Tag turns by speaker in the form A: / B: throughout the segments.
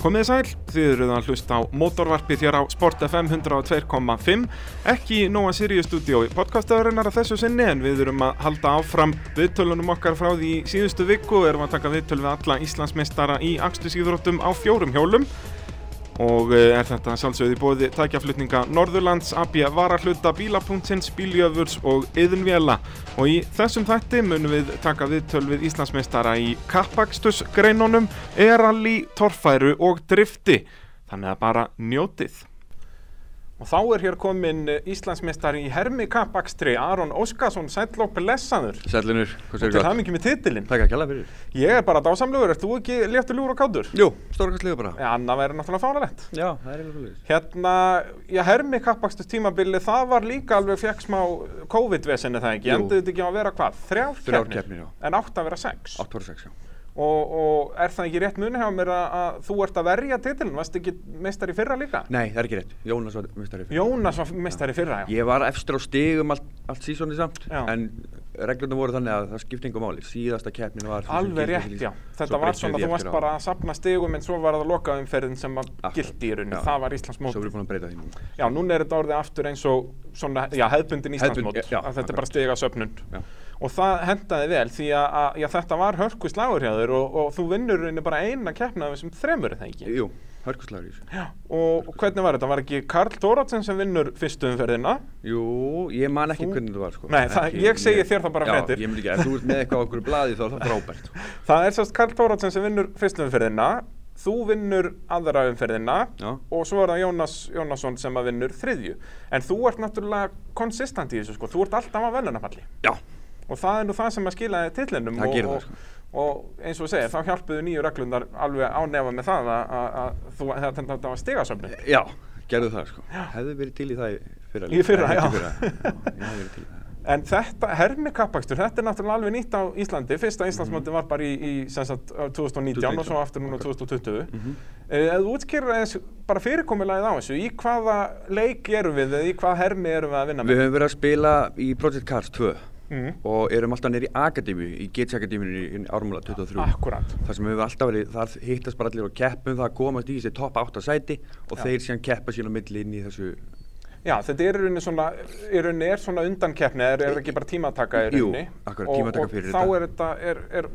A: Komið sæl, þið eruð að hlusta á mótorvarpið hér á Sport FM 102.5 ekki í Nóa Sirius stúdiói podcastaðurinnar að þessu sinni en við erum að halda áfram viðtölunum okkar frá því í síðustu viku og erum að taka viðtöl við alla Íslandsmeistara í akstusíðróttum á fjórum hjólum og eh, er þetta sjálfsögði bóði tækjaflutninga Norðurlands, AB Varahluta, Bílapunktsins, Bíljöfurs og Yðunvjela og í þessum þætti munum við taka viðtöl við Íslandsmeistara í kappakstusgreinunum, eralli, torfæru og drifti þannig að bara njótið Og þá er hér komin Íslandsmeistari í hermi kappakstri Aron Óskarsson, sællók blessaður
B: Sællinur, hvað séu
A: Til
B: gott?
A: það mikið með titilinn
B: Takk að kjalla fyrir
A: Ég er bara dásamlegur, ert þú ekki léttulegur og kátur?
B: Jú, stórkastlega bara
A: Ja, annað væri náttúrulega fáralegt
B: Já, það er eitthvað lýs
A: Hérna, já, hermi kappakstu tímabili, það var líka alveg fekk smá COVID-vesenni það ekki,
B: Jú.
A: endur þetta ekki á að vera hvað? Þrjár,
B: Þrjár keppnir, já.
A: En átt að vera sex.
B: 8 ára 6, já
A: Og, og er það ekki rétt muni hjá mér að, að þú ert að verja titilin, varst ekki meistari fyrra líka?
B: Nei, það er ekki rétt, Jónas var mistari fyrir
A: Jónas var meistari fyrra, já.
B: Ég var efstur á stigum allt, allt sísoni samt
A: Já.
B: En reglunum voru þannig að það skipti engu máli Síðasta keppnin var því sem
A: Alveg
B: gildi
A: rétt,
B: fyrir-
A: já.
B: Svo
A: Þetta var
B: breyttum
A: svona,
B: við
A: þú
B: því
A: varst
B: eftir á.
A: bara að sapna stigum en svo var það lokaumferðin sem að
B: Akkurat,
A: gildi í rauninni,
B: já.
A: það var Íslands
B: Svo erum við búin að breyta því núna
A: Já, núna er þetta orðið aftur eins og svona, já, hefðbundin Íslandsmót,
B: Hefðbund- já,
A: að þetta er
B: akkurat.
A: bara stiga söpnund.
B: Já.
A: Og það hendaði vel því að, að já, þetta var hörku slagur hjá þér og, og þú vinnur henni bara eina keppna af þessum þremur, er það ekki?
B: Jú, hörkuslagur í þessu
A: Já, og, og hvernig var þetta? Var ekki Karl Dóratsen sem vinnur fyrstu umferðina?
B: Jú, ég man ekki
A: Þú-
B: hvernig það var sko
A: Nei, það-
B: Ekki-
A: ég segi þér það bara
B: Já,
A: fréttir.
B: ég myndi ekki, ef þú ert með eitthvað á okkur blaði þá er það frábært
A: Það er sérst Karl Dóratsen sem vinnur fyrstu umferðina, þú vinnur aðra umferðina
B: Já.
A: og svo er það Jónas Jónasson sem að vinnur þriðju. En þú ert náttúrulega konsistant í þessu, sko, þú ert alltaf að velunafalli.
B: Já,
A: og það er nú það sem að skila tillinum
B: Það
A: og,
B: gerir það, sko.
A: og, og eins og ég segja, þá hjálpuðu nýju reglundar alveg ánefa með það að, að, að þú, þetta, þetta var stigasöfnun
B: já, gerðu það sko Hefðu verið til í það í fyrra
A: Í
B: líka.
A: fyrra,
B: Ekki
A: já.
B: Ég hefði verið til í það
A: en þetta, hermi kappakstur, þetta er náttúrulega alveg nýtt á Íslandi, fyrsta
B: Mhm.
A: Íslandsmóti var bara í, í sem sagt, á 2019 og svo aftur núna 2020 mm
B: Mhm.
A: -hmm. eða útskýra eins bara fyrirkomulegið á þessu, í hvaða leik erum við, eða í hvaða hermi erum við að vinna
B: Við
A: með
B: höfum verið að spila í Project Cars 2
A: Mhm.
B: og erum alltaf neyri í Akademi, í GT Akademinu í Ármúla 23.
A: akkurat,
B: Það sem hefur alltaf verið, þar hittast bara allir og keppum það að komast í þessi topp 8 sæti og
A: Já.
B: þeir síðan keppa sín á milli inn í þessu
A: já þetta er í rauninni svona, í rauninni er svona undankeppni, er, er ekki bara tímataka í
B: Jú,
A: rauninni
B: akkurat,
A: Og-
B: tímataka fyrir
A: og þá
B: þetta.
A: er þetta, er,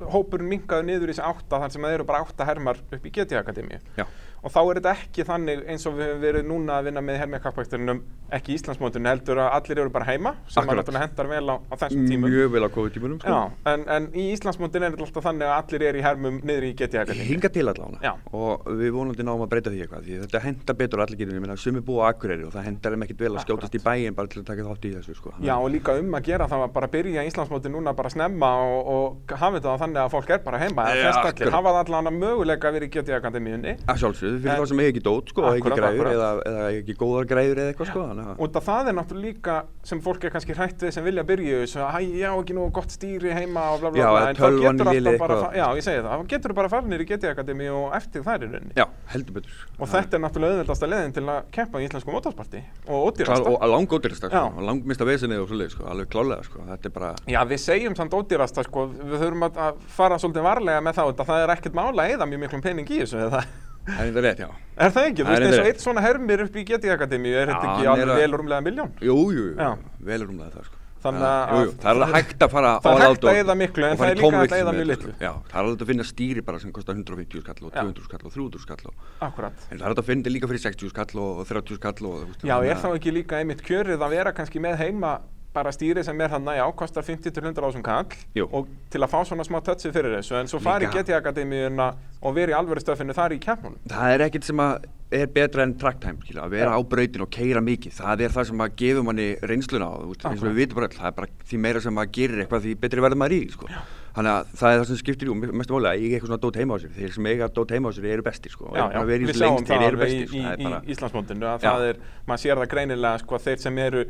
A: er hópurinn minkaður niður í þessi átta þar sem það eru bara átta hermar upp í GT Akademíu
B: Já,
A: og þá er þetta ekki þannig eins og við höfum verið núna að vinna með hermjakappvækturinum ekki í Íslandsmótinu heldur að allir eru bara heima sem að
B: Akkurat.
A: náttúrulega hendar vel á, á þessum tímum
B: mjög vel á COVID-tímunum sko.
A: Já, en, en í Íslandsmótinu er þetta alltaf þannig að allir eru í hermum niður í GT Akademíu
B: Hinga til allavega
A: Já.
B: og við vonandi náum að breyta því eitthvað því þetta henda betur á allir getum, ég meina sumi búa á Akureyri og það hendar þeim ekkit vel að skjótast í bæin bara til að taka þátt í þessu sko.
A: Já og líka um að gera það var bara að byrja Íslandsmóti núna bara snemma og, og hafa þetta þannig að fólk er bara heima eða
B: Já,
A: flest allir
B: akkurat.
A: hafa það allan að möguleika að vera í GT Akademíunni
B: Að sjálfsögðu, fyrir
A: En-
B: þá sem eiga ekki dót sko, og eiga
A: Akkurat,
B: ekki græður
A: akkurat.
B: eða, eða eiga ekki góðar græður eða eitthvað sko, þannig að
A: og það, það er náttúrulega líka sem fólk er kannski hrætt við sem vilja byrja í þessu að hæ, já ekki nú gott stýri heima og bla bla
B: Já,
A: bla
B: eða
A: en þá getur
B: tölvan
A: alltaf
B: léleg
A: bara
B: eitthvað.
A: fa- já ég segi það, þá getur bara farinir í GT Akademi og eftir þær í rauninni
B: Já, heldur betur sko.
A: og þetta er náttúrulega auðveldasta leðin til að keppa í íslensku mótorsparti og
B: Klár,
A: ódýrasta
B: og langódýrasta, sko,
A: Já.
B: og langmista vesinni og svoleið, sko, alveg klálega, sko, þetta er bara,
A: Já, við segjum samt ódýrasta, sko, við þurfum að að fara svolítið varlega með það, það er ekkert mála eða mjög miklum pening í þessu,
B: það
A: eða
B: er þetta rétt, já.
A: Er það ekki? Þú
B: Það
A: veist
B: er
A: eins og
B: rétt.
A: eitt svona hermir upp í GT Akademi er þetta
B: Já, hann
A: ekki
B: er
A: alveg
B: að-
A: vel rúmlega miljón?
B: Jú, jú, jú,
A: Já.
B: vel er umlega það, sko.
A: Þannig
B: Já,
A: að-
B: jú, jú, það er alveg hægt að fara
A: Það er
B: all
A: hægt að
B: out
A: eyða miklu, en
B: og fara
A: það er
B: í
A: líka hægt að
B: tómvixl
A: eyða
B: með
A: mjög
B: þetta,
A: litlu.
B: sko. Já, það er alveg að finna stýri bara sem kostar 150 skall og
A: Já.
B: 200 skall og 300 skall og,
A: Akkurat.
B: en það er hægt að finna líka fyrir 60 skall og 30 skall og, þú veist,
A: Já,
B: þannig
A: er þá
B: að-
A: ekki líka einmitt kjörið að vera kannski með heima bara stýri sem er hann að já, kostar 50-100 ásum kall
B: Jú.
A: og til að fá svona smá tötsi fyrir þessu en svo fara í
B: Líka-
A: GT Akademiuna og vera í alvöru stöfinu þar í keppnunum.
B: Það er ekkert sem að er betra en track time, skilja, að vera
A: Já.
B: á brautin og keira mikið, það er það sem að gefa manni reynsluna á, þú veist, eins og við vitum bara öll, það er bara því meira sem maður gerir eitthvað því betri verður maður í, því, sko. Þannig að það er það sem skiptir, jú, mestu máli að eiga eitthvað svona dót heima á sér, þeir sem eiga dót heima á sér eru bestir, sko,
A: Já,
B: Eru
A: já,
B: bara verið
A: við
B: eins
A: sjáum
B: lengst,
A: það
B: þeir eru
A: alveg í,
B: bestir,
A: í,
B: sko, það er
A: í
B: bara,
A: Íslandsmótinu að
B: Já.
A: það er, maður sér það greinilega sko að þeir sem eru,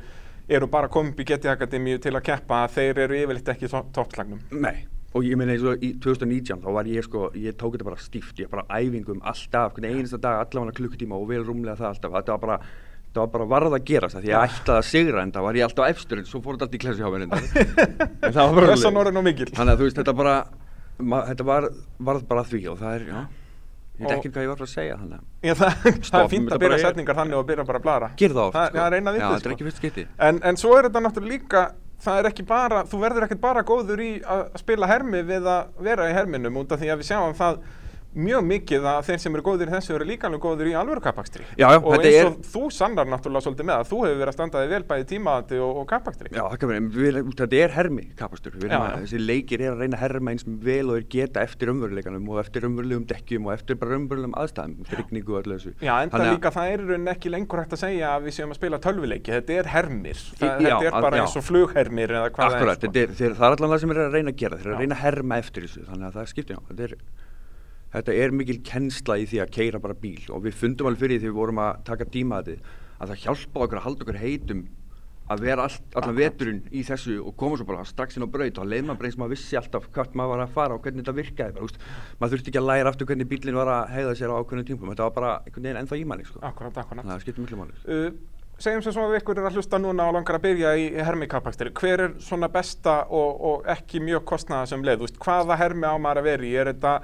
A: eru bara komið upp í GT Akademíu til að keppa þeir eru yfirleitt ekki í topp- toppslagnum.
B: nei, og ég meina eins og í 2019, þá var ég, sko, ég tók þetta bara stíft, ég bara á æfingum alltaf, hvernig einasta dag, allavega klukkutíma og vel rúmlega það alltaf, þetta var bara, það var bara varð að gerast það því ég ætlaði að sigra en það var ég alltaf efstur en svo fór þetta allt í klessu hjá mér en En það var bara
A: Pressan
B: svoleiðis.
A: orðin og mikil.
B: Þannig að þú veist, þetta bara, ma, þetta var, varð bara því og það er, já, ég veit ekki hvað ég var að segja þannig að
A: Ég, það, það er
B: Stopp,
A: fínt
B: þetta
A: að byrja
B: bara er-
A: setningar þannig og byrja bara að blara
B: Gerðu það oft,
A: Það,
B: sko.
A: það er eina vitið
B: Já, þetta er ekki fyrst skipti.
A: en, en svo er þetta náttúrulega líka Það er ekki bara, þú verður ekkert bara góður í að spila hermi við að vera í herminum út af því að við sjáum það mjög mikið að þeir sem eru góðir í þessu eru líka alveg góðir í alvöru kappakstri
B: Já, já,
A: og
B: þetta
A: eins
B: er-
A: og þú sannar náttúrulega svolítið með að þú hefur verið að standa þig vel bæði tímaðandi og, og kappakstri
B: Já, það kan vera, en við, erum- þetta er hermi kapastur, við erum
A: Já.
B: að, þessi leikir er að reyna að herma eins vel og þeir geta eftir umveruleikanum og eftir umverulegum dekkjum og eftir bara umverulegum aðstæðum, rigningu og öllu þessu.
A: Já, enda
B: Þannig að-
A: líka það er í rauninni ekki lengur hægt að segja að við séum að spila tölvileiki, þetta er hermir, það,
B: Í- já,
A: þetta er
B: að-
A: bara
B: já.
A: eins og flughermir eða hvað
B: Akkurat,
A: það
B: þetta
A: er. sko.
B: er, þeir, það er allan það sem þeir eru að reyna að gera, þeir eru
A: Já.
B: að reyna að herma eftir þessu, þannig að það skiptir já, þetta er, þetta er mikil kennsla í því að keira bara bíl og við fundum alveg fyrir því þegar við vorum að taka tímaðið að það hjálpaði okkur að halda okkur heitum að vera all, allan veturinn í þessu og koma svo bara strax inn á braut og leið maður bara eins og maður vissi alltaf hvert maður var að fara og hvernig þetta virkaði bara, úst, maður þurfti ekki að læra aftur hvernig bílinn var að hegða sér á ákveðnum tímpum, þetta var bara einhvern veginn ennþá í manni sko.
A: Akkurat, akkurat.
B: þannig að það skiptir miklu máli sko.
A: Uh, segjum sem svo að ykkur er að hlusta núna og langar að byrja í hermikappakstri. Hver er svona besta og, og ekki mjög kostnaða sem leið? Þú veist, hvaða hermi á maður að vera í? Er þetta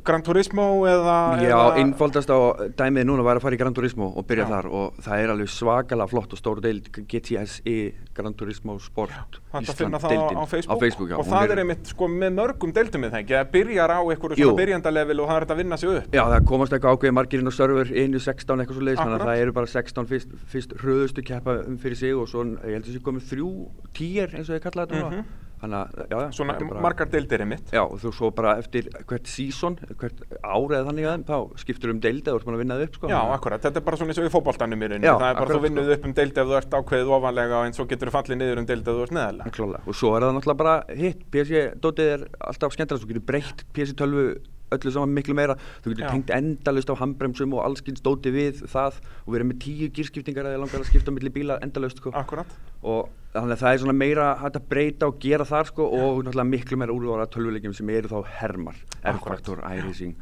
A: Gran Turismo eða...
B: Já,
A: eða-
B: innfaldast á dæmið núna var að fara í Gran Turismo og byrja
A: Já.
B: þar og það er alveg svakalega flott og stóru deild GTSI E, Gran Turismo Sport
A: Hægt að
B: Ísland
A: finna það á,
B: deildin
A: á Facebook,
B: já,
A: og
B: hún
A: það er einmitt sko með mörgum deildum með það ekki, það byrjar á einhverju
B: Jú.
A: svona byrjandalevel og það er þetta að vinna sig upp.
B: Já, það komast eitthvað ákveðið margir inn á server einu 16 eitthvað svo leiðis, þannig að
A: Akkurat.
B: það eru bara 16 fyrst, fyrst hröðustu keppa um fyrir sig og svo ég held að þessi komið þrjú tíer eins og ég kallaði þetta
A: Mhm.
B: mm þannig að, já, já,
A: Svona
B: þetta er bara-
A: margar deildir einmitt.
B: Já, og þú svo bara eftir hvert sísón, hvert ár eða þannig að þá skiptur um deildi að þú ert búin að vinna það upp sko,
A: Já,
B: þannig að-
A: akkurat, þetta er bara svona eins og í fótboltanum í rauninni,
B: Já,
A: það er bara
B: akkurat, sko.
A: þú vinnuð upp um deild ef þú ert ákveðið ofanlega og eins og getur þú fallið niður um deild ef þú ert neðalega.
B: Klálega. Og svo er það náttúrulega bara hitt, PSG-dótið er alltaf skemmtilega, þú getur breytt PSG-12 öllu saman miklu meira, þú getur
A: Já.
B: tengt endalust á handbremsum og allskins dótið við það og verið með tíu gírskiptingar eða langar að skipta milli bíla endalust sko.
A: Akkurat.
B: og þannig að það er svona meira hægt að breyta og gera þar sko og náttúrulega miklu meira úrvara tölvuleikjum sem eru þá hermar,
A: Akkúrat.
B: R-Factor, iRacing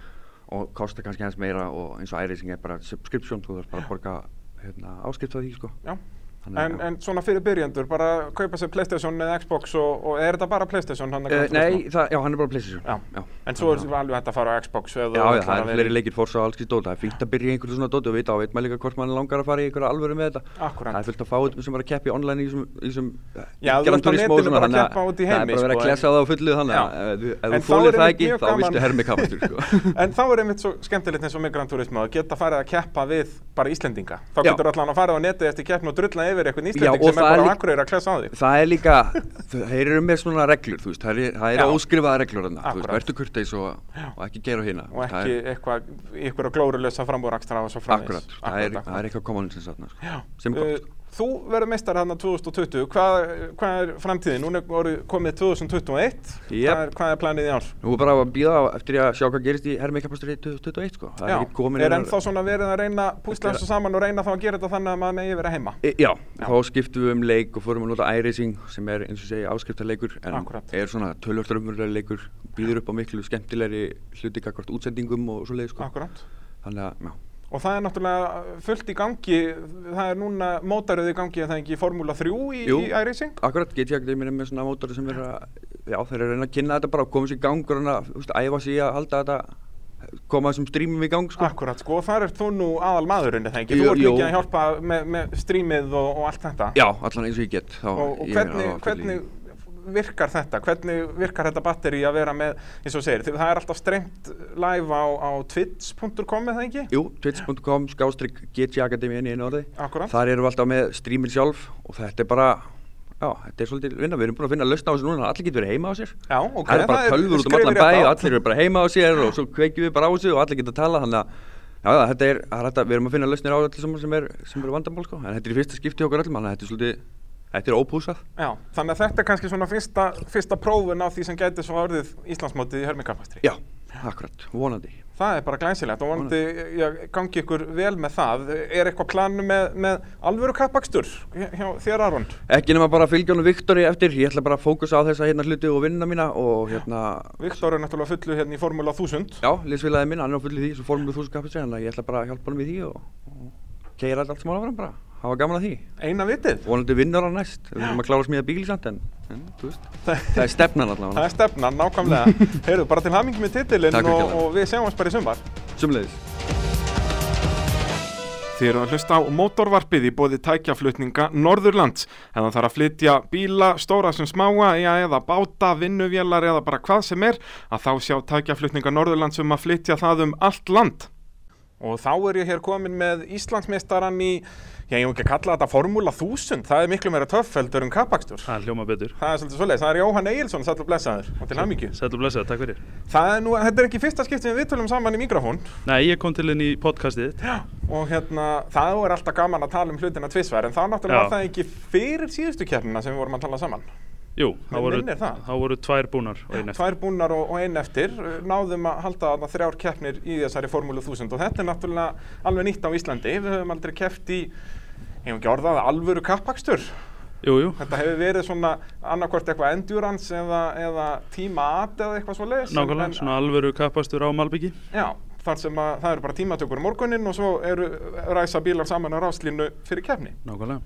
B: og kosta kannski hans meira og eins og iRacing er bara subscription, þú þarf bara að borga hérna, áskrift af því sko.
A: Já.
B: Þannig að-
A: En, en svona fyrir byrjendur, bara kaupa sér Playstation eða Xbox og, og er þetta bara Playstation? hann að
B: Uh,
A: Gran Turismo?
B: nei, það, já, hann er bara PlayStation
A: Já.
B: Já.
A: En svo er alveg hægt að fara á Xbox eða
B: Já, já, það er fleiri leikir fórsa á alls kýr dóta. Það er fínt að byrja í einhverju svona dóti og vita á, veit maður líka hvort maður langar að fara í einhverju alvöru með þetta.
A: Akkúrat.
B: Það er fullt að fá þetta sem er að keppa í online í þessum- í þessum
A: Já, þú
B: Gran
A: ert á
B: Turismo
A: netinu bara að
B: þannig
A: keppa út í
B: það
A: heimi,
B: er bara að vera
A: sko,
B: að
A: en-
B: klessa það á fullu þannig
A: Já.
B: að ef þú-
A: En
B: ef þú
A: þá er
B: þólir það
A: einmitt
B: ekki,
A: mjög
B: þá
A: gaman-
B: vistu hermi kapastur, sko.
A: En þá er einmitt svo skemmtilegt eins og með Gran Turismo að geta farið að keppa við bara Íslendinga. Þá
B: Já.
A: getur allan að fara á netið eftir keppn og drulla yfir einhvern
B: Já,
A: Íslending
B: og það
A: sem er
B: er
A: bara á
B: lík-
A: Akureyri að klessa á þig.
B: Það er líka, þeir eru með svona reglur, þú veist, það eru- það eru
A: Já.
B: óskrifaða reglur þarna, þú veist,
A: Akkúrat.
B: verður kurteis og, og ekki gera hina.
A: Og ekki eitthvað, ykkur að glórulösa frambúrakstra og svo framvegis.
B: Akkurat, það er, það er eitthvað kommunisins þarna, sko, sem er
A: Uh,
B: gott.
A: Þú verður meistar hérna 2020, hvað, hvað er framtíðin? Núna er orðið komið 2021,
B: Jep.
A: hvað, er, hvað er planið í ár?
B: Nú er bara að býða eftir að sjá hvað gerist í hermikapastur 2021 sko. Það
A: Já,
B: er ekki komin
A: er
B: neinar-
A: ennþá svona verið að reyna að púsla þessu saman og reyna þá að gera þetta þannig að maður megi vera heima
B: E, já, þá skiptum við um leik og fórum að nota iRacing sem er eins og segja áskriftarleikur en
A: Akkúrat.
B: er svona tölvörströmmurlega leikur, býður upp á miklu skemmtilegri hluti kakvart útsendingum og svo leið sko.
A: Akkurat
B: Þannig að, já.
A: Og það er náttúrulega uh, fullt í gangi, það er núna mótaröð í gangi að það er ekki í Formúla 3 í,
B: Jú.
A: í iRacing
B: Akkurat, get ég að þeim er með svona mótori sem verður að, já, þeir eru að reyna að kynna þetta bara og koma sér í gang og reyna að, þú veist, æfa sér í að halda þetta, koma þessum strímum í gang sko.
A: Akkurat sko, og þar er þú nú aðal maðurinn er það ekki,
B: Jú,
A: þú ert
B: jú.
A: líka að hjálpa með, með streamið og, og allt þetta
B: Já, allan eins og ég get. Þá,
A: og,
B: ég
A: og
B: er
A: hvernig,
B: alveg á fullu í-
A: hvernig virkar þetta, hvernig virkar þetta batteri að vera með, eins og þú segir, það er alltaf streymt live á, á twitch.com er það ekki?
B: Jú, twitch.com skástrygg GT Akademi inn í einu orði
A: Akkúrat.
B: Þar erum við alltaf með streamin sjálf og þetta er bara, já, þetta er svolítið vinna Við erum búin að finna að lausna á þessu núna, allir getur verið heima á sér
A: Já, ok,
B: Það er
A: það er-
B: bara tölfur út um
A: skrifir
B: allan
A: þetta
B: bæ og
A: á.
B: allir eru bara heima á sér og svo kveikjum við bara á þessu og allir geta að tala Þannig að, já, já, þetta er, það er hægt að, við erum að finna lausnir á allir saman sem er, sem er vandamál sko En þetta er í fyrsta skipti hjá okkur öllum, þannig að þetta er svolítið, þetta er ópúsað
A: Já, þannig að þetta er kannski svona fyrsta, fyrsta prófun á því sem gæti svo orðið Íslandsmótið í hörmingafastri.
B: Já, akkurat, vonandi
A: Það er bara glæsilegt og vonandi ég gangi ykkur vel með það. Er eitthvað planu með, með alvöru kappakstur hjá hjá þér Aron?
B: Ekki nema bara að fylgja honum Viktori eftir, ég ætla bara að fókusa á þessa hérna hluti og vinna mína og hérna
A: Viktor er náttúrulega fullu hérna í Formula 1000.
B: Já, liðsfélagið minn, hann er á fullu því, svo fórum við þúsund kappistri, þannig að ég ætla bara að hjálpa hann við því og, og keira allt smá áfram bara, hafa gaman að því.
A: Eina vitið.
B: Vonandi vinnur hann næst, við erum að klára að smíða bíl samt en, en þú veist, það er stefnan allavega.
A: Það er stefnan, nákvæmlega. Heyrðu, bara til hamingi með titilinn
B: Takk
A: og,
B: virkilega.
A: og við sjáum oss bara í sumar.
B: Sumleðis.
A: Þið eru að hlusta á mótorvarpið í bóði tækjaflutninga Norðurlands. Ef það þarf að flytja bíla, stóra sem smáa, eða, eða báta, vinnuvélar eða bara hvað sem er, að þá sjá tækjaflutninga Norðurlands um að flytja það um allt land. Og þá er ég hér komin með Íslandsmeistaran í, já ég hef ekki að kalla þetta Formúla 1000, það er miklu meira töffeldur en kapakstur.
C: Það hljóma betur.
A: Það er svolítið svolítið, það er Jóhann Egilson, sætlu blessaður og til hamingju.
C: Sæll og blessað, takk fyrir.
A: Það er nú, þetta er ekki fyrsta skiptið við tölum saman í mikrofón
C: Nei, ég kom til henni í podcastið þitt.
A: og hérna, það er alltaf gaman að tala um hlutina tvisvar en það
C: Já.
A: náttúrulega var það ekki fyrir síðustu keppnina sem við vorum að tala saman
C: Jú,
A: Mig
C: það voru,
A: minnir það.
C: það voru tvær búnar og einn eftir.
A: Tvær búnar og, og einn eftir uh, náðum að halda þarna þrjár keppnir í þessari Formúlu 1000 og þetta er náttúrulega alveg nýtt á Íslandi við höfum aldrei keppt í, hefum ekki orðað það, alvöru kappakstur
C: Jú, jú,
A: þetta hefur verið svona annarkvort eitthvað endurance eða, eða tíma at eða eitthvað svo leiðis
C: nákvæmlega, svona alvöru kappastur á Malbyggi.
A: Já, þar sem að það eru bara tímatökur morgunin og svo eru ræsa bílar saman á ráslínu fyrir kefni.
C: Nákvæmlega.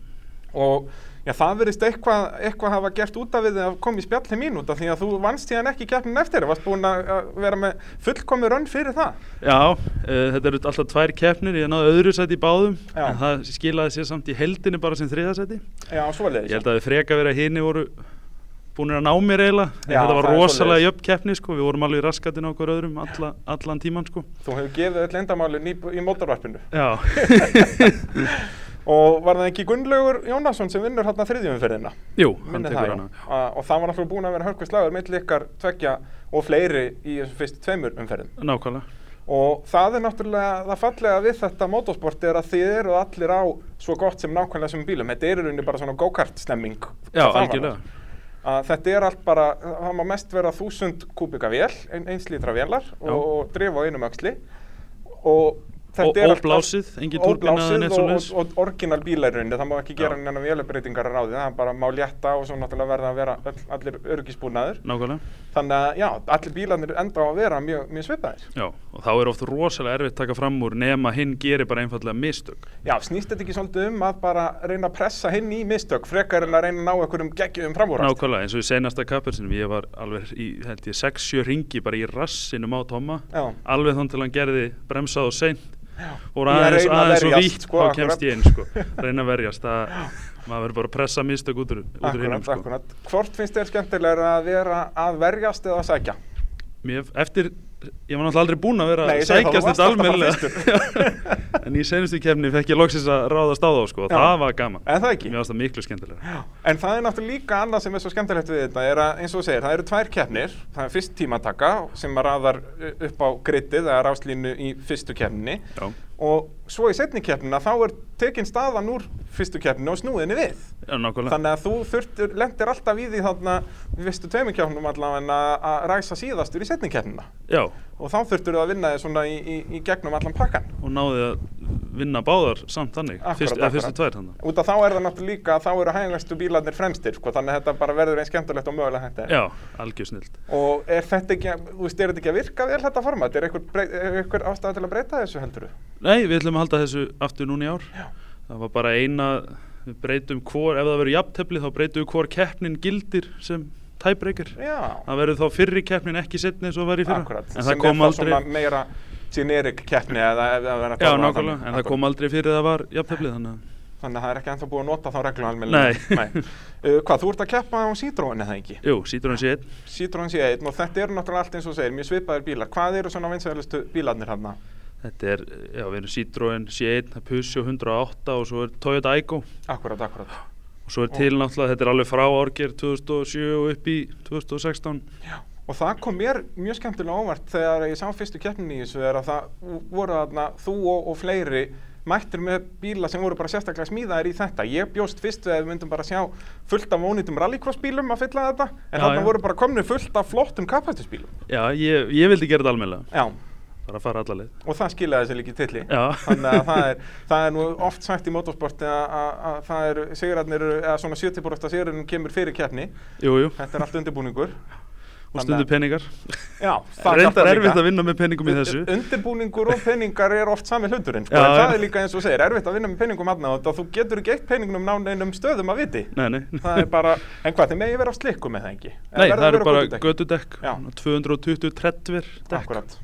A: Og já, það verðist eitthvað, eitthvað hafa gert út af við að koma í spjalli mín út af því að þú vannst síðan ekki keppnin eftir, varst búin að að vera með fullkomi rönn fyrir það.
C: Já, uh, þetta eru alltaf tvær keppnir, ég náði öðru sæti í báðum,
A: Já.
C: en það skilaði sér samt í heldinni bara sem þriðasæti.
A: Já, svoleiðis.
C: Ég held að við freka verið að hini voru búinir að ná mér eiginlega.
A: Já,
C: þetta var
A: það er svoleiðis.
C: rosalega jöfn keppni, sko, við vorum alveg í raskatinn á okkur öðrum alla, allan tíman, sko.
A: Þú hefur gefið öll endamálun í, í mótorvarpinu.
C: Já,
A: Og var það ekki Gunnlaugur Jónasson sem vinnur hérna þriðjumferðina?
C: jú, hann
A: Minni
C: tekur
A: það, já.
C: hana.
A: Að- Og það var náttúrulega búin að vera hörkvistlagur milli ykkar tveggja og fleiri í þessum fyrstu tveimur umferðum.
C: Nákvæmlega.
A: Og það er náttúrulega, það fallega við þetta motorsport er að þið eru allir á svo gott sem nákvæmlega sem bílum. Þetta er í rauninni bara svona go-kart stemming. hvað
C: Já,
A: það varðar.
C: algjörlega.
A: Að þetta er allt bara, það má mest vera 1000 kubika vél, ein, eins lítra vélar
C: Já.
A: og, og drif á einum öxli. Og
C: Og-
A: þetta er
C: og
A: allt-
C: blásið, engin túrbína eða
A: óblásið
C: neitt
A: og, og,
C: svoleiðis.
A: og orginal bíla í rauninni, það má ekki gera
C: Já.
A: neina vélabreitingar að ráði, það er bara má létta og svo náttúrulega verða að vera öll, allir örgisbúnaður.
C: Nákvæmlega.
A: Þannig að já, allir bílarnir enda á að vera mjög, mjög svipaðir.
C: Já, og þá er oft rosalega erfitt að taka fram úr nema hinn gerir bara einfallega mistök.
A: Já, snýst þetta ekki svolítið um að bara reyna að pressa hinn í mistök frekar en að reyna að ná einhverjum geggjum framúrast?
C: Nákvæmlega, eins og í senasta kappersinum, ég var alveg í, held ég, 6-7 ringi bara í rassinum á Tomma,
A: Já.
C: alveg þann til hann gerði bremsað og seint og
A: Í að
C: aðeins,
A: reyna að
C: aðeins og
A: verjast,
C: vítt
A: sko,
C: þá kemst ég inn, sko, reyna að verjast, það, maður verður bara að pressa mistök út úr, út úr hinnum,
A: Akkurat,
C: sko.
A: akkurat. Hvort finnst þér skemmtilega að vera að verjast eða að sækja?
C: Mér, eftir, ég var náttúrulega aldrei búinn að vera
A: Nei,
C: að
A: ég segi það,
C: sækjast
A: þú
C: þetta
A: varst
C: almennilega, en í senustu kemni fekk ég loksins að ráðast á þá, sko, og
A: Já.
C: það var gaman.
A: En það ekki?
C: Mér varst það miklu skemmtilega.
A: En það er náttúrulega líka annað sem er svo skemmtilegt við þetta er að eins og þú segir, það eru tvær keppnir það er fyrst tímataka sem að raðar uh, upp á grittið, það er áslínu í fyrstu keppninni
C: Já.
A: og svo í setni keppnina þá er tekin staðan úr fyrstu keppninu og snúðinni við
C: Já, nákvæmlega.
A: Þannig að þú þurftur, lendir alltaf í því þarna við vistu tveimur keppnum allavega að, að ræsa síðastur í setni keppnina
C: Já,
A: og þá þurftur þú að vinna þig svona í, í, í gegnum allan pakkan
C: og náði að vinna báðar samt þannig,
A: Akkúrat,
C: fyrst,
A: akkúrat.
C: eða fyrstu tvær þannig.
A: Út af þá er það náttúrulega líka að þá eru hægvestu bílarnir fremstir sko, þannig að þetta bara verður eins skemmtilegt og mögulega hægt er.
C: Já, algjör snild.
A: Og er þetta ekki, að- þú veist, er þetta ekki að virka vel þetta format? Er einhver, brey- er einhver ástæða til að breyta þessu heldur þú?
C: Nei, við ætlum að halda þessu aftur núna í ár.
A: Já.
C: Það var bara eina, við breytum hvor, ef það verður jafntefli þá breytum við hvor keppnin gildir sem tæbreykir.
A: Já,
C: Það verður þá fyrri keppnin ekki setni eins og var í fyrra.
A: akkurat.
C: En
A: sem
C: það kom
A: er þá
C: aldrei,
A: svona meira generik keppni eða ef það verður að
C: já
A: tala um það
C: nákvæmlega,
A: þannig.
C: en
A: Akkúrat.
C: það kom aldrei fyrir það var jafntefli þannig. að-
A: Þannig að það er ekki ennþá búið að nota þá reglu
C: Nei.
A: almennilega. Uh, hvað, þú ert að keppa á Citroen eða ekki?
C: Jú, Citroen C1,
A: Citroen C1 og þetta eru náttúrulega allt eins og þú segir, mjög svipaðir bílar. Hvað eru svona vinsælustu bílarnir hérna?
C: þetta er, já við erum Citroen C1, það er Peugeot 108 og svo er Toyota Aygo.
A: Akkurat, akkurat.
C: Og svo er til náttúrulega, þetta er alveg frá árger 2007 og upp í 2016.
A: Já. Og það kom mér mjög skemmtilega óvart þegar ég sá fyrstu keppninni í þessu er að það voru þarna þú og, og fleiri mættir með bíla sem voru bara sérstaklega smíðaðir í þetta. Ég bjóst fyrst við að við myndum bara sjá fullt af ónýtum rallycross bílum að fylla þetta en
C: Já,
A: þarna
C: já.
A: voru bara komni fullt af flottum kapastusbílum.
C: Já, ég, ég vildi gera þetta almennilega,
A: Já,
C: bara að fara alla leið.
A: og það skilaði sér líki tilli
C: Já.
A: þannig að það er, það er nú oft sagt í motorsporti að, að, að það er sigurarnir, eru- eða svona 70% af sigurarnir kemur fyrir keppni,
C: Jú, jú,
A: þetta er allt undirbúningur
C: og stundu peningar.
A: já,
C: Reyndar erfitt að vinna með peningum í þessu.
A: undirbúningur og peningar er oft sami hluturinn sko,
C: Já,
A: en
C: já.
A: það er líka eins og þú segir, erfitt að vinna með peningum aðna og þú getur ekki eitt peningnum ná neinum stöðum að viti
C: Nei, nei.
A: það er bara, en hvað, þið megi vera á slikku með það ekki
C: Nei, það eru bara
A: götu
C: gödudekk,
A: Já.
C: 220 trettver dekk.
A: Akkurat.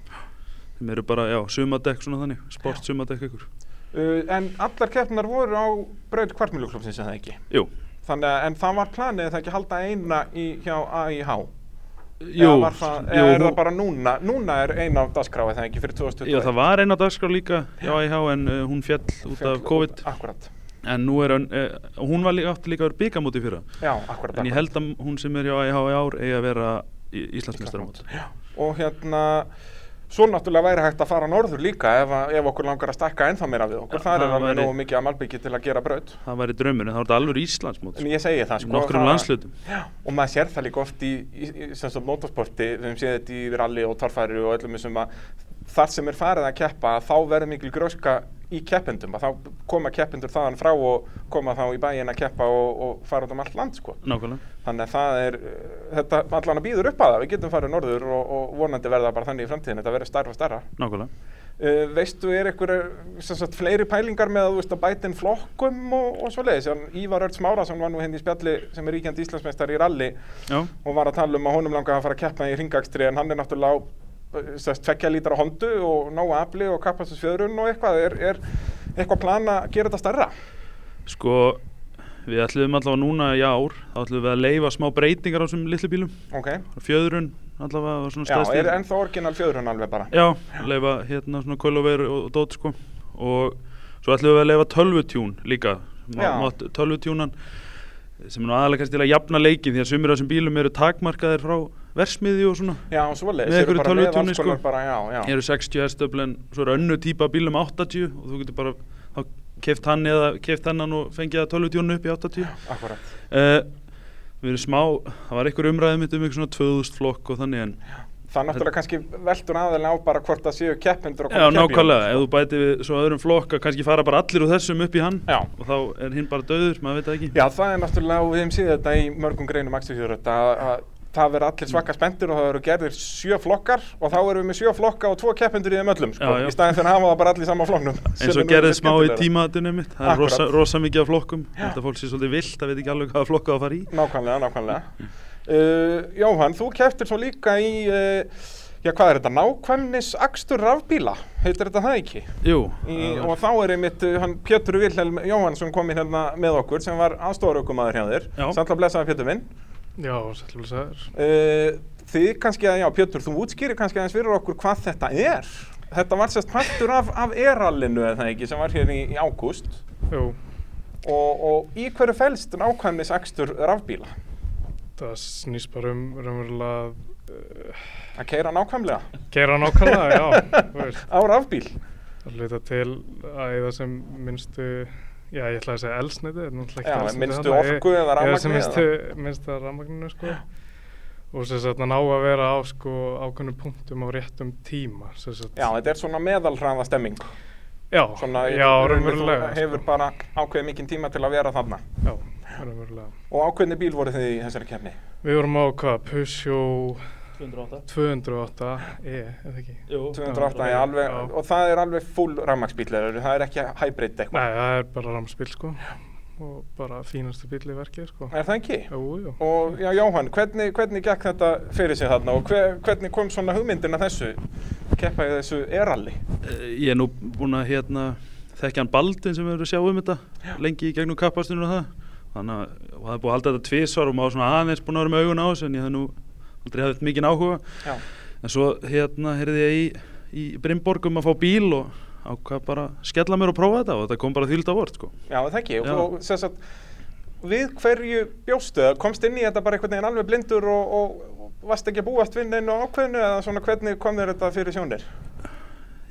C: sem eru bara, já, sumadekk svona þannig, sport sumadekk ykkur.
A: Uh, en allar keppnar voru á braut kvartmjöluklubsins eða ekki?
C: Jú,
A: Þannig að, en það var planið að það ekki halda eina í, hjá AIH?
C: jú,
A: Eða, var það, eða er
C: hún-
A: það bara núna? Núna er eina af dasgráið það ekki fyrir 2021?
C: já, það var einn á dagskrá líka hjá IH en uh, hún fjall út af COVID
A: Akkurat,
C: en nú er hann, uh, hún var líka átti líka að vera byggamóti fyrir það
A: já, akkurat.
C: en ég held að hún sem er hjá IH í ár eigi að vera í- Íslandsmeistaramót
A: Já. Og hérna, svo náttúrulega væri hægt að fara norður líka ef, að- ef okkur langar að stakka ennþá meira við okkur.
C: Já,
A: það
C: það
A: er alveg
C: væri-
A: nógu mikið að malbyggi til að gera braut.
C: það væri draumur en það var þetta alveg Íslandsmót
A: En ég segi það sko.
C: Nokkrum
A: það-
C: landshlutum.
A: Já, og maður sér það líka oft í, í, í sem sagt motorsporti, við höfum séð þetta í rally og torfæri og öllum þessum að þar sem er farið að keppa þá verður mikil gróska í keppendum að þá koma keppendur þaðan frá og koma þá í bæin að keppa og, og fara út um allt land sko.
C: nákvæmlega
A: Þannig að það er, uh, þetta allan að býður upp að það, við getum farið norður og, og vonandi verða bara þannig í framtíðin, þetta verður starfa starra.
C: nákvæmlega
A: Uh, veistu, er einhverju sem sagt fleiri pælingar með að þú veist að bæta inn flokkum og, og svoleiðis? En Ívar Örts Márasson var nú henni í spjalli sem er ríkjandi Íslandsmeistar í rally
C: já,
A: og var að tala um að honum langaði að fara að keppa í ringakstri en hann er náttúrulega á uh, sem sagt, tvekja lítra hondu og nóa afli og kapastusfjöðrun og eitthvað. Er, er eitthvað plan að gera þetta stærra?
C: sko við ætlum allavega núna í ár þá ætlum við að leifa smá breytingar á þessum litlu bílum
A: Ok.
C: fjöðrun allavega var svona
A: Já,
C: stærsti
A: er ennþá orginal fjöðrun alveg bara?
C: Já, leifa hérna svona kóluveir og, og dót sko og svo ætlum við að leifa tölvutjún líka
A: Já.
C: Má- mátt tölvutjúnan sem er nú aðalega kannski til að jafna leikin því að sumir af þessum bílum eru takmarkaðir frá versmiði og svona
A: Já, svoleiðis.
C: Með
A: Eru
C: einhverju
A: bara með
C: tölvutjóni,
A: alls konar
C: sko.
A: Bara, já, já.
C: eru 60 hestöfl en svo eru önnu típa af bílum 80 og þú getur bara þá keft hann eða keft hennan og fengið að tölvutjúnu upp í 80
A: Akkurat.
C: uh, Við erum smá, það var einhver umræðið mitt um einhver svona 2000 flokk og þannig en
A: Það náttúrulega kannski veldur aðeins á bara hvort það séu keppendur og
C: Já,
A: hvort keppi í honum,
C: nákvæmlega,
A: sko.
C: ef þú bæti við svo öðrum flokk að kannski fara bara allir úr þessum upp í hann
A: Já.
C: og þá er hinn bara döður, maður veit það ekki
A: Já, það er náttúrulega, og við hefum séð þetta í mörgum greinum akstuðfjörut, að, að það verður allir svaka spendur og það verður gerðir sjö flokkar og þá erum við með sjö flokka og tvo keppendur í þeim öllum, sko,
C: Já, já.
A: í staðin fyrir að hafa það bara allir í sama flokknum.
C: eins
A: Sem er
C: og
A: nú
C: gerðið
A: mikið
C: smá í
A: skemmtilegra.
C: tímatunum mitt það er
A: Akkurat.
C: rosa, rosa mikið af flokkum
A: Já.
C: þetta fólk sé svolítið vilt, það veit ekki alveg hvaða flokka það fara í
A: Nákvæmlega, nákvæmlega. Uh, Jóhann, þú keftir svo líka í, uh, já, hvað er þetta, nákvæmnis akstur rafbíla, heitir þetta það ekki?
C: Jú,
A: Í,
C: það
A: og
C: var-
A: þá er einmitt uh, hann Pétur Vilhelm Jóhannsson kom inn hérna með okkur sem var aðstofaraukumæður hjá þér,
C: Já.
A: samt að blessaða Pétur minn.
D: Já, sætlum við sæður.
A: Uh, þið kannski að, já, Pétur, þú útskýrir kannski aðeins fyrir okkur hvað þetta er. Þetta var sérst partur af, af erallinu, eða það ekki, sem var hér í, í ágúst.
D: Jú,
A: Og, og í hverju felst nákvæmnis akstur rafbíla?
D: það snýst bara um raunverulega að uh,
A: Að keira nákvæmlega
D: gera nákvæmlega, já, þú veist.
A: á rafbíl.
D: Að hluta til að eða sem minnstu, já, ég ætlaði að segja elsniti, en náttúrulega
A: Já,
D: ekki elsniti.
A: minnstu
D: þarna,
A: orku eða
D: Eða sem
A: rafmagni
D: minnstu,
A: eða-
D: minnstu að rafmagninu, sko. Og sem sagt að ná að vera á, sko, ákveðnum punktum á réttum tíma, sem sagt.
A: Já, þetta er svona meðalhraða stemming.
D: já,
A: Svona, í
D: já,
A: rauninni þú
D: raunverulega.
A: Hefur
D: sko.
A: bara ákveðið mikinn tíma til að vera þarna.
D: Já, raunverulega.
A: Og ákveðni bíl voru þið í þessari kefni?
D: Við vorum á hvað, Peugeot
C: 208
D: 208e, eða E, ekki?
C: Jú,
A: 208 er
D: 208,
A: alveg,
D: já.
A: og það er alveg full rafmagsbíl, það er ekki hybrid eitthvað.
D: Nei, það er bara ramspil sko og bara fínastu bíl í verkið sko
A: Er það ekki?
D: Jú, jú
A: Og já, Jóhann, hvernig, hvernig gekk þetta fyrir sig þarna og hver, hvernig kom svona hugmyndin að þessu, keppa í þessu eralli?
C: Eh, Ég er nú búin að hérna þekkja hann Baldin sem við erum að sjá um þetta lengi í gegnum kappastunum og það þannig að og það er búið að halda þetta tvisvar og maður svona aðeins búin að vera með augun á þessu en ég hef nú aldrei hafði mikið áhuga
A: Já,
C: En svo hérna heyrði ég í, í Brimborg um að fá bíl og ákvað bara að skella mér og prófa þetta og þetta kom bara þýlda vort sko.
A: já er það ekki,
C: Já.
A: og sem sagt, við hverju bjóstu, eða komst inn í þetta bara einhvern veginn alveg blindur og, og, og varst ekki að búast við neinu ákveðinu eða svona hvernig kom þér þetta fyrir sjónir?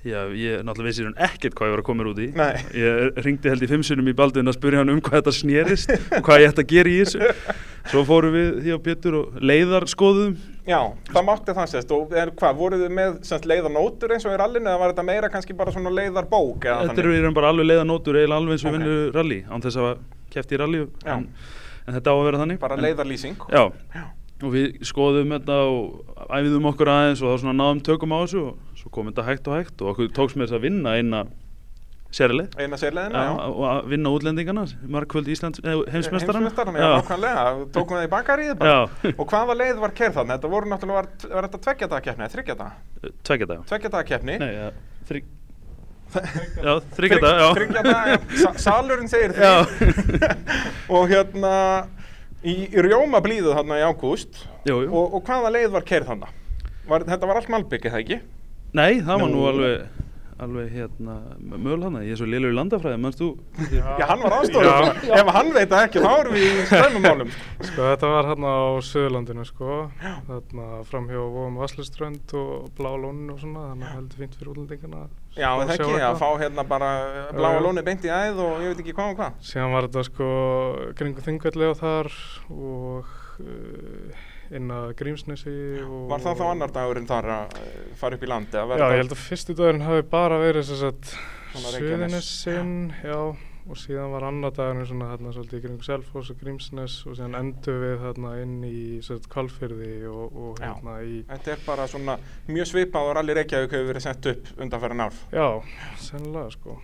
C: Já, ég náttúrulega vissi hún ekkert hvað ég var að koma mér út í.
A: Nei.
C: Ég ringdi held í fimmsunum í baldin að spurja hann um hvað þetta snerist og hvað ég ætti að gera í þessu. Svo fórum við því á Pétur og leiðar skoðum.
A: Já, það mátti það sérst og er, hvað, voruð þið með sem sagt, leiðanótur eins og í rallinu eða var þetta meira kannski bara svona leiðarbók eða
C: Þetta eru í raun bara alveg leiðanótur eiginlega alveg eins og
A: Ok.
C: okay. vinnur rally án þess að kæfti í rally
A: Já.
C: en, en þetta á að vera þannig.
A: Bara
C: En-
A: leiðarlýsing?
C: Já,
A: Já.
C: og við skoðum þetta og æfiðum okkur aðeins og þá svona náðum tökum á þessu og svo kom þetta hægt og hægt og okkur tókst með þess að vinna eina sérlið
A: eina sérleðina, já.
C: og að vinna útlendingana markvöld Íslands, eh, heimsmeistaranna
A: Heimsmeistarann, já, nákvæmlega, tókum það í bakaríð bara.
C: Já.
A: Og hvaða leið var kerð þarna? Þetta voru náttúrulega, var, var þetta tveggja dagakeppni, þryggja dag?
C: tveggja daga
A: Tveggja dagakeppni.
C: nei, ja, þrygg já, þryggja daga já.
A: Þryggja daga, sa- salurinn segir
C: Já.
A: því. og hérna, í, í rjóma blíðu þarna í ágúst.
C: Jú, jú.
A: Og, og hvaða leið var kerð þarna? Var, þetta var allt malbygg, eða ekki?
C: nei, það var nú
A: Nú.
C: alveg alveg hérna, möl hana ég er svo lélur í landafræði, mannst þú
A: Já, hann var aðstofið.
D: Já.
A: Ef hann veit það ekki, þá erum við í strömmumálum.
D: Sko þetta var hérna á Suðurlandinu sko, þarna framhjá Vóum Vasluströnd og Blá Lónin og svona, þannig að heldur fínt fyrir útlendingana. að
A: Já,
D: fá
A: það
D: sjá
A: ekki,
D: eitthvað.
A: að fá hérna bara bláa
D: Já, já.
A: lóni beint í æð og ég veit ekki hvað og hvað.
D: Síðan var þetta sko kringu þingvelli á þar og uh, inn að Grímsnesi og...
A: Var það þá annar dagurinn þar að eh, fara upp í land?
D: Já, ég held að fyrstu dagurinn hafi bara verið sem sagt
A: Svona Reykjanes.
D: Suðunessin, já, og síðan var annar dagurinn svona hérna svolítið í kringu Selfoss og Grímsnes og síðan endur við hérna inn í sem sagt Kvalfyrði og, og
A: Já.
D: hérna í...
A: Þetta er bara svona mjög svipað og rally Reykjavík hefur verið sett upp undanferðan ár.
D: Já, sennilega sko.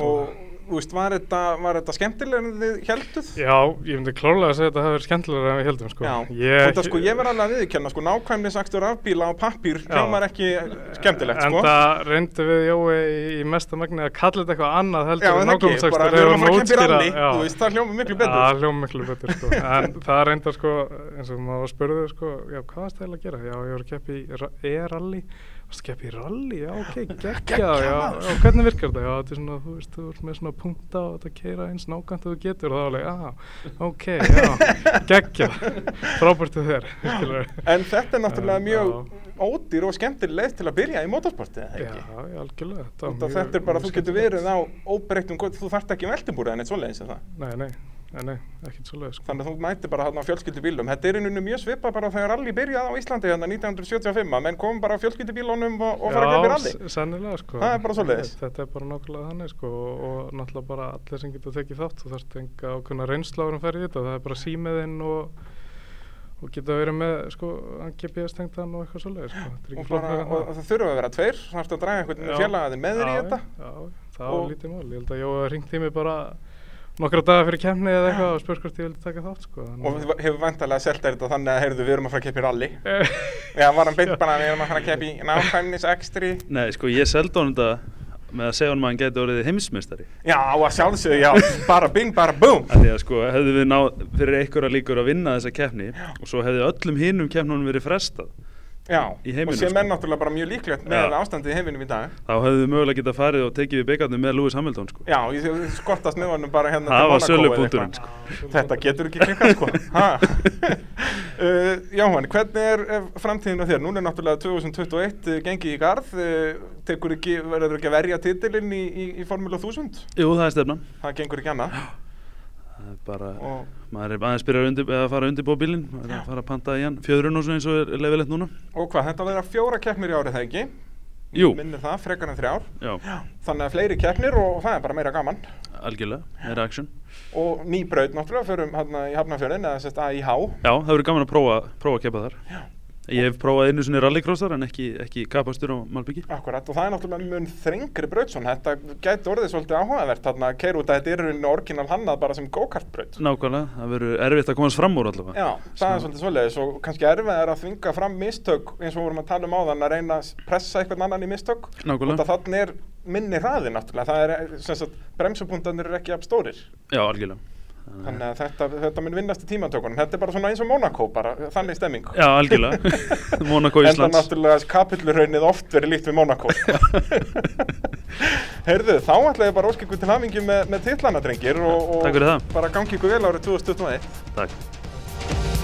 A: Og, þú veist, var þetta, var þetta skemmtilega en þið helduð?
D: Já, ég myndi klárlega að segja að þetta hafi verið skemmtilega en við heldum sko.
A: Já,
D: ég,
A: þetta sko, ég verð alveg að viðurkenna, sko, nákvæmnisakstur afbíla á pappír
D: Já.
A: hljómar ekki skemmtilegt,
D: En
A: sko.
D: það reyndu við Jói í, í mesta magni að kalla þetta eitthvað annað
A: Já,
D: heldur
A: en ekki, bara við erum að fara að kempa í rally, þú veist, það hljómar miklu
D: Já,
A: betur.
D: hljóma miklu betur sko. En það reynda sko, eins og maður spurði sko, já, hvað varst það eiginlega að gera? Já, ég voru að keppa í ra- e-rally. Varst að keppa í rally? Já, ok, geggja,
A: Geggjað,
D: já.
A: maður.
D: Og hvernig virkar þetta? Já, þetta er svona, þú veist, þú ert með svona punta og þetta keira eins nákvæmt og þú getur og þá er alveg, já, ok, já, geggja. Frábært þú þér, skilurðu.
A: En þetta er náttúrulega
D: En,
A: mjög ódýr og skemmtileg leið til að byrja í motorsportið,
D: Já,
A: eða ekki?
D: já, algjörlega. þetta var
A: Út af
D: mjög-
A: þetta er bara,
D: mjög
A: þú getur
D: skemmtilegt.
A: verið á óbreyttum gott, þú þarft ekki um veltibúrið en eitt svoleiðis en það.
D: Nei, nei, nei, nei ekkert svoleiðis. sko.
A: Þannig að þú mæti bara þarna á fjölskyldubílum. Þetta er einhvern mjög svipað bara þegar rally byrjaði á Íslandi hérna 1975, að menn komum bara á fjölskyldubílunum og, og fara að kemja rally.
D: Já, s- sennilega sko.
A: Það er bara svoleiðis.
D: Þetta er bara nákvæmlega þannig sko og, og náttúrulega bara allir sem getur tekið þátt þú þarft enga ákveðna reynslaður um ferði þetta það er bara símiðinn og og geta verið með sko GPS-tengdan og eitthvað svoleiðis sko. Þetta er
A: Og,
D: ekki
A: bara,
D: flóknara en
A: og það þurfa að vera tveir, þarfst að draga einhvern
D: Já.
A: félagaðin með þér í
D: Já,
A: þetta.
D: Já, já, það
A: Og-
D: var lítið mál. Ég held að Jóa ringt í mig bara nokkra daga fyrir kemni eða eitthvað og spurst hvort ég vildi taka þátt sko.
A: Og
D: þannig að-
A: hefur vantarlega selt þér þetta þannig að heyrðu, við erum að fara að keppi rally.
D: Eh,
A: Já, var hann beint bara, við erum að fara að keppi nákvæmnis ekstri.
C: nei, sko, ég seldi honum þetta með að segja honum að hann gæti orðið heimsmeistari
A: Já, að sjálfsögðu, já, bara bing, bara boom.
C: að því að sko, hefðu við náð fyrir einhverja líkur að vinna þessa keppni og svo hefðu öllum hinum keppnunum verið frestað
A: Já,
C: Í heiminum,
A: og sem er
C: sko.
A: náttúrulega bara mjög líklegt
C: Já.
A: með ástandið í heiminum í dag.
C: þá hefðu við mögulega getað farið og tekið við byggarnir með Lewis Hamilton sko.
A: Já, ég ég skortast með honum bara hérna
C: Það
A: til
C: var
A: Monaco eða
C: sölupunkturinn,
A: eitthvað.
C: sko.
A: Þetta getur ekki klikkað sko Ha? uh, Jóhann, hvernig er eh, framtíðin á þér? Núna er náttúrulega 2021 uh, gengið í garð uh, tekur ekki, verður ekki að verja titilinn í, í, í Formula 1000
C: Jú, það er stefnan
A: það gengur ekki annað
C: það er bara,
A: Og-
C: maður er aðeins byrjar að undir, eða að fara undir bóbílinn maður er að fara að panta í hann, fjöðrun og svona eins og er leifilegt núna
A: og hvað, þetta verður að fjóra keppnir í árið það ekki?
C: Jú.
A: Minnir það, frekar en þrjár
C: Já,
A: Þannig að fleiri keppnir og það er bara meira gaman
C: algjörlega, meira action
A: og ný braut náttúrulega, förum hérna í Hafnarfjörðin eða sérst AIH
C: Já, það verður gaman að prófa, prófa að keppa þar Ég hef prófað einu sinni rallycrossar en ekki, ekki kapastur á Malbyggi
A: Akkurat, og það er náttúrulega mun þrengri braut svona, þetta gæti orðið svolítið áhugavert þarna að keira út að þetta er í rauninni orginal hannað bara sem go-kart braut.
C: Nákvæmlega, það verður erfitt að komast fram úr allavega
A: Já, það er svolítið svolítið, svo kannski erfið er að þvinga fram mistök eins og við vorum að tala um áðan að reyna að s- pressa einhvern annan í mistök.
C: Nákvæmlega.
A: Og þannig er minni hraði náttúrulega, það er sem sagt, bremsupunktanir eru ekki jafn stórir.
C: Já, algjörlega
A: Þannig að þetta, þetta mun vinnast í tímantökunum, þetta er bara svona eins og Monaco bara, þannig stemming.
C: Já, algjörlega Monaco
A: Enda
C: Íslands
A: náttúrulega kapillurraunnið oft verið líkt við Monaco sko. Heyrðu, þá ætla ég bara að óska ykkur til hamingi með, með titlana drengir og, og
C: Takk fyrir það.
A: bara gangi ykkur vel árið 2021
C: Takk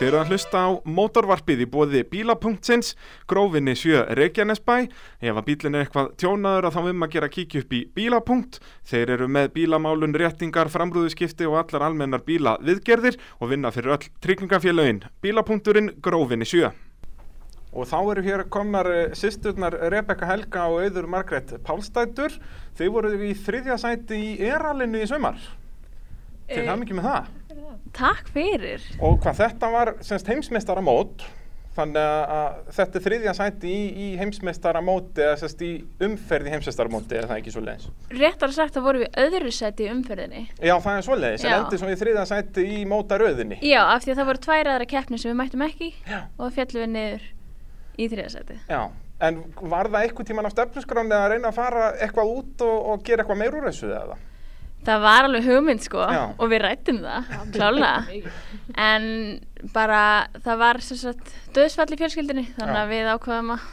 A: Þeir eru að hlusta á mótorvarpið í bóði bíla.sins, grófinni 7 Reykjanesbæ. Ef að bílinn er eitthvað tjónaður að þá um að gera kíkja upp í bíla.punkt. Þeir eru með bílamálun, réttingar, framrúðuskipti og allar almennar bíla viðgerðir og vinna fyrir öll tryggingafélögin. Bíla.turinn, grófinni 7. Og þá eru hér komnar eh, systurnar Rebekka Helga og auður Margrét Pálstættur. Þeir voru í þriðja sæti í eralinu í sumar. Til
E: Eh,
A: hamingi með það.
E: Takk fyrir.
A: Og hvað þetta var semst heimsmeistaramót Þannig að- að þetta er þriðja sæti í, í heimsmeistaramóti eða sérst í umferð í heimsmeistaramóti eða það er ekki svo leiðis.
E: Réttar sagt þá vorum við öðru seti í umferðinni.
A: Já, það er svo leiðis, en
E: Já.
A: endi svo í þriðja sæti í mótaröðinni.
E: Já, af því að það voru tvær aðra keppni sem við mættum ekki í
A: Já.
E: og fjallum við niður í þriðasæti.
A: Já, en var það eitthvað tíman á stefnusgráni að reyna að fara eitthvað út og, og gera eitthvað meir úr þessu eða?
E: Það var alveg hugmynd sko
A: Já.
E: og við rættum það, klálega. En bara það var sem sagt döðsfall í fjölskyldinni þannig
A: Já.
E: að við ákvaðum að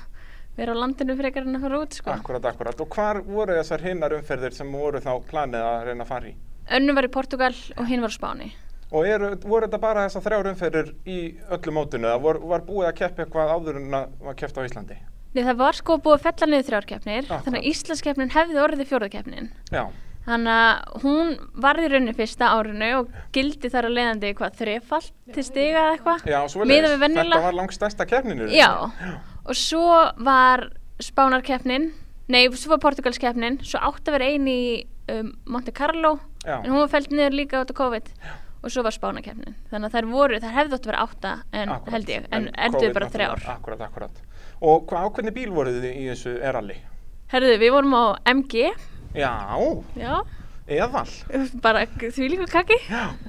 E: vera á landinu frekar en að fara út sko.
A: Akkurat, akkurat. Og hvar voru þessar hinnar umferðir sem voru þá planið að reyna að fara í?
E: Önnu var í Portugal og hinn var á Spáni.
A: Og eru, voru þetta bara þessar þrjár umferðir í öllu mótinu eða var, var búið að keppa eitthvað áður en að var keppt á Íslandi?
E: Nei, það var sko búið að fella niður þrjárkeppnir,
A: Akkurat.
E: þannig að Íslandskeppnin hefði orðið fjórðakeppnin.
A: Já,
E: Þannig að hún varði rauninu fyrsta árinu og gildi þar að leiðandi hvað þrefalt til stiga eða eitthvað.
A: já, svo
E: Miðað við venjulega.
A: Þetta var langstæsta keppninu.
E: Já, og svo var Spánarkeppnin, nei, svo var Portugalskeppnin, svo átti að vera ein í um, Monte Carlo,
A: Já.
E: en hún var fælt niður líka át á COVID. Og svo var Spánarkeppnin. Þannig að þær voru, þær hefði átt að vera átta, en
A: Akkurat.
E: held ég, en, en
A: COVID
E: endur bara
A: náttúrulega-
E: þrjár.
A: Akkurat, akkurat. Og hvað ákveðni bíl voruð þið í þessu eralli?
E: Herðu, við vorum á MG,
A: Já,
E: já,
A: eðal.
E: bara því líka kaki.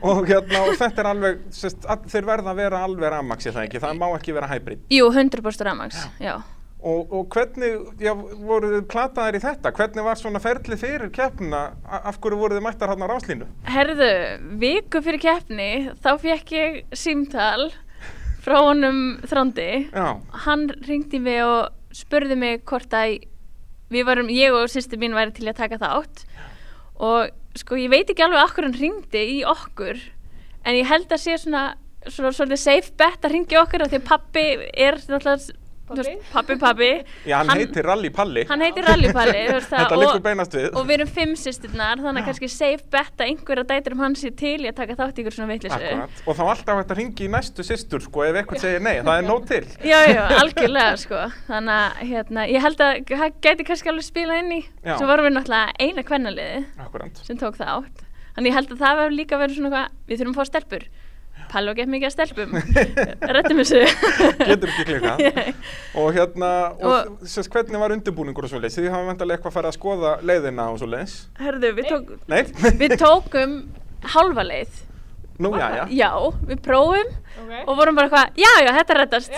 A: Og hérna, og þetta er alveg, sest, all, þeir verða að vera alveg rafmaks, ég það ekki, það má ekki vera hybrid.
E: Jú, 100% ramags, já.
A: Og, og hvernig, já, voruð þið plataðir í þetta? Hvernig var svona ferlið fyrir keppnina? A- Af hverju voruð þið mættar hann á ráslínu?
E: Herðu, viku fyrir keppni þá fekk ég símtal frá honum þrándi.
A: Já,
E: Hann ringdi mig og spurði mig hvort að við varum, ég og sýstir mín væri til að taka þátt og sko ég veit ekki alveg af hverju hann ringdi í okkur en ég held að sé svona svona svolítið safe bet að ringja okkur af því að pappi er náttúrulega þú veist, Pabbi, pabbi
A: já hann, heitir Rally Palli.
E: hann heitir Rallypalli þú veist það,
A: Þetta
E: og-
A: liggur beinast við.
E: og við erum fimm sýstirnar þannig að kannski safe bet að einhverja dætur um hans sé til í að taka þátt í ykkur svona vitleysu
A: Akkurat. Og þá alltaf þetta ringi í næstu systur, sko, ef eitthvað segir nei, það er nóg til.
E: já, já, algjörlega sko þannig að hérna, ég held að það gæti kannski alveg spilað inn í
A: Já.
E: svo vorum við náttúrulega eina kvennaliði
A: Akkurat.
E: sem tók það átt þannig ég held að það hefur líka verið svona hvað, við þurfum að fá stelpur Pallu gett mikið að stelpum rettum þessu
A: Getur ekki klikkað.
E: Nei.
A: Og hérna, og,
E: Og-
A: og sérst, hvernig var undirbúningur og svo leiðis? Þið hafa vantarlega eitthvað farið að skoða leiðina og svo leiðis.
E: Herðu, við, tók,
A: Nei?
E: við tókum hálfa leið
A: Nú, já, já.
E: já, við prófum
F: Ok.
E: og vorum bara eitthvað, já, já, þetta reddast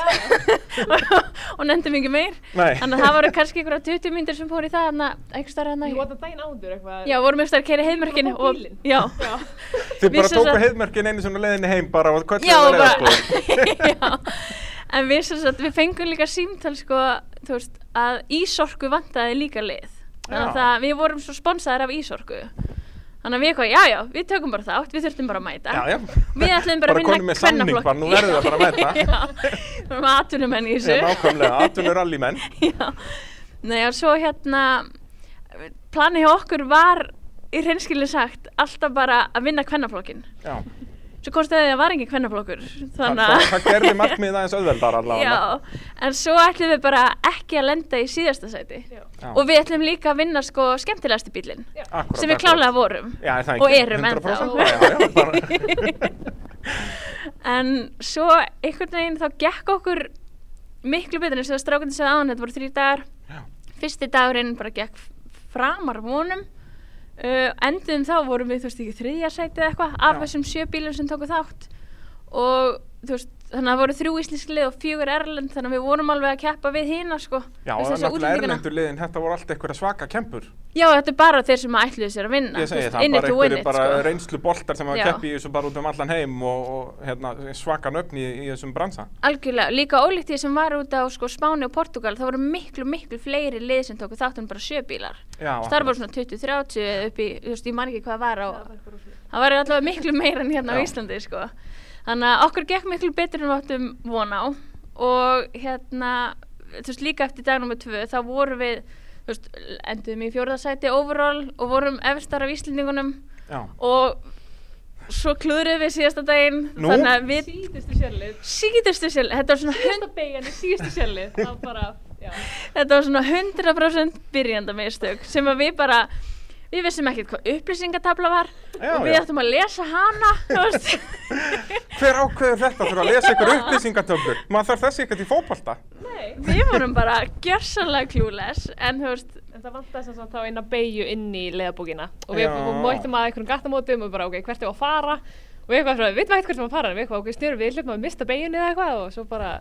E: og, og nefndum ekki meir
A: Nei.
E: þannig að það voru kannski einhverja 20 myndir sem fóru í það þannig að einhver starf
F: Ég
E: þannig
F: var þetta daginn áður eitthvað.
E: já, vorum einhver starf að keira heiðmörkin
F: Bara á
E: og,
F: bílinn.
E: já,
F: Já.
A: Þið
E: Við
A: bara
E: sem
A: tóku
E: sagt-
A: heiðmörkin einu svona leiðinni heim bara og hvernig
E: já,
A: það
E: bara
A: leiðast sko.
E: já. en við, sem sagt, við fengum líka símtal sko, þú veist, að Ísorku vantaði líka lið
A: Já.
E: þannig að það, við vorum svo sponsaðir af Ísorku þannig að við eitthvað, já, já, við tökum bara þátt við þurftum bara að mæta
A: Já, já.
E: við ætlum bara,
A: Bara
E: að
A: konum
E: vinna
A: með samning bara, nú verðum við að fara að mæta.
E: mæta við erum aðtunumenn í
A: Já,
E: þessu
A: nákvæmlega, atvinnur allímenn.
E: Já, Nei, og svo hérna, planið hjá okkur var, í reynskilu sagt, alltaf bara að vinna kvennaflokkin.
A: Já.
E: Svo komst það að það var engin kvennaflokkur,
A: Það,
E: þannig
A: það, það gerði markmið aðeins auðveldar allavega.
E: Já, en svo ætlum við bara ekki að lenda í síðasta sæti.
F: Já.
A: Já.
E: Og við ætlum líka að vinna sko skemmtilegasti bílinn,
F: Já.
A: Akkúrat,
E: sem við
A: akkúrat.
E: klálega vorum
A: Já, er það
E: og
A: ekki?
E: erum
A: 100%? Já, já, bara-
E: en svo einhvern veginn þá gekk okkur miklu betur eins og það strákandi segði aðan, þetta voru þrjir dagar
A: Já.
E: fyrsti dagurinn bara gekk f- framar vonum uh, endum þá vorum við þú veist ekki þriðja sæti eða eitthvað af
A: Já.
E: þessum sjö bílum sem tóku þátt og þú veist þannig að það voru þrjú íslensk lið og fjögur erlend þannig að við vorum alveg að keppa við hina sko þessa-
A: Já, það er
E: þessa
A: náttúrulega
E: útlendingana.
A: erlendur liðin, þetta voru allt einhverja svaka kempur.
E: já þetta er bara þeir sem ætluðu sér að vinna
A: Ég
E: þú
A: segi
E: veist,
A: það,
E: in it
A: bara
E: to win
A: einhverju
E: it,
A: bara
E: sko.
A: reynslu boltar sem að
E: Já.
A: keppi í þessu bara út um allan heim og, og hérna, svaka nöfni í, í þessum bransa.
E: Algjörlega, líka ólíkt því sem var út á sko, Spáni og Portugal, það voru miklu, miklu fleiri lið sem tóku þátt en bara sjöbílar.
A: Já,
E: Það var
A: akkurat.
E: bara svona 20-30 eða upp í, þú veist, ég man ekki hvað það var á,
F: Það var eitthvað rosalega.
E: það var allavega miklu meira en hérna á
A: Já.
E: Íslandi, sko. Þannig að okkur gekk miklu betur en við áttum von á og hérna, þú veist, líka eftir dag nr. 2 þá vorum við, þú veist, endum í fjórðarsæti overall og vorum efstar af Íslandingunum
A: Já.
E: og svo klúðruðum við síðasta daginn,
A: Nú?
E: þannig að við
F: Síðustu sérlið.
E: síðustu sér, þetta var svona hund,
F: Síðasta beigjan er síðustu sérlið. Það var bara, já.
E: þetta var svona 100% byrjanda mistök sem að við bara við vissum ekkert hvað upplýsingatabla var
A: Já,
E: og við
A: já.
E: ættum að lesa hana þú veist.
A: Hver ákveður þetta fyrir að lesa ykkur upplýsingatöflur? Maður þarf þessi ekkert í fótbolta.
F: Nei.
E: við vorum bara gjörsanlega klúles en þú veist,
F: En það vantaði sem sagt þá eina beigju inn í leðabókina og við
A: Já.
F: mættum að einhverjum gattamótum og bara ok, hvert er að fara og eitthvað svona, við veitum ekkert hvert við erum að fara en við eitthvað, ok, snýrum við, hlutum að mista beigjunni eða eitthvað og svo bara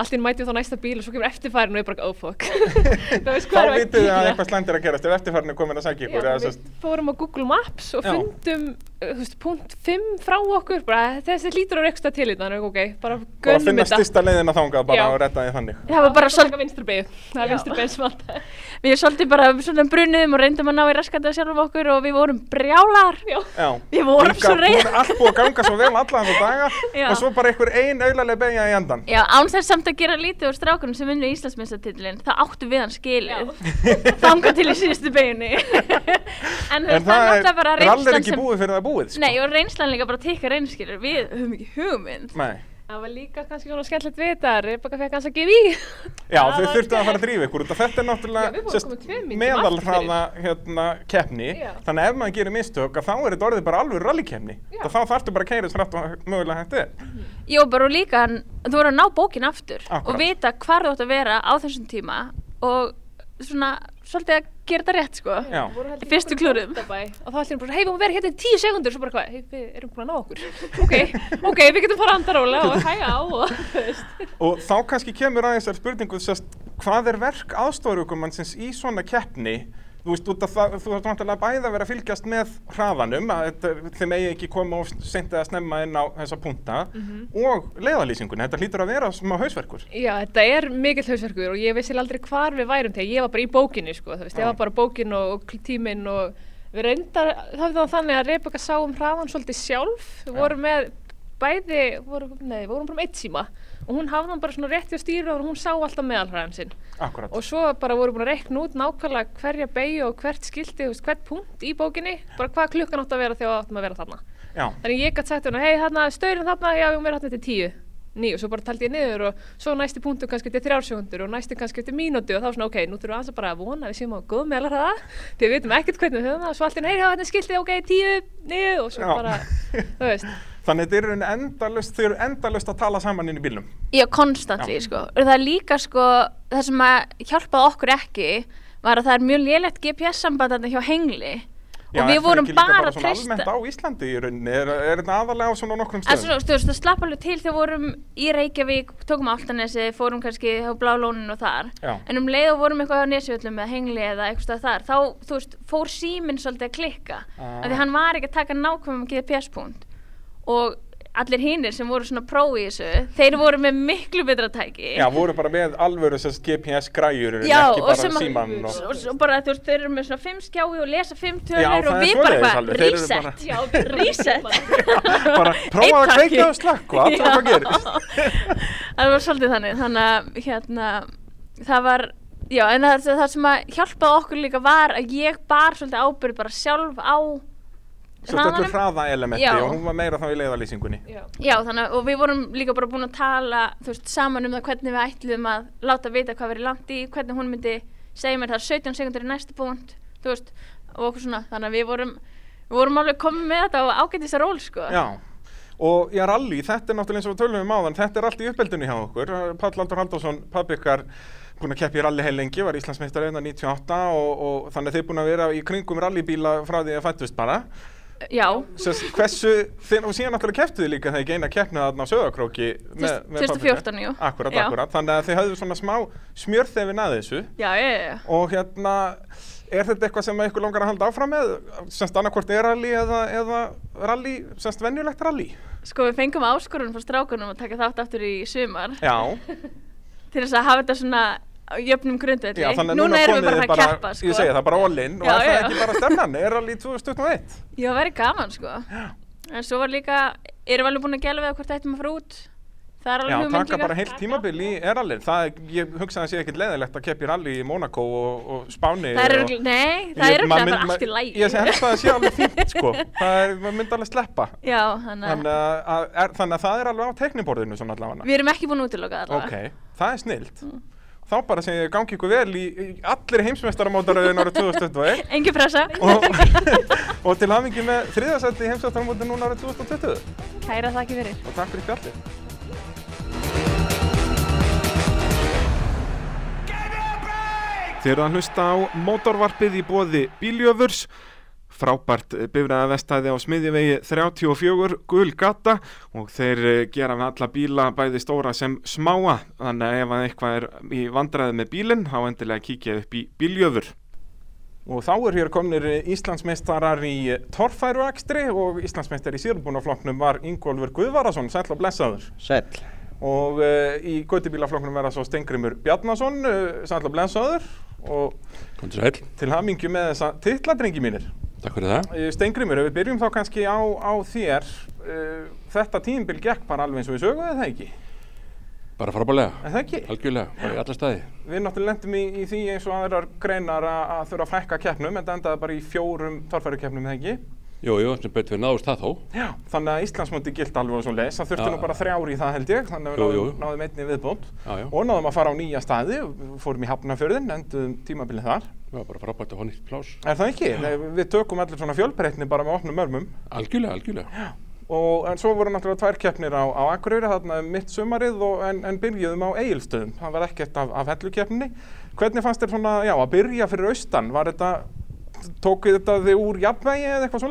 F: allt inn mætum við þá næsta bíl og svo kemur eftirfærin og við bara, oh fuck Sko, það veist
A: Þá
F: hvað er að
A: vitið þið að
F: kíkja.
A: eitthvað slæmt er að gerast ef eftirfærinu komin að sækja
F: Já,
A: ykkur. eða
F: við
A: sest,
F: fórum á Google Maps og
A: Já.
F: fundum uh, þú veist, punkt 5 frá okkur bara, þessi lítur á rekstra til þetta þannig, ok, bara
A: bara að
F: gönnum
A: finna
F: þetta
A: styrsta leiðina þangað bara
F: Já.
A: og redda því þannig.
E: það var bara
F: Svo
E: svolítið
F: taka vinstri beigju. það er
E: Já.
F: vinstri beigju sem vantaði.
E: við svolítið bara svona brunum og reyndum að ná í raskandi að sjálfum okkur og við vorum brjálar
F: Já.
A: Já.
E: Við vorum
A: Líka
E: svo reiðar.
A: búin- Allt búið að ganga svo vel alla þessa daga
E: Já.
A: og svo bara einhver ein auðarlega beigja í endan.
E: Já, án þess samt að gera lítið úr strákunum sem vinnu í Íslandsmeistatillin, það áttu við hann skilið. Þanga til í síðustu beginni. en, þú
A: En
E: veist, það er náttúrulega bara
A: rallir
E: reynslan
A: ekki
E: sem...
A: búið fyrir það er búið. sko.
E: Nei, og reynslan líka bara tikka reynskilur. Við höfum ekki hugmynd.
A: Nei.
F: það var líka kannski svona skemmtilegt við þetta Rebecca fekk hans að gefa í
A: Já,
F: Það
A: þau
F: var-
A: þurftu að fara að drífa ykkur út af þetta er
F: Já, við
A: náttúrulega
F: vorum komin tveim mínútum
A: meðalhraða hérna, keppni
F: Já.
A: þannig að ef maður gerir mistök að þá er þetta orðið bara alveg rallikeppni
F: Já.
A: þá þarftu bara að keira þess rætt og mögulega hægt er
E: Jó, bara og líka, hann- þú voru að ná bókin aftur
A: Akkúrat.
E: og vita hvar þú átt að vera á þessum tíma og svona, svolítið að gera þetta rétt, sko.
A: Já.
F: voru held
E: Í fyrstu
F: einhverjum
E: klúðrum.
F: bóndabæ og þá ætlum við bara, hei, við máum vera hérna í tíu sekundur svo bara hvað, hei, við erum búin að ná okkur ok, ok, við getum fara andaróla og hæga á og þú veist
A: og þá kannski kemur aðeins þessar spurningu sest, hvað er verk aðstofarukumannsins í svona keppni Þú veist, út af það, þú þarf náttúrulega bæði að vera að fylgjast með hraðanum, að þetta er- þið megi ekki koma of seint eða snemma inn á þessa punta
E: Mhm.
A: og leiðalýsingunni, þetta hlýtur að vera smá hausverkur.
F: já, þetta er mikill hausverkur og ég vissi aldrei hvar við værum þegar ég var bara í bókinni sko, þú veist,
A: Já.
F: ég var bara bókin og, og tíminn og við reyndar, það var það þannig að Rebeka sá um hraðan svolítið sjálf
A: Já.
F: við vorum með bæði, vorum, nei, við vorum bara með eitt síma og hún hafði hann bara svona rétti á stýru og hún sá alltaf meðalhraðan sinn
A: Akkurat.
F: og svo bara voru búin að reikna út nákvæmlega hverja beigju og hvert skildi, þú veist, hvert punkt í bókinni, bara hvað klukkan átt að vera þegar við áttum að vera þarna.
A: Já.
F: Þannig ég gæti sagt hérna, hei þarna, staurinn þarna, já, við erum vera þarna til tíu, níu, svo bara taldi ég niður og svo næsti punktu kannski eftir þrjársegundur og næsti kannski eftir mínútu og þá svona, ok, nú þurfum við aðeins að bara að vona að við séum á góð meðlar það, því við veitum ekkert hvernig við höfum það, svo allt í einu, hei, þarna er skiltið, ok, tíu, níu og svo
A: Já.
F: bara, þú veist,
A: Þannig að þetta eru endalust, þau eru endalust að tala saman inn í bílnum.
E: Já, konstantli,
A: Já.
E: sko. Og það er líka, sko, það sem að hjálpaði okkur ekki var að það er mjög lélegt GPS-samband þarna hjá hengli.
A: Já,
E: og
A: er
E: við
A: það
E: vorum
A: ekki líka
E: bara að
A: svona almennt
E: treysta.
A: á Íslandi í rauninni, er, er þetta aðalega á svona nokkrum
E: En svo,
A: stöðum?
E: þú veist, það slapp alveg til þegar við vorum í Reykjavík, tókum áltanesi, fórum kannski á Blálónin og þar.
A: Já.
E: En um leið og vorum eitthvað á Nesjöllum eða hengli eða eitthvað þar, þá, þú veist, fór síminn svolítið að klikka.
A: Ah.
E: Af því hann var ekki að taka nákvæmum GPS-punkt. Og allir hinnir sem voru svona pró í þessu, þeir voru með miklu betra tæki.
A: Já, voru bara með alvöru sess GPS-græjur, en
E: Já,
A: ekki
E: og
A: bara
E: sem að-
A: síman og...
E: og svo bara þú veist, þeir eru með svona fimm skjái og lesa fimm tölur
A: Já,
E: og
A: það er
E: við bara
A: svoleiðis
E: hvað,
A: alveg, þeir eru
E: reset
A: bara-
E: já, reset
A: bara prófaðu að kveika og slökkva, athuga hvað gerist.
E: það var svolítið þannig þannig að hérna, það var já, en það, það sem að hjálpaði okkur líka var að ég bar svolítið ábyrð bara sjálf á
A: Svo þetta
E: hraðanum.
A: er hraða elementi
E: Já.
A: og hún var meira þá í leiðalýsingunni.
F: já.
E: já, þannig að og við vorum líka bara búin að tala þú veist, saman um það hvernig við ætluðum að láta vita hvað verið langt í, hvernig hún myndi segja mér það er 17 sekundur í næsta punkt þú veist, og okkur svona þannig að við vorum, við vorum alveg komið með þetta og ágætis að ról, sko
A: Já. Og já, rally, þetta er náttúrulega eins og við tölum um áðan, þetta er allt í uppeldinu hjá okkur. Pall Aldur Halldórsson, pappi ykkar, búin að keppa í rally heil lengi, var Íslandsmeistar 98 og, og þannig að þið búin að vera í kringum rallybíla frá því að fættust bara.
E: Já,
A: Sess, hversu, þeir, og síðan náttúrulega keftuðu líka þegar ég eina keppnaði þarna á Söðakróki með- með
E: 2014,
A: paprika.
E: jú.
A: Akkurat,
E: Já.
A: akkurat, þannig að þið höfðu svona smá smjörþefin að þessu
E: já, já, já.
A: og hérna, er þetta eitthvað sem ykkur langar að halda áfram með, semst annarkvort er rally eða, eða rally, semst venjulegt rally?
E: Sko við fengum áskorun frá strákunum að taka þátt aftur í sumar
A: Já,
E: til þess að hafa þetta svona á jöfnum grundvelli.
A: já þannig að
E: núna erum við
A: komið
E: bara
A: þið
E: að keppa, sko.
A: ég segi það, bara all-in og
E: Já,
A: er það
E: já.
A: ekki bara stefnan, er rally 2021?
E: Já, það verið gaman, sko. En svo var líka, erum við alveg búin að gæla við það hvort ættum að fara út. Það er
A: Já,
E: alveg hugmynd
A: taka
E: líka.
A: bara heilt tímabil í erallin, það, er- ég hugsaði að sé ekkit leðilegt að keppi rally í Monaco og, og Spáni
E: Það er
A: og-
E: örugglega- nei, það er
A: Ég-
E: örugglega
A: maður
E: bara
A: mynd-
E: allt í lægi.
A: Ég sé helst að það sé alveg fínt sko, það er, maður myndi alveg sleppa.
E: Já, þannig
A: Þannig
E: að
A: að, að- er, þannig að það er alveg á tekniborðinu svona allavega.
E: við erum ekki búin að útiloka það
A: Ok, það er snilt. þá bara segja ég gangi ykkur vel í, í allir heimsmeistaramótaröðin árið 2021
E: Engi pressa.
A: og, og til hafingi með þriðasætti í heimsmeistaramótaröðin núna árið 2020
E: Kæra þakki fyrir.
A: og takk fyrir spjallið. Þið eru að hlusta á mótorvarpið í bóði bíljöfurs, frábært bifræða vestæði á smiðjuvegi 34 gulgata og þeir eh, gera við alla bíla bæði stóra sem smáa þannig að ef að eitthvað er í vandræði með bílinn þá endilega kíkja upp í bíljöfur. Og þá er hér komnir eh, Íslandsmeistarar í eh, torfæruakstri og Íslandsmeistar í sérbúnaflokknum var Ingólfur Guðvarason, sæll og blessaður.
G: Sæll.
A: Og uh, í gautibílaflokknum verða svo Stengrimur Bjarnason, uh, sæll og blessaður. Og
H: Komdu sæl,
A: til hamingju með þessa titladrengi mínir.
H: takk fyrir það.
A: Uh, Stengrimur, ef við byrjum þá kannski á, á þér, uh, þetta tímbil gekk bara alveg eins og við sögum eða ekki?
H: Bara frábælega,
A: Eða ekki?
H: algjörlega, bara í alla staði.
A: Við náttúrulega lendum í, í því eins og aðrar greinar að, að þurfa að fækka keppnum, en þetta endaði bara í fjórum torfærukeppnum, eða ekki?
H: Jú, jú, sem betur við náðust það þó.
A: Já, þannig að Íslandsmóti gilt alveg svo leis, það þurfti
H: Já.
A: nú bara þrjár í það held ég, þannig að
H: Jú,
A: við
H: jú.
A: náðum, náðum einni viðbót
H: Já, já.
A: og náðum að fara á nýja staði, fórum í Hafnafjörðin, endum tímabilið þar.
H: Það var bara frábært að fá nýtt plás.
A: Er það ekki? Nei, við tökum allir svona fjölbreytni bara með opnum örmum
H: Algjörlega, algjörlega.
A: og en svo voru náttúrulega tvær keppnir á, á Akureyri, þarna um mitt sumarið og, en, en byrjuðum á Egilstöðum, það var ekkert af, af hellukeppninni. Hvernig fannst þér svona, já, að byrja fyrir austan, var þetta, tók þetta þig úr jafnvegi eða eitthvað svo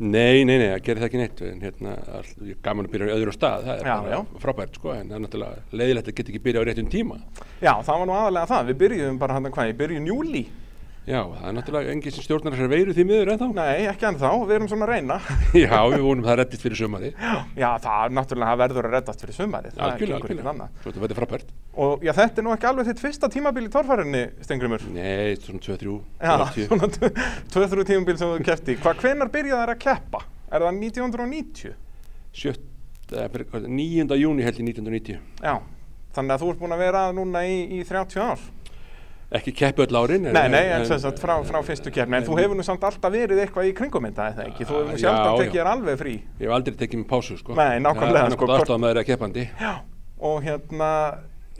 H: Nei, nei, nei, það gerir það ekki neitt. En hérna, all, ég er gaman að byrja á öðrum stað, það er
A: Já,
H: bara
A: já.
H: frábært, sko. En það er náttúrulega leiðilegt að geta ekki byrja á réttum tíma.
A: Já, það var nú aðalega það, við byrjuðum bara hann hvað, í byrjun júli
H: Já, það er náttúrulega enginn sem stjórnar þessar veiru því miður ennþá.
A: Nei, ekki ennþá, við erum svona að reyna.
H: já, við vonum það reddist fyrir sumari.
A: Já, það er náttúrulega það verður að reddast fyrir sumarið, það
H: Algjörlega,
A: gengur ekkert
H: algjörlega.
A: annað.
H: Svo þetta verður frábært.
A: Og já, þetta er nú ekki alveg þitt fyrsta tímabil í torfærinni, Stengrimur.
H: Nei, svona 2-3,
A: Já,
H: 30.
A: svona 2-3 tímabil sem þú kefti. Hvað, hvenar byrjaði þær að keppa? Er það 1990?
H: 7, 9. júni held ég 1990.
A: Já, þannig að þú ert búin að vera núna í, í 30 ár.
H: Ekki keppu öll árin.
A: Nei, nei, en sem sagt frá, frá fyrstu keppni, en þú hefur nú samt alltaf verið eitthvað í kringumynda, eða ekki? Þú hefur nú
H: Já,
A: sjálf að
H: já.
A: tekið þér alveg frí.
H: Ég hef aldrei tekið mér pásu, sko.
A: Nei, nákvæmlega, sko,
H: sko. Það er
A: hvort-
H: alltaf að maður er að keppandi.
A: Já, og hérna,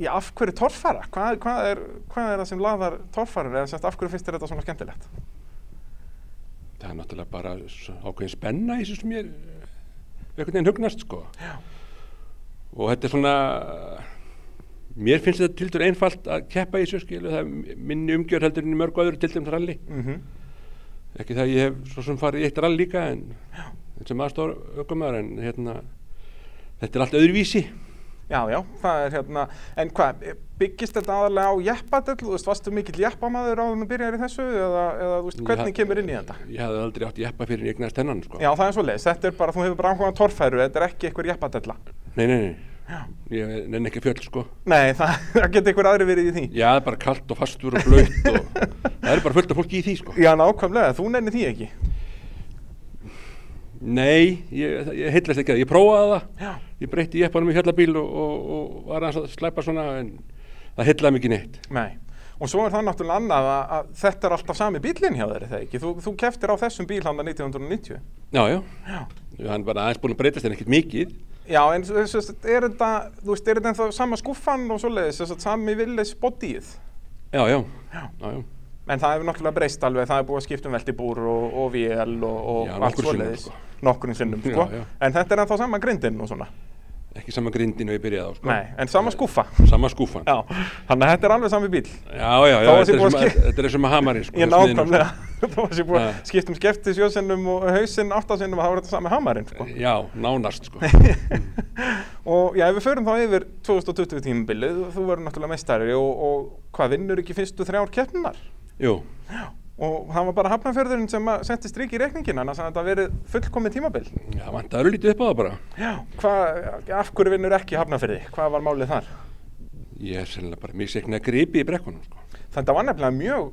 A: já, af hverju torfara? Hvað, hvað, er, hvað er það sem laðar torfarar eða sérst, af hverju finnst þér þetta svona skemmtilegt?
H: Það er náttúrulega bara s- ákveðin spenna í þessu sem ég er einhvern veginn hugnast, sko. Já. Og þetta er svona, mér finnst þetta tildur einfalt að keppa í þessu, skilu, það er mi- minni umgjör heldur en í mörgu öðru tildum ralli.
A: Mm
H: Ekki það að ég hef svo sem farið í eitt rall líka, en, en sem aðstór ökumar, en hérna, þetta er allt öðruvísi.
A: Já, já, það er hérna, en hvað, byggist þetta aðalega á jeppadell, þú veist, varstu mikill jeppamaður áður með byrjar í þessu eða, eða þú veist,
H: Ég
A: hvernig
H: haf-
A: kemur inn í þetta?
H: Ég hafði aldrei átt jeppa fyrir en ég eignast hennan, sko.
A: Já, það er svo leiðis, þetta er bara, þú hefur bara áhuga á torfæru, þetta er ekki einhver jeppadella.
H: Nei, nei, nei. Ég nenni ekki fjöll, sko.
A: Nei, það, það geti einhver aðri verið í því.
H: Já, það er bara kalt og fastur og blöyt og það er bara fullt af fólki í því, sko.
A: Já, nákvæmlega, þú nennir því ekki.
H: Nei, ég, ég heillast ekki að það. Ég prófaði það.
A: Já.
H: Ég breytti jeppanum í hjallabíl og, og, og var aðeins að slæpa svona en það heillaði mikið neitt.
A: Nei, og svo er það náttúrulega annað að, að þetta er alltaf sami bílinn hjá þér, er það ekki? Þú, þú keftir á þessum bíl hann 1990.
H: Já, já. Já. Hann var aðeins búin að breytast en ekkert mikið.
A: Já, en s- s- s- er þetta, þú veist, er þetta ennþá sama skuffan og svoleiðis, þess að sami villis bodyið?
H: Já, já. Já, já.
A: En það hefur náttúrulega breyst alveg, það er búið að skipta um veltibúr og, og vél og, og
H: Já,
A: allt
H: nokkrum sinnum,
A: svoleiðis.
H: sko.
A: Nokkurinn sinnum,
H: Já,
A: sko.
H: já.
A: En þetta er ennþá sama grindinn og svona.
H: Ekki sama grindin og ég byrjaði á, sko.
A: Nei, en sama skuffa.
H: Sama skúfan.
A: Já, þannig að þetta er alveg sami bíl.
H: já, já. já
A: Þá var
H: þetta,
A: sér
H: er
A: búið að
H: sem,
A: skip-
H: þetta er sem að hamarinn, sko.
A: Ég
H: hjá smiðinum,
A: nákvæmlega, þú varst ég búið að
H: Já.
A: skipta um skefti sjósinnum og hausinn áttasinnum og það var þetta sami hamarinn, sko.
H: Sko. Já, nánast, sko. Mm.
A: Og já, ef við förum þá yfir 2020 tímabilið, þú verður náttúrulega meistari og, og hvað vinnur ekki fyrstu þrjár keppninar?
H: Jú.
A: Og það var bara hafnafjörðurinn sem að setti strik í reikningin, annars að þetta verið fullkomið tímabil.
H: Já, vantar örlítið upp á það bara.
A: Já. Hvað, af hverju vinnur ekki hafnafjörði? Hvað var málið þar?
H: Ég er sennilega bara misekna gripi í brekkunum, sko.
A: Þetta var nefnilega mjög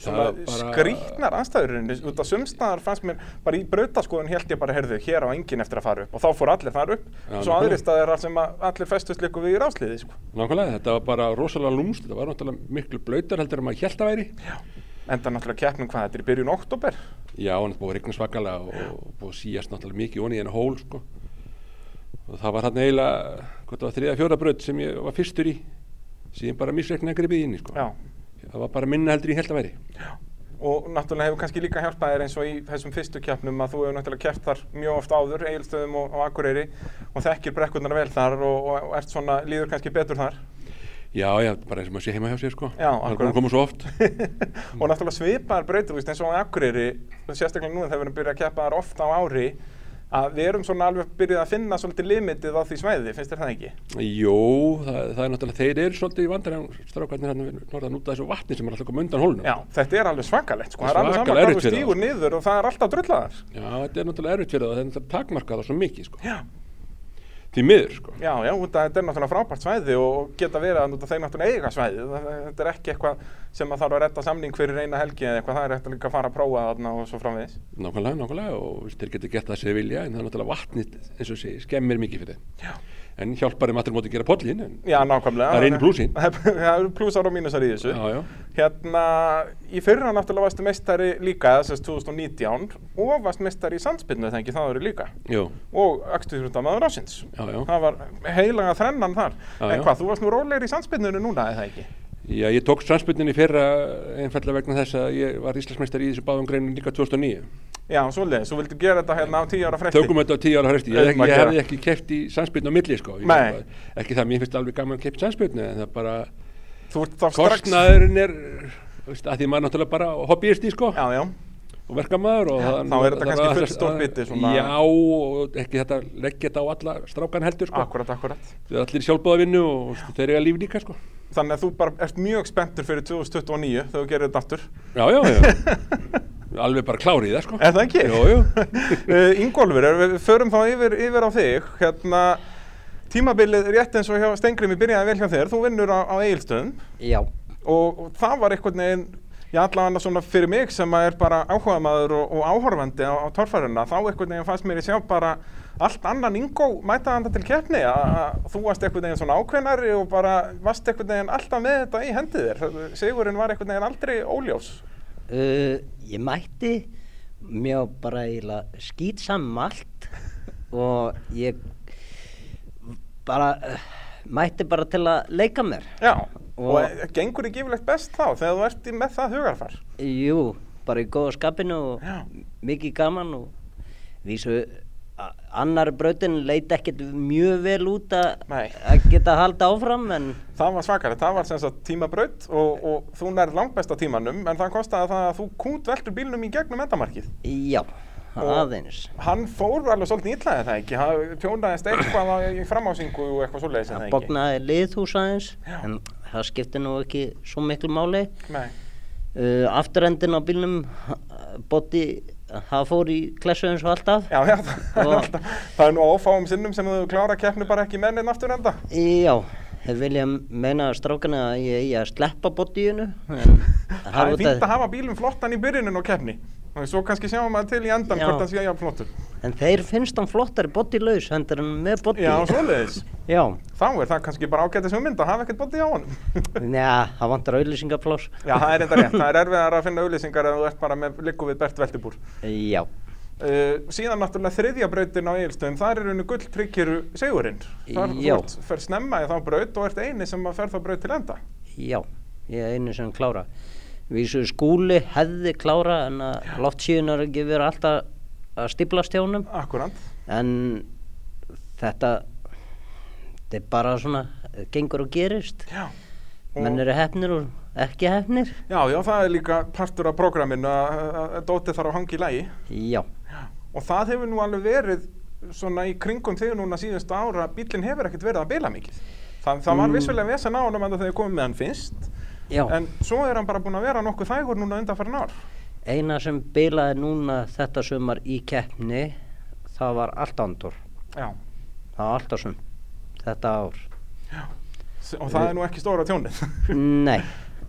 A: svona
H: Það bara-
A: skrýtnar aðstæðurinni, út af sumstaðar fannst mér bara í brautaskoðun held ég bara, heyrðu, hér á enginn eftir að fara upp og þá fór allir þar upp,
H: Já,
A: svo
H: nákvæmlega.
A: aðri staðar þar sem að allir festust líku við í rásliði, sko.
H: Nákvæmlega, þetta var bara rosalega lúmst, þetta var náttúrulega miklu blöytar heldur en maður hjælt að væri. Já,
A: Enda náttúrulega keppnum hvað þetta er í byrjun oktober.
H: hann er búið að regna svakalega og, og búið að síast náttúrulega mikið onni í enn hól, sko. Og það var þarna eiginlega, hvað það var þriða, fjóra bröð sem ég var fyrstur í. síðan bara misreiknaði gripið inn í sko.
A: Já.
H: það var bara minna heldur í held að væri
A: Og náttúrulega hefur kannski líka hjálpað þér eins og í þessum fyrstu keppnum að þú hefur náttúrulega keppt þar mjög oft áður, eigilstöðum og, og akureyri og þekkir brekkurnar vel þar og, og, og ert svona, líður kannski betur þar.
H: já, já, bara eins og maður sé heima hjá sér sko. það
A: Já,
H: er
A: akkurat.
H: búin að koma svo oft
A: og náttúrulega svipaðar breytur, þú veist, eins og á akureyri, sérstaklega núna þegar við erum byrjað að keppa þar ofta á ári, að við erum svona alveg byrjað að finna svolítið limitið á því svæði, finnst þér það ekki?
H: Jó, það, það er náttúrulega, þeir eru svolítið í vandarinn strákarnir hérna við norðan út af þessu vatni sem er alltaf komið undan hólnum.
A: Já, þetta er alveg svakalegt, sko,
H: Það
A: það
H: er
A: er alveg
H: svakalega
A: saman hvað
H: erfitt
A: þú
H: fyrir
A: stígur
H: þá.
A: niður og það er alltaf drullaðar.
H: Já, þetta er náttúrulega erfitt fyrir það, það er náttúrulega takmarkað það svo mikið, sko.
A: Já.
H: Því miður, sko.
A: Já, já, út af þetta er náttúrulega frábært svæði og og geta verið að þeir náttúrulega eiga svæði. Þetta er ekki eitthvað sem að þarf að redda samning fyrir eina helgi eða eitthvað, það er eitthvað líka að fara að prófa þarna og svo framvegis.
H: Nákvæmlega, nákvæmlega og þú veist, þeir getur gett það sem þeir vilja en það er náttúrulega vatnið, eins og sé, skemmir mikið fyrir þeim.
A: Já.
H: En hjálpar þeim aftur á móti að gera pollin, en
A: Já, nákvæmlega.
H: Það er einu plúsin.
A: Það eru plúsar og mínusar í þessu.
H: Já, já.
A: Hérna, í fyrra náttúrulega varstu meistari líka, þessast 2019, og varst meistari í sandspinnu, þannig það eru líka.
H: jú,
A: Og axtuðsrúndamaður ásins.
H: já, já.
A: Það var heilaga þrennan þar.
H: Já,
A: en
H: já.
A: hvað, þú varst nú rólegir í sandspinnunu núna, eða ekki?
H: Já, ég tók strandspilnin í fyrra einfallega vegna þess að ég var íslensmestari í þessu báðum greinum líka 2009.
A: Já, svoleiðis, þú vildi gera þetta hérna á tíu ára frekti.
H: Tökum þetta á tíu ára hrefti, ég, ég,
A: Auðvitað
H: ég
A: gera.
H: hefði ekki keft í sandspiln á milli sko, Ég-
A: Nei.
H: ekki það, mér finnst alveg gaman að keft sandspilnu en það bara,
A: Þú ert þá strax...
H: kostnaðurinn er, þú veist, að því maður náttúrulega bara hobbyisti sko
A: Já, já,
H: og verkamaður og það,
A: þá er þetta
H: það
A: kannski
H: var-
A: fullstórt biti, svona-
H: Já og ekki þetta leggja þetta á alla strákan heldur sko,
A: akkurat, akkurat.
H: þau er allir sjálfbóðavinnu og þú veist, þeir eru að líf líka sko.
A: Ah, Þannig að þú bara ert mjög spenntur fyrir 2029 þegar þú gerir þetta aftur.
H: Já, já, já, alveg bara klárið það sko.
A: Er það ekki?
H: Jú, jú.
A: uh, Ingólfur, ef við förum þá yfir, yfir á þig, hérna, tímabilið rétt eins og hjá Stengrimi byrjaði vel hjá þér, þú vinnur á, á Egilstöðum
G: Já,
A: og, og það var einhvern veginn, já allavega svona fyrir mig sem að er bara áhugaðmaður og, og áhorfandi á, á torfærunna, þá einhvern veginn fannst mér ég sjá bara allt annan Ingó mæta hann til keppni, að að þú varst einhvern veginn svona ákveðnari og bara varst einhvern veginn alltaf með þetta í hendið þér, sigurinn var einhvern veginn aldrei óljós.
G: uh, ég mætti mjög bara eiginlega skýtsam allt og ég bara uh, mætti bara til að leika mér.
A: Já, og,
G: Og-
A: og gengur ekki yfirlegt best þá þegar þú ert í- með það hugarfar.
G: Jú, bara í góða skapinu og
A: Já.
G: mikið gaman og vísu a- annar brautin leit ekkert mjög vel út að
A: Nei.
G: að geta halda áfram en
A: Það var svakalegt, það var sem sagt tímabraut og, og þú nærð langbesta tímanum en það kostaði það að þú kút veldur bílnum í gegnum endamarkið.
G: já,
A: Og-
G: aðeins.
A: Hann fór alveg svolítið ítlaði það ekki, hann tjónaðist eitthvað á- í framásingu og eitthvað svoleiðis en
G: Það
A: það ekki.
G: bóknaði liðhús aðeins
A: Já.
G: en það skipti nú ekki svo miklu máli.
A: Nei,
G: Uh, afturendin á bílnum, bóti, það fór í klessu eins og alltaf.
A: já, já, það er
G: Og-
A: alltaf, það er nú ofáum sinnum sem þú klára keppni bara ekki mennin aftur enda.
G: Já, ég vilja meina strákana að ég eigi að sleppa botíinu en
A: Það er fínt að hafa bílum flottan í byrjunin og keppni. Og Svo kannski sjáum maður til í endan
G: Já.
A: hvort hann sé jafn flottur.
G: En þeir finnst hann flottari botílaus hendur hann með botí
A: Já, svoleiðis.
G: Já,
A: Þá er það kannski bara ágætis hugmynd að hafa ekkert bótið á honum.
G: Njá, það vantar auðlýsingapláss
A: Já, það er enda rétt. Það er erfiðar að finna auðlýsingar ef þú ert bara með likku við Bert Veltibúr.
G: Já,
A: Uh, síðan náttúrulega þriðja brautin á Egilstöðum, það er rauninu gulltryggir sigurinn. Þar
G: Já.
A: þú ert- ferð snemma í þá braut og ert eini sem að ferð þá braut til enda.
G: já, ég er einu sem klára Vísu skúli hefði klára en að loftsíðunar ekki verið alltaf að stíplast hjá honum
A: Akkurant.
G: En þetta, þetta er bara svona, gengur og gerist
A: Já. Og-
G: Menn eru hefnir og ekki hefnir
A: Já, já, það er líka partur af prógraminu að að- að dótið þarf að hanga í lægi.
G: Já,
A: Og það hefur nú alveg verið svona í kringum þegar núna síðust ára að bílinn hefur ekkert verið að bila mikið. Það, það
G: Mm.
A: var vissulega vesen á honum enda þegar komið með hann finnst,
G: já
A: en svo er hann bara búin að vera nokkuð þægur núna undanfærin ár.
G: Eina sem bilaði núna þetta sumar í keppni, það var allt andur.
A: Já.
G: Það var allt á sum, þetta ár.
A: S- Og það er nú ekki stóra tjónið.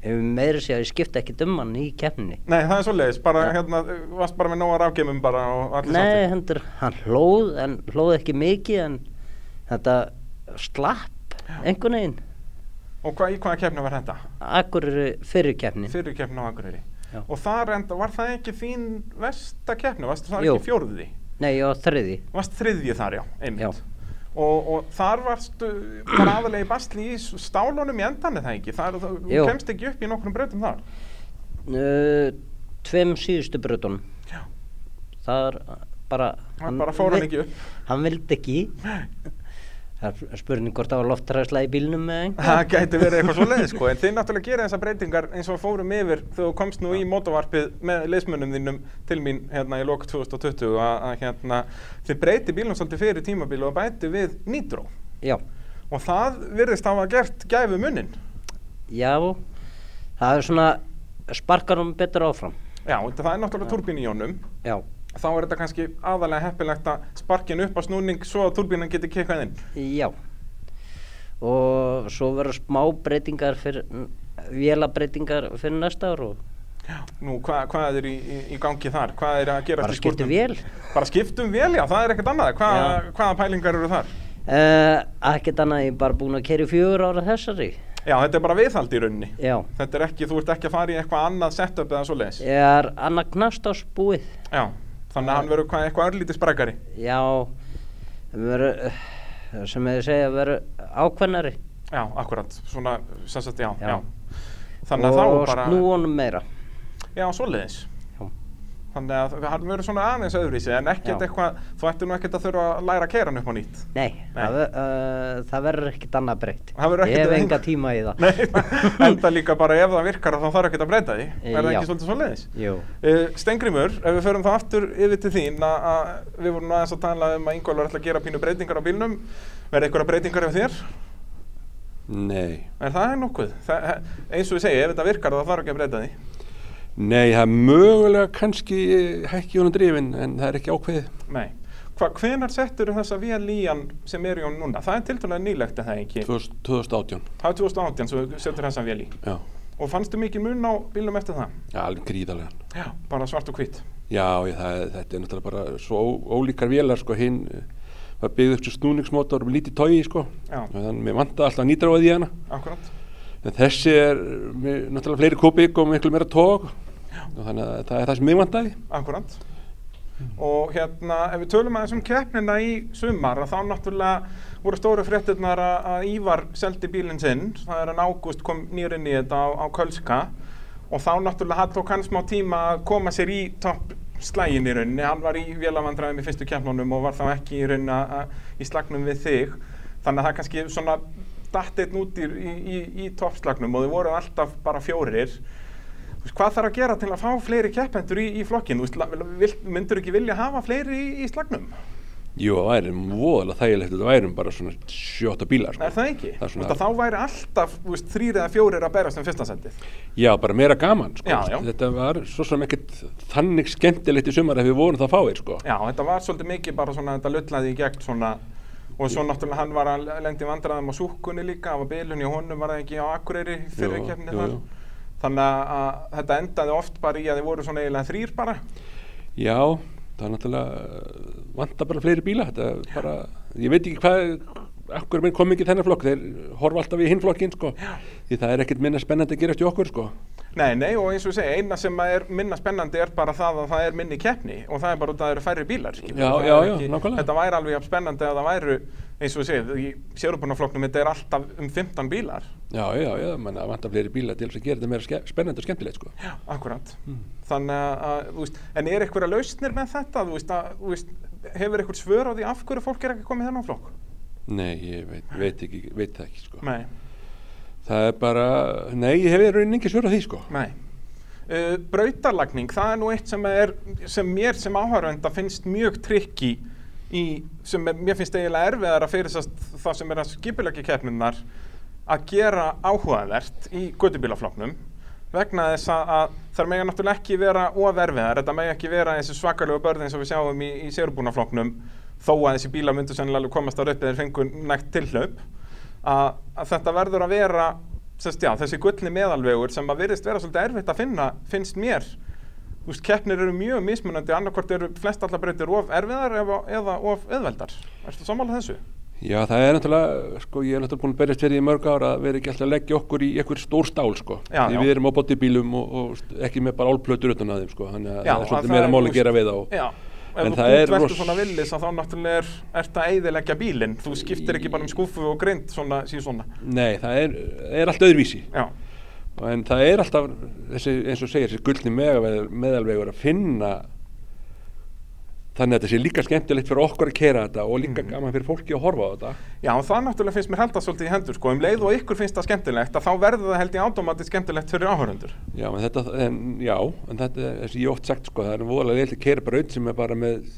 G: Nei, meiri sé að ég skipta ekki um hann í keppni.
A: Nei, það er svoleiðis, bara hérna, uh, varst bara með nógar afgeimum bara og allir
G: Nei, hendur, hann hlóð, en hlóð ekki mikið, en þetta slapp einhvern veginn.
A: Og hva, í hvaða keppni var þetta?
G: Akkur eru fyrir keppni.
A: Fyrir keppni á Akureyri.
G: Já.
A: Og þar enda, var það ekki þín versta keppni? Varst það
G: Jú.
A: ekki fjórði?
G: Nei, ég var þriði.
A: Varst þriðji þar, já, einmitt.
G: Já.
A: og, og þar varstu bara aðalegi basli í s- stálunum í endan er það ekki, þar, það, þú
G: Jú.
A: kemst ekki upp í nokkrum breytum þar
G: Uh, tveim síðustu brutunum
A: Já.
G: það er bara
A: Hann bara fór hann
G: vi-
A: ekki upp.
G: hann vildi ekki það er spurning hvort það var loftræsla í bílnum eða einhver
A: það gæti verið eitthvað svo leið sko en þið náttúrulega gera þessar breytingar eins og fórum yfir þegar þú komst nú í mótavarpið með leismunum þínum til mín hérna í lok 2020 að, að hérna þið breyti bílum svolítið fyrir tímabil og bæti við nýtró
G: já,
A: og það virðist hafa gert gæfu munnin
G: já það er svona sparkar hún betur áfram
A: já, þetta- það er náttúrulega turbín í honum
G: já,
A: þá er þetta kannski aðalega heppilegt að sparkin upp á snúning svo að turbínan geti kikkað inn
G: já og svo verður smá breytingar fyrir vélabreytingar fyrir næsta ár og
A: nú hva, hvað er í, í, í gangi þar, hvað er að gera
G: bara skiptu vél
A: bara skiptum vel, já, það er ekkert annað hva,
G: Já.
A: hvaða pælingar eru þar
G: uh, ekkert annað ég er bara búin að keri fjögur ára þessari
A: já, þetta er bara viðhald í rauninni
G: já,
A: Þetta er ekki, þú ert ekki að fara í eitthvað annað setup eða svo leiðis.
G: ég er annað knast á spúið
A: Já, þannig að hann verður hvað- eitthvað örlítið sprækari.
G: Já, veru, eh, sem ég segja, veru ákveðnari
A: Já, akkurat, svona, sem sagt, já, já.
G: Já.
A: Þannig að þá
G: og
A: bara,
G: snúunum meira.
A: já, svo leiðis.
G: Já.
A: Þannig að það- hann verður svona aðeins öðruvísi, en ekkert
G: Já.
A: eitthvað, þú ættir nú ekkert að þurfa að læra að keira hann upp á nýtt.
G: Nei,
A: Nei.
G: Það, ver, uh, það verður ekkert annað breytt.
A: Það verður
G: Ég
A: ekkert-
G: hef enga tíma í það.
A: Nei, enda líka bara ef það virkar þá þarf ekkert að breyta því. Er það
G: Já.
A: ekki svolítið svo leiðis?
G: Jú,
A: Uh, Stengrimur, ef við förum þá aftur yfir til þín að, að við vorum nú aðeins að tala um að yngvalur ætla að gera pínu breytingar á bílnum verða einhverja breytingar ef þér?
H: Nei.
A: En það er nokkuð. Það, eins og ég segi, ef þetta virkar þá þarf ekki að breyta því.
H: Nei, það er mögulega kannski eh, hækki honum drifin en það er ekki ákveðið.
A: Nei. Hva, hvenar settur þessa vél í hann sem er í hann núna? Það er tiltalega nýlegt en það er ekki.
H: 2000 2018.
A: Það er 2018 sem þú settur þessa vél í.
H: Já.
A: Og fannstu mikið mun á bílum eftir það?
H: Já, alveg gríðarlega.
A: Já. Bara svart og hvitt.
H: Já, ég, það, þetta er náttúrulega bara svo ó, ólíkar vélar sko, hinn eh, var byggð upp sem snúningsmótor með lítið tói sko,
A: Já.
H: og þannig mér vantaði alltaf nýtráðið í hana
A: Akkurat.
H: en þessi er eh, með, náttúrulega fleiri kúbík og miklu meira tók og þannig að það er það sem mig vantaði
A: Akkurat. Og hérna, ef við tölum aðeins um keppnina í sumar, að þá náttúrulega voru stóru fréttirnar að, að Ívar seldi bílinn sinn, það er en ágúst kom nýr inn í þetta á, á Kölska og þá náttúrulega hann tók hann smá tíma að koma sér í topp slægin í rauninni, hann var í vélavandræðum í fyrstu keppnunum og var þá ekki í rauninni að- að- í slagnum við þig, þannig að það kannski svona datt einn út í, í, í, í toppslagnum og þau voru alltaf bara fjórir. Þú veist, hvað þarf að gera til að fá fleiri keppendur í, í flokkin? Þú veist, la- vil- myndirðu ekki vilja hafa fleiri í, í slagnum?
H: Jú, það væri voðalega þægilegt þetta værum bara svona sjóta bílar sko.
A: Er það ekki?
H: Það er
A: Þú
H: svona-
A: veist, að þá væri alltaf þú veist, þrýr eða fjórir að berast um fyrsta sendið.
H: Já, bara meira gaman sko.
A: Já, já.
H: þetta var svo sem ekkert þannig skemmtilegt í sumar ef við vorum það fáir sko.
A: Já, þetta var svolítið mikið bara svona, þetta lullaði í gegn svona og svo náttúrulega hann var að lendi vandræðum á súkkunni líka, það var bilun í honum, var það ekki á Akureyri fyrir
H: Jú,
A: keppni
H: jú,
A: þar.
H: jú.
A: Þannig að- að þetta endaði oft bara í að þið voru svona eiginlega þrýr bara.
H: Já, það er náttúrulega eh, vantar bara fleiri bíla þetta er bara, ég veit ekki hvað akkur menn kom ekki í þennan flokk, þeir horfa alltaf í hinn flokkinn sko, því það er ekkert minna spennandi að gerast í okkur sko
A: Nei, nei, og eins og ég segi, eina sem að er minna spennandi er bara það að það er minni keppni og það er bara út að það eru færri bílar, skilur.
H: Já,
A: Það
H: já,
A: er
H: já, nákvæmlega.
A: Þetta væri alveg jafn spennandi að það væru, eins og ég segi, í sérubunaflokknum þetta er alltaf um 15 bílar,
H: Já, já, já, menn það vantar fleiri bíla til þess að gera þetta meira ske spennandi og skemmtilegt sko
A: akkurat.
H: Hmm.
A: Þannig að, að, þú veist, en er einhverja lausnir með þetta, þú veist, að, þú veist, hefur einhver svör á því af hverju fólk er ekki komið í þennan flokk?
H: Nei, ég veit, veit ekki, veit það ekki sko
A: Nei,
H: Það er bara, nei, ég hef í rauninni ekki svör á því sko
A: nei. Uh, brautarlagning, það er nú eitt sem er, sem mér sem áhörvenda finnst mjög trikki í, sem er, mér finnst eiginlega erfiðara fyrir þess það sem er að skipilegja keppnirnar að gera áhugavert í gödubílafloknum vegna þess að að þær mega náttúrulega ekki vera oferfiðar, þetta mega ekki vera þessi svakalegu börð eins og við sjáum í, í sérbúnafloknum þó að þessi bíla myndu sennilega alveg komast á röpið þeir fengu nægt tilhlaup að, að þetta verður að vera sest, já, þessi gullni meðalvegur sem að virðist vera svolítið erfitt að finna, finnst mér Þú veist, keppnir eru mjög mismunandi, annarkvort eru flest allar breytir of erfiðar eða, eða of auðveldar. Erstu sammála þessu?
H: Já, það er náttúrulega, sko, ég er náttúrulega búin að berjast fyrir því í mörg ára að vera ekki alltaf að leggja okkur í einhver stór stál sko
A: Já,
H: Því
A: já.
H: við erum á bóttibílum og, og st- ekki með bara álplötur utan að þeim sko Þannig að
A: Já,
H: það er
A: að
H: svolítið
A: það
H: meira
A: er,
H: mál
A: þú
H: að gera við
A: veist,
H: á
A: Já, ef
H: En
A: þú
H: það er
A: útveldur
H: ros-
A: svona villis að þá náttúrulega er, ert að eiðileggja bílinn þú skiptir ekki bara um skúfu og grind svona, síðan svona
H: Nei, það er, er allt öðruvísi
A: já,
H: en það er alltaf, þessi, eins og segir, þessi gullni meðalvegur, meðalvegur að finna þannig að þetta sé líka skemmtilegt fyrir okkur að kera þetta og
A: Mhm.
H: líka gaman fyrir fólki að horfa á þetta
A: já og það náttúrulega finnst mér held að svolítið í hendur sko, um leið og ykkur finnst það skemmtilegt að þá verður það held ég automatist skemmtilegt fyrir áhörundur
H: Já, en þetta, en, já, en þetta er þessi ég oft sagt sko, það er voðalega leilt að kera bara sem er bara með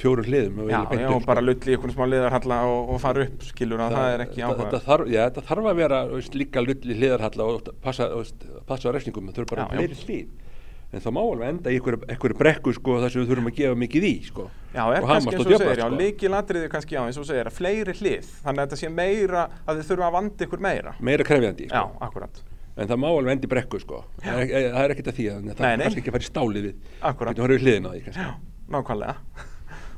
H: fjórum hliðum og
A: já,
H: eiginlega beint
A: já,
H: upp, sko.
A: og bara lull í ykkur smá liðarhalla og, og fara upp skilur að það, er ekki
H: þetta-
A: áhuga
H: Þetta þarf, já, þetta þarf að vera þú veist, líka lull í hliðarhalla og passa, þú veist, passa á refsingum, það þurfa bara
A: Já, já.
H: fleiri hlið. En það má alveg enda í einhverju- einhverju brekku sko, þar sem við þurfum að gefa mikið í sko.
A: Já, er
H: og
A: kannski
H: hamast
A: eins
H: og
A: og þú
H: djöflast
A: segir, já,
H: sko.
A: líkilatriði kannski já, eins og þú segir, að fleiri hlið, þannig að þetta sé meira, að þið þurfa að vanda ykkur meira.
H: meira krefjandi
A: Já,
H: sko.
A: akkurat,
H: en það má alveg enda í brekku sko. það, er, e- það er ekkert að því þannig að það
A: Nei,
H: er
A: nei.
H: kannski ekki að fara í stálið við
A: Akkúrat.
H: Getum horfið í hliðina á því kannski
A: nákvæmlega.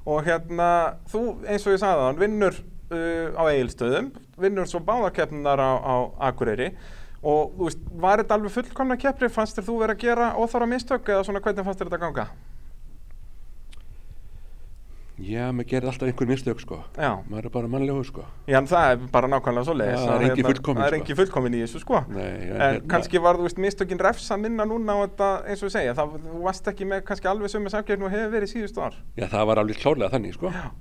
A: Og hérna, þú, eins og ég sagði þann, vinnur uh, á eigilstöðum, vinnur svo báðakeppnunar á, á Akureyri og, þú veist, var þetta alveg fullkomna keppri, fannst þér þú vera að gera óþára mistök eða svona hvernig fannst þér þetta ganga?
H: já, maður gerir alltaf einhver mistök sko.
A: Já.
H: maður er bara mannlegu sko.
A: Já, en það er bara nákvæmlega svo leiðis.
H: Já, það er engin fullkomin,
A: Það er
H: sko.
A: engin fullkomin í þessu, sko.
H: Nei,
A: en
H: en hérna-
A: kannski var, þú veist, mistökin refsa minna núna á þetta, eins og ég segja, það, þú varst ekki með kannski alveg sömu samgefn og hefur verið síðustu ár.
H: já, það var alveg klárlega þannig sko.
A: Að,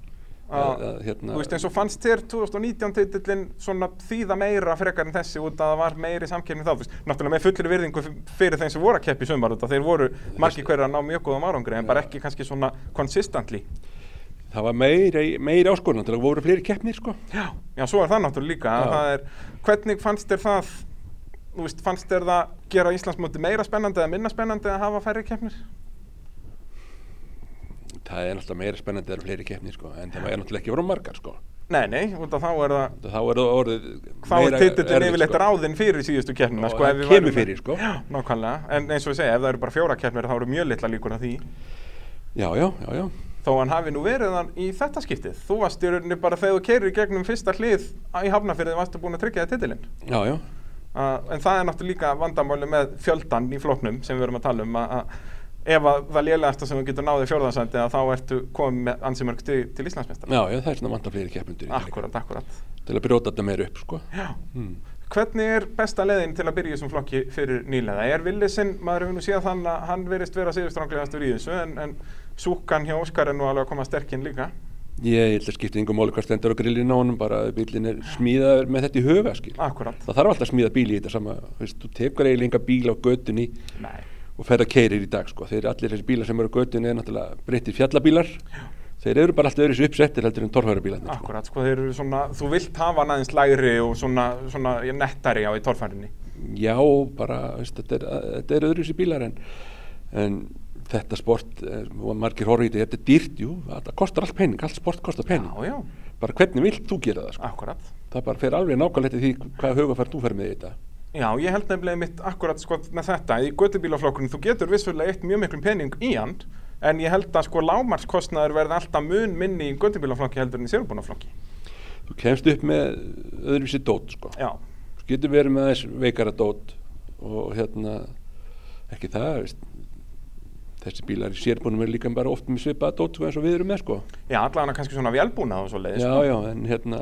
H: Að- að, hérna-
A: þú veist, eins og fannst þér 2019 titillin svona þýða meira frekar en þessi út að það var meiri samgefni þá, þú veist, náttúrulega með fullri virðingu f- fyrir þeim sem voru að keppi sumar út að þeir voru margir hverja að ná mjög góðum árangri en bara ekki kannski svona consistently.
H: það var meiri, meiri áskorun til að voru fleiri keppnir sko.
A: Já, já, svo er það náttúrulega líka að
H: Já.
A: það er, hvernig fannst þér það þú veist, fannst þér það gera Íslandsmóti meira spennandi eða minna spennandi að hafa færri keppnir?
H: það er náttúrulega meira spennandi þegar fleiri keppnir sko. en það er náttúrulega ekki voru margar sko.
A: Nei, nei, út af þá er það
H: þá er það orðið sko.
A: þá er titillin yfirleitt ráðinn fyrir síðustu keppnina
H: Og
A: sko, ef
H: það
A: við
H: kemur
A: værum með-
H: fyrir, sko.
A: Já, nákvæmlega, en eins og ég segja, ef það eru bara fjóra keppnir þá eru mjög litla líkur að því
H: já, já, já, já.
A: þó hann hafi nú verið hann í þetta skiptið þú varst í rauninni bara þegar þú keirir í gegnum fyrsta hlið í hafnafyrði varstu búin að tryggja þér titilinn
H: já, já.
A: Uh, en það er náttúrulega líka vandamáli með fjöldan í floknum sem við erum að tala um að, að ef að það lélegasta sem þú getur náðið fjórðansandi að þá ertu komið með ansi mörg stig til Íslandsmeistar.
H: Já, já, það er svona vantar fleiri keppnundur
A: Akkurat, akkurat.
H: til að brjóta þetta meira upp sko.
A: Já.
H: Mm.
A: Hvernig er besta leiðin til að byrja í þessum flokki fyrir nýlega? Er Villisinn, maður hefur nú síðan þann að hann verist vera síðustranglegastur í þessu en, en súkan hjá Óskar er nú alveg að koma sterkinn líka.
H: Ég ætla að skipta yngum máli hvað stendur á grillinu á honum bara að bílinn er smíðaður með þetta í huga skil.
A: Akkurat.
H: Það þarf alltaf að smíða bíl í þetta sama, þú veist, þú tekur eiginlega enga bíl á götunni
A: Nei.
H: og ferð að keirir í dag sko. Þeir allir þessi bílar sem eru á götunni er náttúrulega breyttir fjallabílar. Þeir eru bara alltaf öðru sér uppsettir heldur en torfærabílarnir. Sko.
A: Akkurat, sko þeir eru svona, þú vilt hafa hann aðeins lægri og svona, svona nettari á í torfærinni.
H: Já, bara, þú veist, þetta er, þetta er öðru sér bílar en, en þetta sport, eh, og margir horfið í þetta, þetta er dýrt, jú, þetta kostar allt pening, allt sport kostar pening.
A: Já, já,
H: Bara hvernig vilt þú gera það sko?
A: akkurat.
H: Það bara fer alveg nákvæmlega eftir því hvað hugafær þú fer með í þetta.
A: Já, ég held nefnilega mitt akkurat sko með þetta í göttubílaflokkurinn, þú getur vissulega eitt mjög miklum pening í hann en ég held að sko lámarskostnaður verði alltaf mun minni í göttubílaflokki heldur en í sérubúnaflokki
H: þú kemst upp með öðruvísi dót sko.
A: Já,
H: þú getur verið með aðeins veikara dót og hérna ekki það veist. þessi bílar í sérbúnum er líka bara oft með svipaða dót sko, eins og við erum með sko.
A: já allavega kannski svona velbúnað og sko. svo leiðis
H: já já en hérna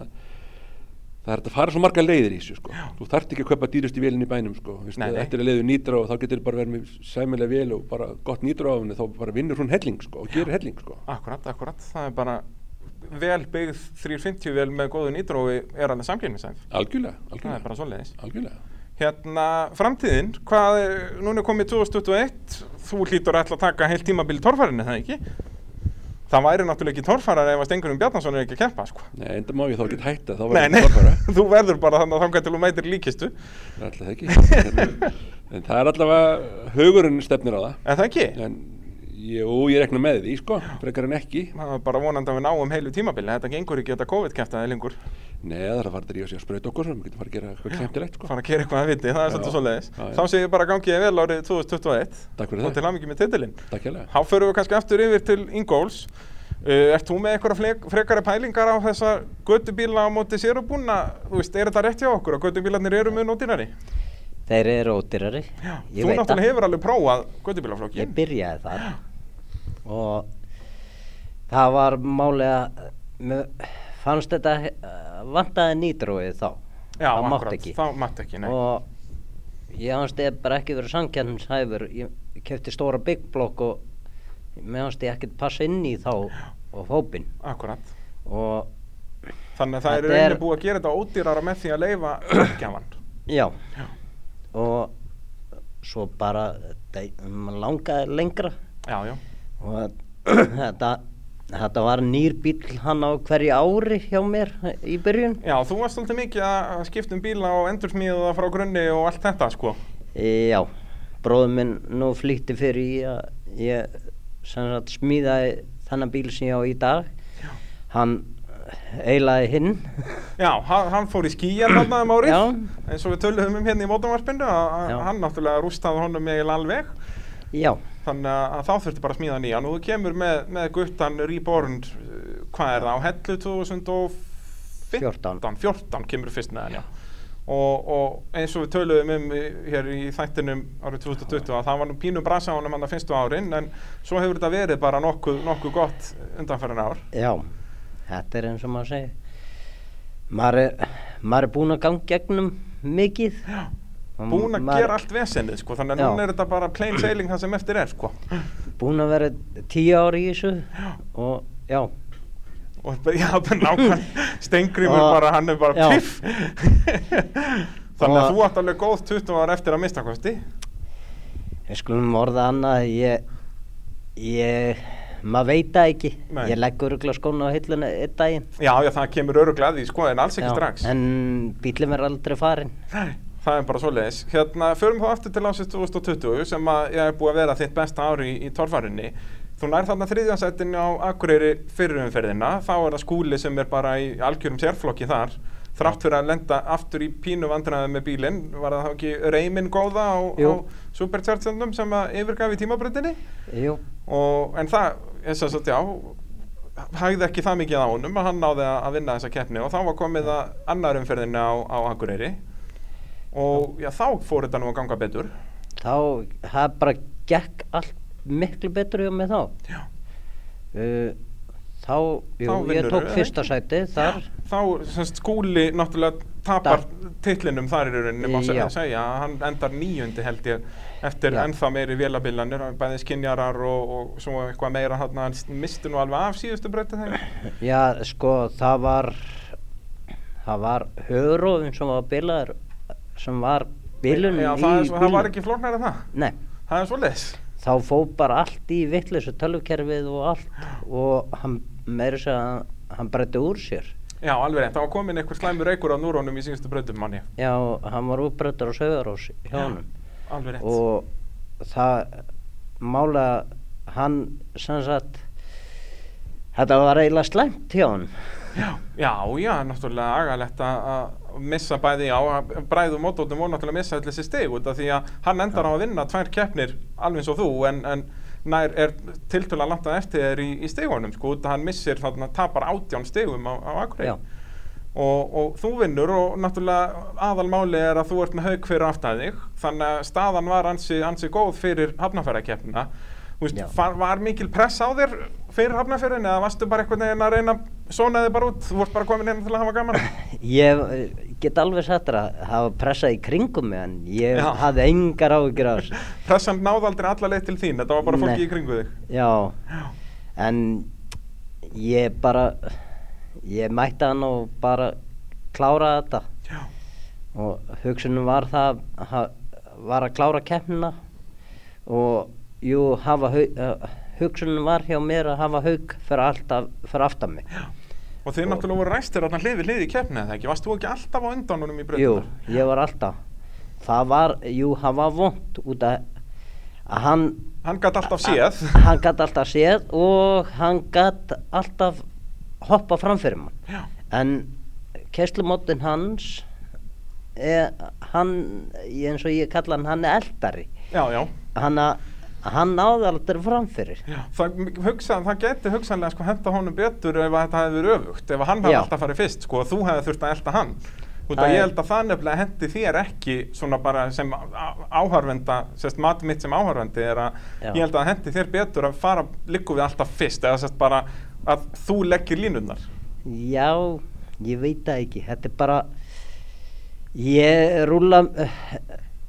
H: það er hægt að fara svo marga leiðir í þessu sko. þú þarft ekki að kaupa dýrust í vélinn í bænum sko. Vist,
A: Nei, nei.
H: eftir að leiðu nýtra og þá getur bara verið með sæmilega vél og bara gott nýtra á henni þá bara vinnur hún helling sko, og gerir helling sko.
A: Akkurat, akkurat, það er bara vel byggð 350 vel með góðu nýtrói er alveg samkynnisæð
H: algjörlega,
A: Það er
H: algjörlega,
A: bara svo leiðis
H: algjörlega.
A: Hérna, framtíðin, hvað, er- núna er komið 2021, þú hlýtur að ætla að taka heilt tímabil torfærinni, það ekki? Það væri náttúrulega ekki torfærar ef að Stengurum Bjarnason er ekki að keppa, sko.
H: Nei, enda má ég þá ekki hætta þá
A: Nei,
H: verður
A: nei,
H: það bara
A: þú verður bara þannig að þangað til þú mætir líkistu
H: Það er alltaf það ekki. en það er allavega hugurinn stefnir á það.
A: En það ekki,
H: En jú, ég rekna með því, sko, frekar en ekki.
A: það er bara vonandi að við náum heilu tímabili Þetta gengur ekki þetta COVID-kæftaði lengur
H: Nei, það er að fara að drífa sig að sprauta okkur, við getum fara að gera eitthvað klemtilegt, sko.
A: Fara að gera eitthvað að viti, það er
H: Já.
A: svolítið svoleiðis
H: Já, já.
A: Þá segir ég bara gangið þér vel árið 2021
H: Takk fyrir
A: Og til
H: það.
A: hamingi með titilinn
H: Takk hérlega.
A: Þá förum við kannski aftur yfir til Ingóls Uh, ert þú með einhverja flek- frekari pælingar á þessa göttubíla á móti sér og búna? Þú veist, er þetta rétt hjá okkur að göttubílarnir eru mun ódýrari?
G: Þeir eru ódýrari.
A: Já,
G: Ég
A: þú
G: veit það.
A: náttúrulega hefur alveg prófað göttubílaflokkin.
G: Ég byrjaði þar og það var málið að mér fannst þetta eh, vantaði nýtróið þá
A: Já,
G: það mátt
A: akkurat,
G: ekki
A: þá mátti ekki, nei.
G: og ég fannst ég bara ekki verið sankjarnshæfur ég kefti stóra big block og mér fannst ég ekkert passa inn í þá og hópin
A: akkurat.
G: og
A: Þannig að það er
G: Þetta
A: rauninni
G: er-
A: búið að gera þetta ódýrara með því að leifa löggjafann.
G: Já.
A: Já.
G: Og svo bara þetta- mann langaði lengra
A: Já, já,
G: og þetta, þetta var nýr bíl hann á hverju ári hjá mér í byrjun.
A: já, þú varst alltaf mikið að skipta um bíla og endursmíða það frá grunni og allt þetta, sko.
G: E, Já, bróður minn nú flýtti fyrir í að ég sem sagt smíðaði þennan bíl sem ég á í dag.
A: Já.
G: Hann eilaði hinn.
A: Já, hann, hann fór í skýjar þarna um árið,
G: Já.
A: eins og við töluðum um hérna í mótumarpinu, að
G: Já.
A: hann náttúrulega rústaði honum eiginlega alveg,
G: Já,
A: þannig að- að þá þurfti bara að smíða nýjan og þú kemur með, með guttan Reborn, uh, hvað er það, á hellu 2014,
G: 14.
A: 14 kemur fyrst með hann, já. Og, og eins og við töluðum um í- hér í þættinum árið 2020 að það var nú pínum brasa á honum hann að fyrstu árin en svo hefur þetta verið bara nokkuð, nokkuð gott undanferðin ár.
G: já, þetta er eins og maður segir. Maður er, maður er búinn að ganga gegnum mikið.
A: Já.
G: Og
A: búin að
G: maður-
A: gera allt vesennið sko, þannig að
G: Já.
A: núna er þetta bara plain sailing það sem eftir er sko.
G: búin að vera tíu ári í þessu og já,
A: og bara, já, það er nákvæmlega stengrimur
G: Og-
A: bara, hann er bara
G: já.
A: piff þannig að
G: Og-
A: þú átt alveg góð 20 ára eftir að mista kosti
G: við skulum orða annað ég, ég maður veit það ekki
A: Nei.
G: ég legg örugla skóna á hilluna einn daginn
A: já, já, það kemur öruglega að því sko, en alls ekki
G: Já,
A: strax
G: en bílum er aldrei farin
A: Nei, það er bara svoleiðis hérna, förum þá aftur til ásins 2020 sem að ég er búið að vera þitt besta ári í, í torfarinni þú nær þarna þriðjansættin á Akureyri fyrirumferðina þá er það skúli sem er bara í algjörum sérflokki þar þrátt fyrir að lenda aftur í pínu vandræði með bílinn var það þá ekki reymin góða á, á
G: Jú.
A: superchargendum sem að yfirgaf í tímabröndinni
G: jú,
A: og, en það, eins og sagt, já hægði ekki það mikið á honum að hann náði að að vinna þessa keppni og þá var komið að annar umferðinni á, á Akureyri og já, þá fór þetta nú að ganga betur
G: þá það bara gekk allt miklu betur hjá mig þá
A: Já.
G: uh, þá, jú,
A: Þá
G: ég
A: vinnurðu,
G: tók
A: eða
G: fyrsta
A: ekki?
G: sæti þar
A: þá semst, skúli náttúrulega tapar titlinum þar í rauninni má segja,
G: Já.
A: segja að hann endar nýjundi held ég eftir
G: Já.
A: ennþá meiri vélabilanir bæði skinjarar og, og svo eitthvað meira hann hann misti nú alveg af síðustu breytta þeim
G: já, sko, það var það var höfurófin sem var bilaður sem var bilun í
A: Já, það, er svo, það
G: bílnum.
A: var ekki flóknar en það
G: Nei,
A: það er svo leis
G: þá fó bara allt í vittleysu tölvukerfið og allt og hann meiri sér að hann breytti úr sér.
A: já alveg rétt, það var komin einhver slæmur reykur á núrónum í síðustu breytum manni
G: Já, hann var útbreyttur á Söðarós hjá honum
A: alveg rétt
G: og það mála hann sem sagt þetta var eiginlega slæmt hjá honum.
A: já, já, já, náttúrulega agalegt að að missa bæði á að bræðu mótóttum og náttúrulega missa allir þessi steg út af því að hann endar á að vinna tvær keppnir alveg eins og þú en, en nær er tiltöla langt að eftir þér í, í stegunum sko út að hann missir þarna tapar átján stegum á, á Akureyri
G: Já.
A: og, og þú vinnur og náttúrulega aðalmáli er að þú ert með haug fyrir aftan þig þannig að staðan var ansi, ansi góð fyrir hafnafærakeppnina
G: Já.
A: var, var mikil press á þér fyrir hafnafærin eða varstu bara einhvern veginn að reyna sonaði bara út, þú vart bara komin hérna til að hafa gaman
G: Ég eh, get alveg sagt þér að hafa pressað í kringum mig en ég
A: Já.
G: hafði engar áhyggjur af þessu.
A: pressan náði aldrei alla leið til þín þetta var bara fólki
G: Nei.
A: í kringu þig
G: Já,
A: Já.
G: en ég bara, ég mætti hann og bara kláraði þetta
A: Já.
G: og hugsunum var það, ha- var að klára keppnina og jú, hafa, hau- eh, hugsunin var hjá mér að hafa haug fyrir, alltaf, fyrir aftan mig.
A: og þið náttúrulega voru ræstir hérna hliði hliði í keppni eða ekki, varst þú ekki alltaf á undan honum
G: Jú,
A: í breytunar?
G: ég var alltaf. Það var, jú, það var vond út að, að hann
A: hann gæti alltaf séð
G: hann gæti alltaf séð og hann gæti alltaf hoppa framfyrir mann
A: Já.
G: en keslumóttin hans er, hann eins og ég kalla hann, hann er eldari
A: já, já
G: hann, að- hann náði aldrei framfyrir
A: Já, það, hugsa, það geti hugsanlega sko, henda honum betur ef að þetta hefði verið öfugt ef að hann hefði
G: Já.
A: alltaf farið fyrst sko, og þú hefði þurft að elda hann Út
G: Það
A: að ég
G: er-
A: held að það nefnilega hendi þér ekki svona bara sem á- á- áhorfenda sérst mat mitt sem áhorfendi er að
G: Já.
A: ég held að það hendi þér betur að fara líku við alltaf fyrst eða sérst bara að þú leggir línunnar
G: Já, ég veit það ekki. Þetta er bara, ég rúla,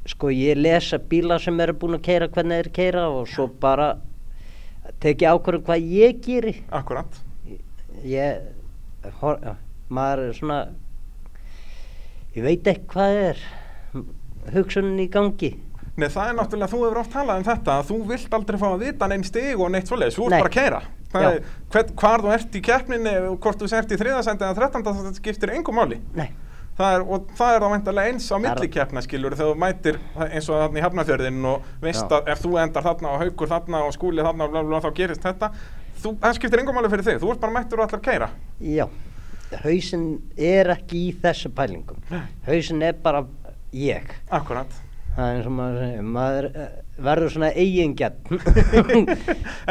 G: sko ég lesa bíla sem eru búin að keira hvernig þeir keira og svo bara teki ákvörðum hvað ég geri.
A: Akkurat
G: Ég, hor, maður er svona, ég veit ekki hvað er hugsunin í gangi.
A: Nei, það er náttúrulega, þú hefur oft talað um þetta að þú vilt aldrei fá að vita neinn stig og neitt svoleiðis, þú ert
G: Nei.
A: bara að keira
G: Já.
A: Hvað, hvern, hvar þú ert í keppninni og hvort þú sért í þriðasendi eða þrettanda það skiptir engu máli
G: Nei,
A: það er, og það er þá veintalega eins á
G: er-
A: milli keppna skilur þegar þú mætir eins og þarna í hafnafjörðin og veist
G: Já.
A: að ef þú endar þarna og haukur þarna og skúli þarna og bla, bla, bla, þá gerist þetta þú, það skiptir engu máli fyrir þig, þú ert bara mættur og allar keira
G: já, hausin er ekki í þessu pælingum. Hausin er bara ég.
A: Akkurat
G: Það er eins og maður segir, maður eh, verður svona eigingjarn.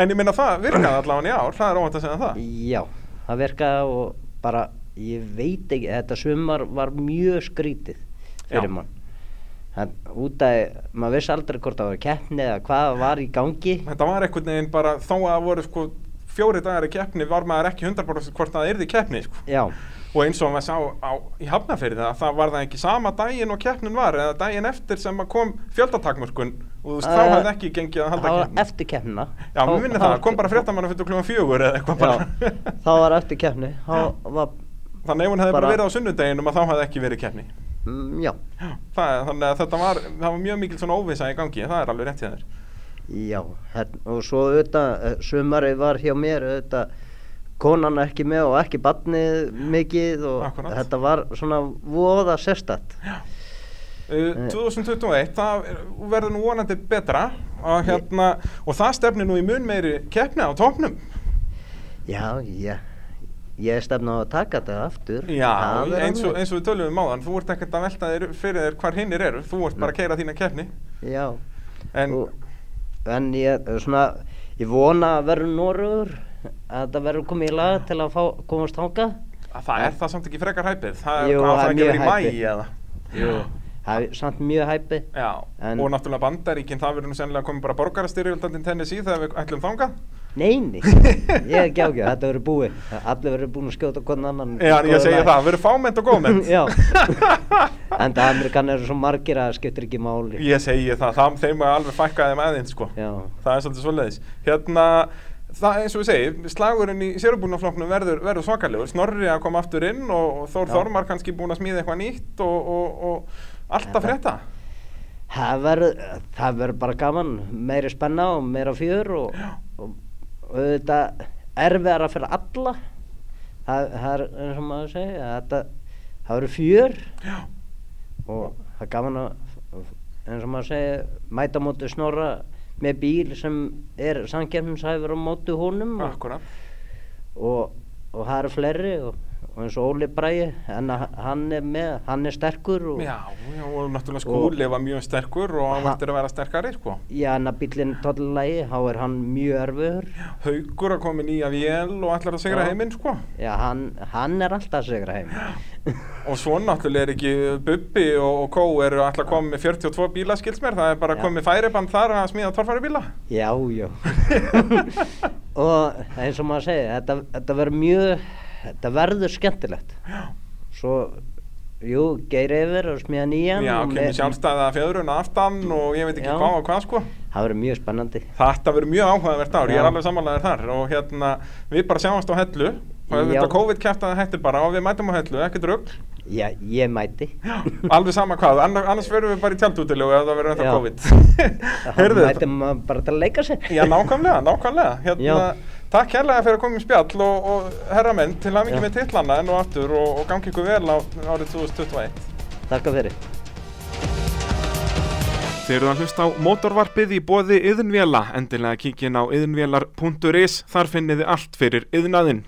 A: en ég minna það virkaði allavega í ár, það er óvænt að segja það
G: Já, það virkaði og bara, ég veit ekki, þetta sumar var mjög skrítið fyrir
A: Já.
G: mann. Það, út að, maður vissi aldrei hvort það var keppni eða hvað var í gangi.
A: þetta var einhvern veginn bara þó að það voru sko fjóri dagar í keppni var maður ekki 100% hvort það yrði keppni sko.
G: Já,
A: og eins og maður sá á, í hafnafyrði að það var það ekki sama daginn og keppnin var eða daginn eftir sem að kom fjöldatakmörkun og þú veist þá
G: Eh,
A: hafði ekki gengið að
G: það
A: halda
G: var
A: keppni
G: eftir keppnina.
A: já, mér minnir það, kom bara fréttamann fyrir klúan fjögur eða eitthvað bara
G: Já, það var eftir keppni, þá var,
A: þannig ef hún hefði bara,
G: Bara-
A: verið á sunnudeginum að þá hafði ekki verið keppni
G: mm, já,
A: Já, það, er- þannig að þetta var, það var mjög mikil svona óvisa í gangi, það er alveg rétt hjá þér
G: já, hérna, og svo auðvitað, eh, sumarið var hjá mér auðvitað, konan ekki með og ekki barnið mikið og
A: Akkúrat.
G: þetta var svona voða Eh, sérstætt.
A: Uh, 2021, það er- verður nú vonandi betra og, hérna, og það stefnir nú í mun meiri keppni á topnum
G: Já, ég, ég stefna á að taka þetta aftur.
A: Já,
G: Það er
A: eins og,
G: alveg-
A: eins og við töluðum um áðan, þú ert ekkert að velta þér fyrir þér hvar hinnir eru, þú ert bara að keira þína keppni
G: Já,
A: en
G: og, en ég, eh, svona, ég vona að verður Norður, að þetta verður komið í lag til að fá, komast þangað.
A: að það er það samt ekki frekar hæpið, það er
G: Jú,
A: hvað á
G: það
A: það
G: er
A: ekki að vera í
G: mjög
A: mæi
G: hæpið.
A: eða
G: Jú. Það er samt mjög hæpi.
A: Já,
G: En-
A: og náttúrulega bandaríkinn, það verður nú sennilega komið bara borgarastyrjöldandinn Tennessee þegar við ætlum þangað
G: Neini, ég er ekki ákveð, þetta verður búið. Allir verður búin að skjóta hvern annan. í
A: Já, en ég
G: góðu
A: segi
G: lagi.
A: það, verður fámennt og góðmennt
G: Já, en það Amerikan eru svo margir að það skiptir ekki máli.
A: Ég segi það, það þeim að alveg fækka þeim aðeins sko
G: Já.
A: það er svolítið svoleiðis hérna, það er eins og við segi slagurinn í sérubúnaflokknum verður, verður svakalegur Snorri að koma aftur inn og, og Þór
G: Já.
A: Þormar kannski búin að smíða eitthvað nýtt og, og, og allt að frétta
G: Það verður, það verður bara gaman, meiri spenna og meira fjör og, og, og auðvitað erfiðara fyrir alla. Það, það er eins og maður segja, þetta, það verður fjör
A: Já.
G: og það er gaman að, eins og maður segja, mæta á móti snorra með bíl sem er samkeppnishæfur á móti honum og,
A: akkurat
G: og, og það eru fleiri og, og eins og Óli Bræi, en að hann er með, hann er sterkur og
A: já, já, og náttúrulega skúli var mjög sterkur og hann
G: Ha-
A: vartir að vera sterkari sko.
G: Já, en að bílinn tóllagi, þá er hann mjög erfiður. Já,
A: haugur að koma í nýja vél og allar að sigra
G: Já.
A: heiminn sko.
G: hann, hann er alltaf að sigra heim.
A: og svo náttúrulega er ekki Bubbi og, og Kó eru allar að koma með 42 bíla skilst mér, það er bara
G: Já.
A: komið færiband þar að smíða torfæri bíla
G: já, já. og eins og maður segi, þetta, þetta verður mjög, þetta verður skemmtilegt. Já. Svo, jú, geir yfir og smíða nýjan.
A: já,
G: og
A: kemur
G: með-
A: sjálfstæða fjöðrun aftan og ég veit ekki
G: Já.
A: hvað og hvað sko.
G: Það verður mjög spennandi.
A: Þetta verður mjög áhugavert ár, ég er
G: Já.
A: alveg samanlegaður þar og hérna, við bara sjáumst á hellu og
G: Já.
A: þetta COVID kæftaði hættir bara og við mætum á hellu, ekkert rugg
G: Já, ég mæti.
A: alveg sama hvað, annar, annars verðum við bara í tjaldútilegu ef það verður
G: Já.
A: ennþá COVID Heyrðu
G: Mæti
A: þetta
G: maður bara til að leika sér.
A: Já, nákvæmlega, nákvæmlega hérna,
G: Já.
A: Takk hérlega fyrir að koma í spjall og, og herra menn, til að mikið
G: Já.
A: með titlana enn og aftur og, og gangi ykkur vel á árið 2021
G: Takk fyrir.
A: Þeir eru að hlusta á mótorvarpið í bóði yðnvjela, endilega kíkin á yðnvjelar.is, þar finniði allt fyrir yðnaðinn.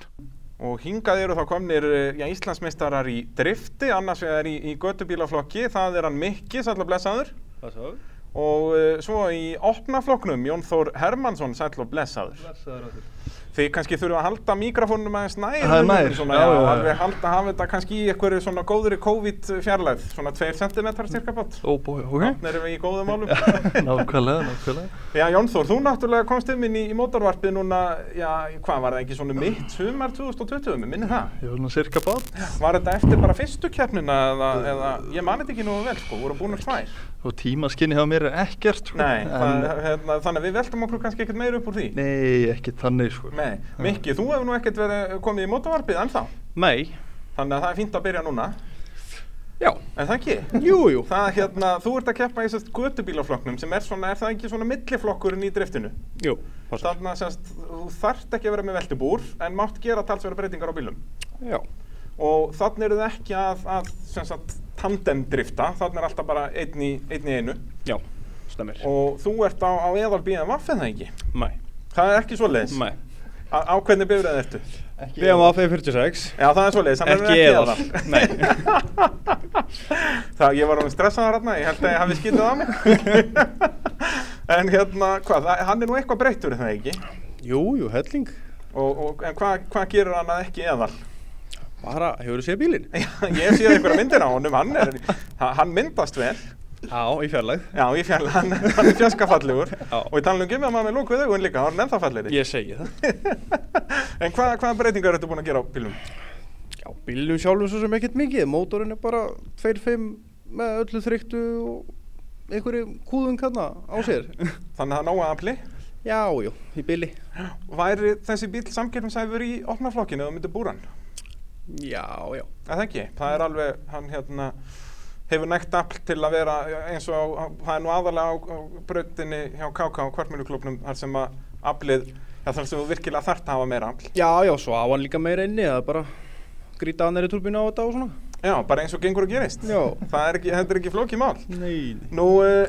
A: Og hingað eru þá komnir eh, já, Íslandsmeistarar í drifti, annars vegar í, í göttubílaflokki, það er hann Mikki, sætla blessaður, eh,
C: Það svo,
A: og uh, svo í opnaflokknum Jón Þór Hermansson, sætla blessaður.
C: blessaður áttur.
A: Þið kannski þurfum að halda mikrofónum aðeins nær.
I: Það er nær,
A: Svona, já,
I: já, já, já.
A: alveg halda hafa þetta kannski í einhverju svona góðri COVID fjarlæð, svona 2 cm cirka bát.
I: Ó, bói, ok.
A: Þannig erum við í góðum málum.
I: Nákvæmlega, nákvæmlega.
A: já, Jónþór, þú náttúrulega komst um inn í, í mótorvarpið núna, já, hvað var það ekki svona mitt sumar 2020, minni það?
I: Ég var svona cirka bát
A: Var þetta eftir bara fyrstu keppnina eða, eða ég man þetta ekki nú vel, sko, voru búin að tvær?
I: og tímaskinni hjá mér er ekkert. sko,
A: Nei, það,
I: en-
A: hérna, þannig að við veltum okkur kannski ekkert meira upp úr því.
I: Nei, ekkert þannig, sko.
A: Nei, Mikki, þú hefur nú ekkert verið komið í mótorvarpið ennþá,
C: Nei,
A: þannig að það er fínt að byrja núna.
B: Já.
A: En það ekki?
B: Jú, jú.
A: Það, hérna, þú ert að keppa í sérst götubílaflokknum sem er svona, er það ekki svona milliflokkurinn í driftinu?
B: Jú, passar.
A: Þannig að sérst, þú þarft ekki að vera með veltibúr en mátt gera talsverða breytingar á bílum.
B: Já.
A: Og þannig eru þið ekki að, að sem sagt, tandem drifta, þannig er alltaf bara einn í, einn í einu.
B: Já, stemmir.
A: Og þú ert á, á eðal BMW, er það ekki?
B: Mæ.
A: Það er ekki svoleiðis.
B: Mæ.
A: Á, á hvernig bifræð ertu?
B: Við hefum á 546.
A: Já, það er svoleiðis, hann er
B: Ekki eðal. Nei.
A: það, ég var alveg stressaður hérna, ég held að ég hafi skýtið á mig. en hérna, hvað, það- hann er nú eitthvað breyttur, er það ekki?
B: Jú, jú, helling.
A: Og, og en hvað hva gerir hann að ekki eðal?
B: Bara, hefur þú séð bílinn?
A: Já, ég sé einhverja myndir á honum, hann, er, ha- hann myndast vel,
B: Já, í fjarlægð.
A: já ég fjall, hann, hann er fjaskafallegur
B: Já.
A: og ég tala um gummi að maður með lókuð augun líka, þá er hann ennþá fallegri.
B: Ég segi það.
A: En hvað, hvaða breytingar ertu búin að gera á bílum?
B: Já, bílum sjálfum svo sem ekkert mikið, mótorinn er bara 2.5 með öllu þryktu og einhverju kúðun kanna á sér.
A: Þannig að það er nóga afli.
B: Já, jú, í bíli.
A: Væri þessi bíl samkeppnisæfur í opnaflokkinu eða myndir búran?
B: Já, já.
A: Er það ekki? Það er alveg, hann hérna, hefur nægt afl til að vera eins og á- það er nú aðalega á, á brautinni hjá KK og kvartmjöluklubnum þar sem að aflið, já þar sem þú virkilega þarft að hafa meira afl.
B: Já, já, svo á hann líka meira inni, það er bara grýta að næri turbínu á þetta og svona.
A: Já, bara eins og gengur og gerist.
B: Já.
A: Það er ekki, þetta er ekki flókið mál.
I: Nei,
A: Nú, eh,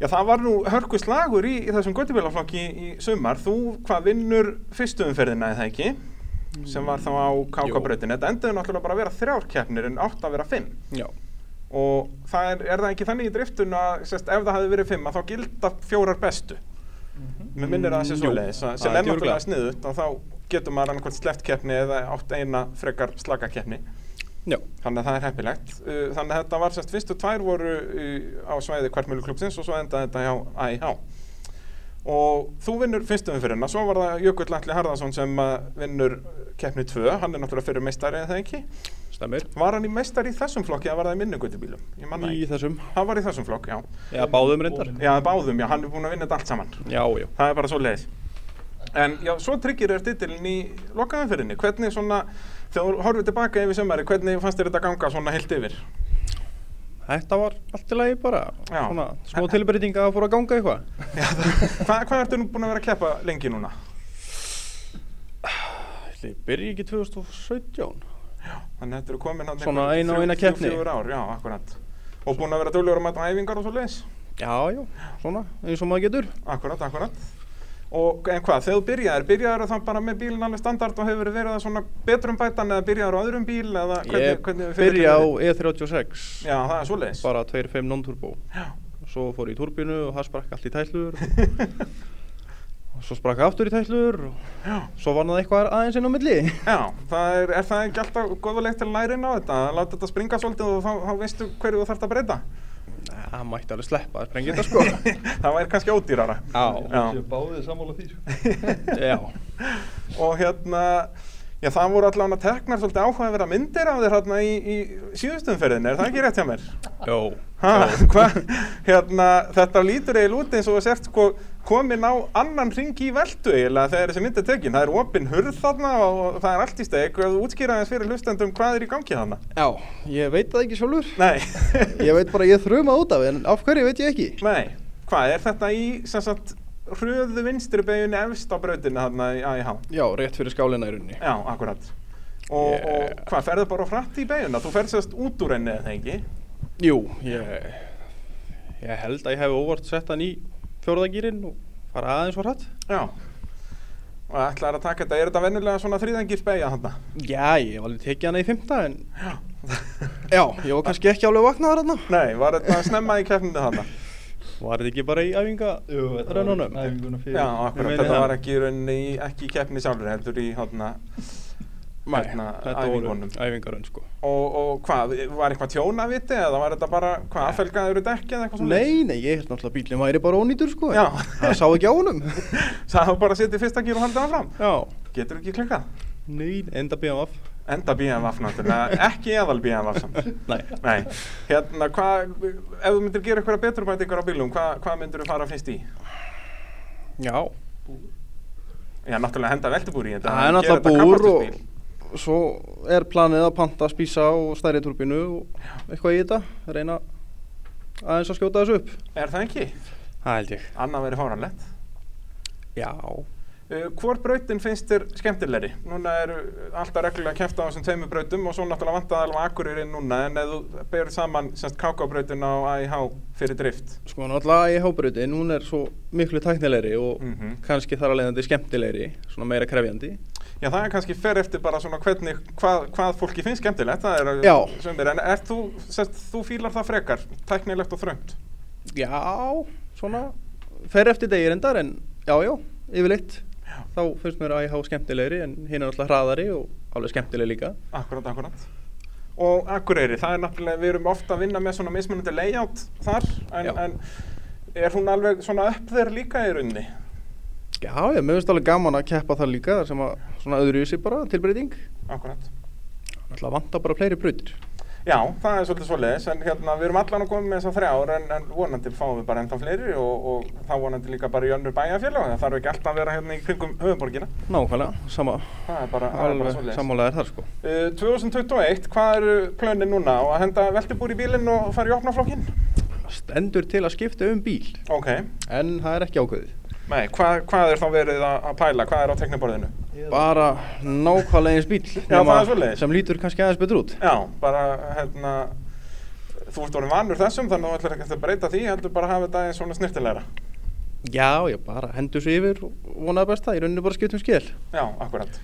A: já það var nú hörku slagur í, í þessum göttibílaflokki í sumar. Þú, hvað vinnur fyrstu umferðina eða ekki? Sem var þá á KK-brautin. Þetta endaði náttúrulega bara að vera þrjár keppnir en átt að vera fimm.
B: Já.
A: Og það er, er það ekki þannig í driftun að sest, ef það hefði verið fimm að þá gilda fjórar bestu. Mér minnir að það sé
B: Mm, jú.
A: svo leiðis.
B: Það
A: Sem
B: er
A: er náttúrulega
B: örugglega.
A: sniðut og þá getur maður annarkvæmt sleppt keppni eða átt eina frekar slaka keppni.
B: Já.
A: Þannig að það er heppilegt. Uh, Þannig að þetta var semst fyrstu tvær voru uh, á svæði kvartmjöluklubsins og svo endaði þetta hjá AIH. Og þú vinnur fyrstu umfyrirna, svo var það Jökull Alli Harðarsson sem uh, vinnur keppni 2, hann er náttúrulega fyrir meistari eða það ekki.
B: Stemmir.
A: Var hann í meistari í þessum flokki eða var það í minnugutubílum? Ég manna
B: Í
A: ekki.
B: þessum.
A: Hann var í þessum flokk, já.
B: Já, báðum reyndar.
A: Já, báðum, já, hann er búinn að vinna þetta allt saman.
B: Já, já.
A: Það er bara svo leið. En já, svo tryggir þér titilin í lokaðanferðinni. Hvernig svona, þegar þú horfið tilbaka yfir sömari, hvernig fannst þér þetta ganga svona heilt yfir?
B: Þetta var allt í lagi bara.
A: Já.
B: Svona, smá tilbreytinga að fóra að ganga eitthvað.
A: Já, það- Hvað hva ertu nú búin að vera að keppa lengi núna?
B: Ætli, byrja ekki 2017.
A: Þannig að þetta eru komin hann
B: Svona eina og eina keppni.
A: Fjögur ár, já, akkurat. Og búin að vera dölur um að mæta á æfingar og svo leiðis?
B: Já, já. Svona, eins og maður getur.
A: Akkurat, akkurat. Og en hvað, þegar þú byrjaðir, byrjaðir þá bara með bílinn alveg standard og hefur verið það svona betrum bætan eða byrjaðir á öðrum bíl eða
B: Ég
A: hvernig hefur
B: byrja á E
A: ferillinn verið?
B: E36.
A: Já, það er svo leiðis.
B: Bara 2.5 non-turbo.
A: Já.
B: Svo fór ég í turbínu og það sprakk allt í tætlur. og svo sprakk aftur í tætlur og
A: Já.
B: svo var það eitthvað aðeins inn á milli.
A: Já, það er, er það ekki alltaf góðulegt til lærin á þetta? Að Láta þetta springa svolítið og þá, þá veistu hverju þú þarft að breyta?
B: Það mætti alveg sleppa að sprengja þetta sko.
A: það væri kannski ódýrara.
B: Já.
A: Já.
I: ég báðið sammála því, sko.
B: Já.
A: og hérna já það voru allavega teknar svolítið áhuga að vera myndir af þér hérna í, í síðustumferðinu, er það ekki rétt hjá mér?
B: Jó.
A: Ha, hva, hérna, þetta lítur eiginlega út eins og þú sért sko komin á annan ring í veldu eiginlega þegar þessi mynd er tekin, það er opin hurð þarna og það er allt í steg og þú útskýra aðeins fyrir hlustendum hvað er í gangi þarna?
B: Já, ég veit það ekki sjálfur.
A: Nei,
B: Ég veit bara að ég þruma út af, en af hverju veit ég ekki.
A: nei, hvað er þetta í sem sagt hröðu vinstri beginni efst á brautinu þarna í AIH?
B: Já, rétt fyrir skálina í rauninni.
A: Já, akkurat. Og,
B: Yeah.
A: og hvað, ferðu bara á frætt í beiguna? Þú ferð sérst út úr henni eða ekki?
B: Jú, ég, ég held að ég hef óvart sett hann í fjórðagýrin og fara aðeins var hatt.
A: Já. Og ætlaðir að taka þetta, er þetta venjulega svona þrýðangir beigja þarna?
B: Já, ég hef alveg tekið hana í fymta en
A: Já.
B: já, ég var kannski ekki alveg vaknaðar hana.
A: Nei, var þetta snemma í keppninu þarna?
I: Var þetta ekki bara í æfinga? Jú, þetta var í æfinguna fyrir.
A: Já, akkurat, þetta var ekki í rauninni í- ekki í keppni sjálfur, heldur í hátna,
I: Nei,
A: hérna,
I: þetta voru
A: æfingunum.
I: æfingarun sko.
A: Og, og hvað, var eitthvað tjón af viti eða var þetta bara, hvað, aðfelgaður úr dekki eða eitthvað svona?
I: Nei, nei, ég held náttúrulega að bílinn væri bara ónýtur sko.
A: Já.
I: Það sá ekki á honum.
A: Það var bara að setja í fyrsta gír og halda áfram.
I: Já.
A: Getur ekki klikkað.
I: Nei, enda BMF.
A: Enda BMF náttúrulega, ekki eðal BMF samt.
I: Nei.
A: Nei, hérna, hvað, ef þú myndir gera eitthvað beturbætingar á bílum, hvað, hvað myndir þú fara fyrst í?
I: Já.
A: Já, náttúrulega henda veltubúr í þetta.
I: Það er
A: en gera
I: náttúrulega
A: þetta
I: búr
A: kappakstursbíl.
I: og svo er planið að panta spísa og stærri turbínu og eitthvað í þetta, reyna aðeins að skjóta þessu upp.
A: Er það ekki?
I: Það held ég.
A: Annað verið fáranlegt.
I: Já.
A: Uh, hvor brautin finnst þér skemmtilegri? Núna eru alltaf reglulega að kæfta á þessum tveimur brautum og svo náttúrulega vantaði alveg akkuririnn núna en ef þú berur saman semst KK-brautin á AIH fyrir drift
I: Sko náttúrulega ég hábrautin, hún er svo miklu tæknilegri og
A: Mhm.
I: kannski þar að leiðandi skemmtilegri, svona meira krefjandi.
A: Já, það er kannski fer eftir bara svona hvernig, hvað, hvað fólki finnst skemmtilegt það er
I: Já.
A: sömur, en er þú, semst, þú fílar það frekar, tæknilegt og þröngt
I: Já, svona, fer eftir degir endar en já, já, yfirleitt. Þá finnst mér að ég há skemmtilegri en hinn er náttúrulega hraðari og alveg skemmtileg líka.
A: Akkurat, akkurat Og Akureyri, það er náttúrulega, við erum ofta að vinna með svona mismunandi layout þar en,
I: Já.
A: en er hún alveg svona upp þér líka í runni?
I: Já, já, mér finnst alveg gaman að keppa þar líka þar sem að svona öðruvísi bara tilbreyting.
A: Akkurat
I: Náttúrulega vantar bara fleiri brautir.
A: Já, það er svolítið svoleiðis en hérna, við erum allan að koma með þessar þrjár en, en vonandi fáum við bara ennþá fleiri og, og þá vonandi líka bara í önnur bæjarfélag það þarf ekki alltaf að vera hérna í kringum höfuborgina
I: Nákvæmlega, sama,
A: það er bara, það er bara
I: alveg
A: svoleiðis uh,
I: sammálega er þar sko.
A: 2021, hvað eru plönin núna á að henda veltibúr í bílinn og fara í opnaflokkin?
I: Stendur til að skipta um bíl,
A: Ok,
I: en það er ekki ákveðið.
A: nei, hvað, hvað er þá verið að, að pæla, hvað er á tekniborðinu?
I: Bara nákvæmlega eins bíl,
A: Já,
I: nema
A: það er svoleiðis.
I: sem lítur kannski aðeins betur út.
A: Já, bara hérna þú ert orðin vanur þessum þannig að þú ætlar ekki að breyta því heldur bara að hafa þetta eins svona snirtilegra
I: Já, já, bara hendur svo yfir og vonaði besta, í rauninu bara skiptum skil.
A: Já, akkurat.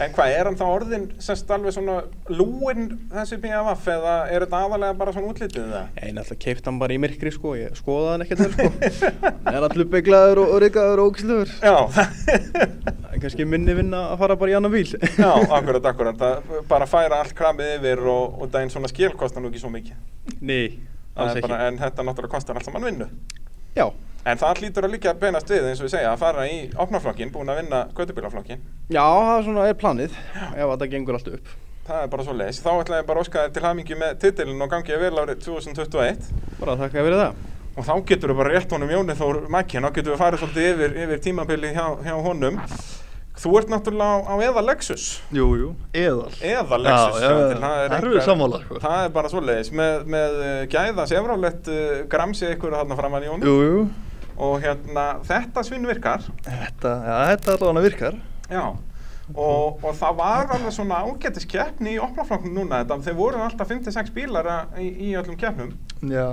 A: En hvað, er hann þá orðin semst alveg svona lúinn þessi BMF eða er þetta aðalega bara svona útlitið það?
I: Ég náttúrulega keipt hann bara í myrkri sko, ég skoðaði hann ekkert þar sko. Hann er allur beglaður og orðikaður og ógislegur.
A: Já,
I: Það er kannski minni vinna að fara bara í annan bíl.
A: já, akkurat, akkurat. Að bara færa allt kramið yfir og, og daginn svona skil kostar nú ekki svo mikið.
I: Nei,
A: Það
I: alls
A: er
I: ekki.
A: Bara, en þetta náttúrulega kostar allt saman vinnu.
I: Já,
A: En það hlýtur að líka að beinast við eins og ég segja að fara í opnaflokkin, búin að vinna gödubílaflokkin.
I: já, það er svona er planið, ef þetta gengur allt upp.
A: Það er bara svo leiðis. Þá ætla ég bara að óska þér til hamingi með titilin og gangi ég vel árið 2021.
I: Bara þakka fyrir það.
A: og þá getur við bara rétt honum Jóni Þór Mækkin, þá getur við farið svolítið yfir, yfir tímabilið hjá, hjá honum Þú ert náttúrulega á, á eða Lexus
I: Jú, jú, eðal.
A: eða Lexus,
I: já,
A: sjáðu
I: já.
A: til, það er
I: Þar eru
A: einhver-
I: við sammála, sko.
A: það er bara svoleiðis, með, með eh, gæðans efrálegt uh, gramsi ykkur þarna framan í honum
I: Jú, jú,
A: og hérna, þetta svinn virkar
I: þetta, já, þetta allavega virkar.
A: já Og, og það var alveg svona ágætis keppni í opnaflokknum núna þetta, þeir voru alltaf 5-6 bílar að- í, í öllum keppnum
I: Já,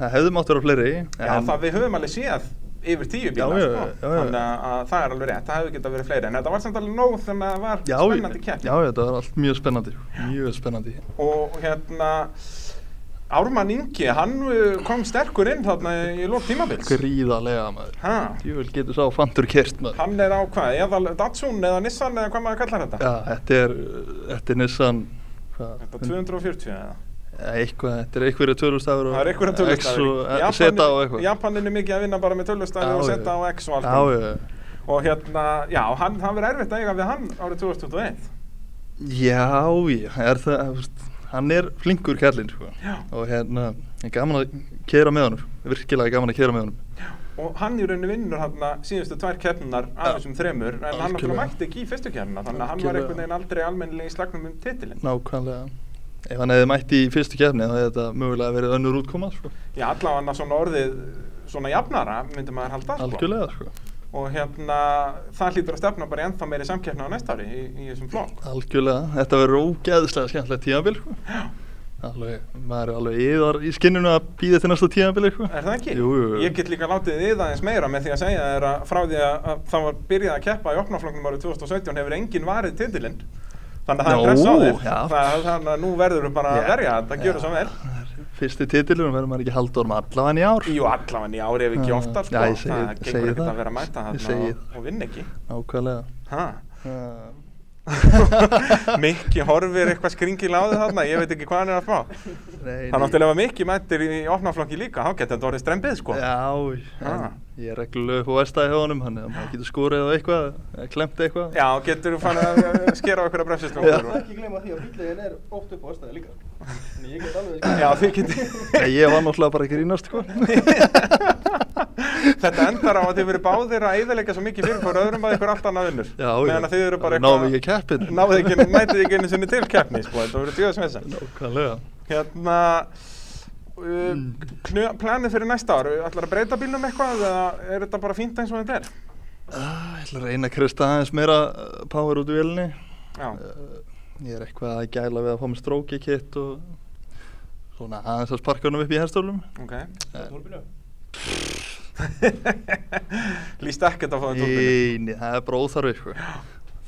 I: það hefði mátt vera fleiri.
A: Já, það við höfum alveg séð yfir tíu bíla,
I: Já, já,
A: sko.
I: já, já.
A: þannig að- að það er alveg rétt, það hefur getað verið fleiri, en þetta var samt alveg nóg þannig að það var spennandi kepp.
I: þetta var allt mjög spennandi, sko. mjög spennandi.
A: Og hérna, Ármann Ingi, hann uh, kom sterkur inn þarna í lók tímabils.
I: Gríðarlega maður.
A: Ha,
I: Jú, getur sá fantur kert maður.
A: hann er á hvað, eða Datsun eða Nissan eða hvað maður kallar þetta?
I: Já, þetta er, þetta er Nissan hvað,
A: Þetta 240 eða?
I: eitthvað, þetta er einhverja tölustafur og
A: Það er einhverjum tölustafir.
I: og seta eh, og eitthvað
A: Japanin er mikið að vinna bara með tölustafir
I: Já,
A: og
I: já.
A: seta og X og allt.
I: Já,
A: það.
I: já.
A: Og hérna, já, hann, það verður erfitt að eiga við hann árið 2021.
I: já, já, er það þú veist, hann er flinkur kallinn sko.
A: Já.
I: og hérna, er gaman að keira með honum, virkilega gaman að keira með honum
A: og hann í rauninni vinnur hann síðustu tvær keppnar af þessum þremur en hann náttúrulega
I: Algjörlega.
A: mætti ekki í fyrstu keppnina þannig að hann var
I: Algjörlega.
A: einhvern veginn aldrei almennilega í slagnum um titilin
I: nákvæmlega ef hann hefði mætt í fyrstu kefni þá hefði þetta mögulega verið önnur útkoma sko.
A: já allavega svona orðið svona jafnara myndi maður halda sko.
I: algjörlega sko.
A: og hérna það hlýtur að stefna bara í ennþá meiri samkeppna á næsta ári í, í þessum flokk
I: algjörlega, þetta verður ógeðslega skemmtilegt tímabil sko. alveg, maður er alveg yðar í skinninu að býða til næsta tímabil sko.
A: er það ekki?
I: Jú, jú, jú.
A: ég get líka látið þið aðeins meira með því að segja þér að frá því að, að það var byrjað að keppa í opnaflokknum árið 2017 hefur enginn varið titilin þannig að það er
I: Nó,
A: press á þér
I: já.
A: Það- þannig að nú verður bara að
I: Já,
A: verja þetta, gjöru svo vel
J: fyrsti titilunum verður maður ekki haldur um allavega í ár
A: Jú, allavega í ári ef ekki
J: Já.
A: oftar sko.
J: Já, ég segi-
A: það
J: segi
A: gengur ekkert
J: það.
A: að vera að mæta
J: Ég
A: þarna
J: segi
A: og, og vinna ekki
J: nákvæmlega
A: ha.
J: uh,
A: Mikki horfir eitthvað skringil á þau þarna ég veit ekki hvað hann er að fá
J: nei,
A: það náttúrulega var Mikki mættir í opnaflokki líka þá getur þetta orðið strembið sko
J: já, en
A: Ha.
J: ég er reglulega upp á verstaði hjá honum hann maður getur skúrið á eitthvað eða klemt eitthvað
A: Já, getur þú fann að að skera á einhverja bremsustrókur
J: Já.
A: og-
I: ekki gleyma því að bíllegin er ótt upp á aðstæði líka en ég get alveg
A: Já, þið getur
J: Nei, ég var náttúrulega bara að grínast sko.
A: Þetta endar á að þið verið báðir að eðalega svo mikið fyrir fyrir öðrum að ykkur allt annað vinnur
J: Já, já.
A: meðan að þið eru bara
J: Náum ekki keppinu.
A: Náðu ekki, mætið ekki einu sinni til keppni sko, þetta verið djóðs með þess
J: Nákvæmlega Mm.
A: Hérna uh, knö, planið fyrir næsta ár ætlar að breyta bílnum eitthvað eða er þetta bara fínt eins og þetta er?
J: Ah, Ég ætla að reyna að krista aðeins meira uh, power út í vélni
A: Já,
J: Ég er eitthvað að gæla við að fá með stróki kitt og svona aðeins að sparka honum upp í Eh, herstólum
A: ok
I: alveg
A: Lýst ekkert að fá þetta úr
J: Nei, nei, það er bara óþarfi sko.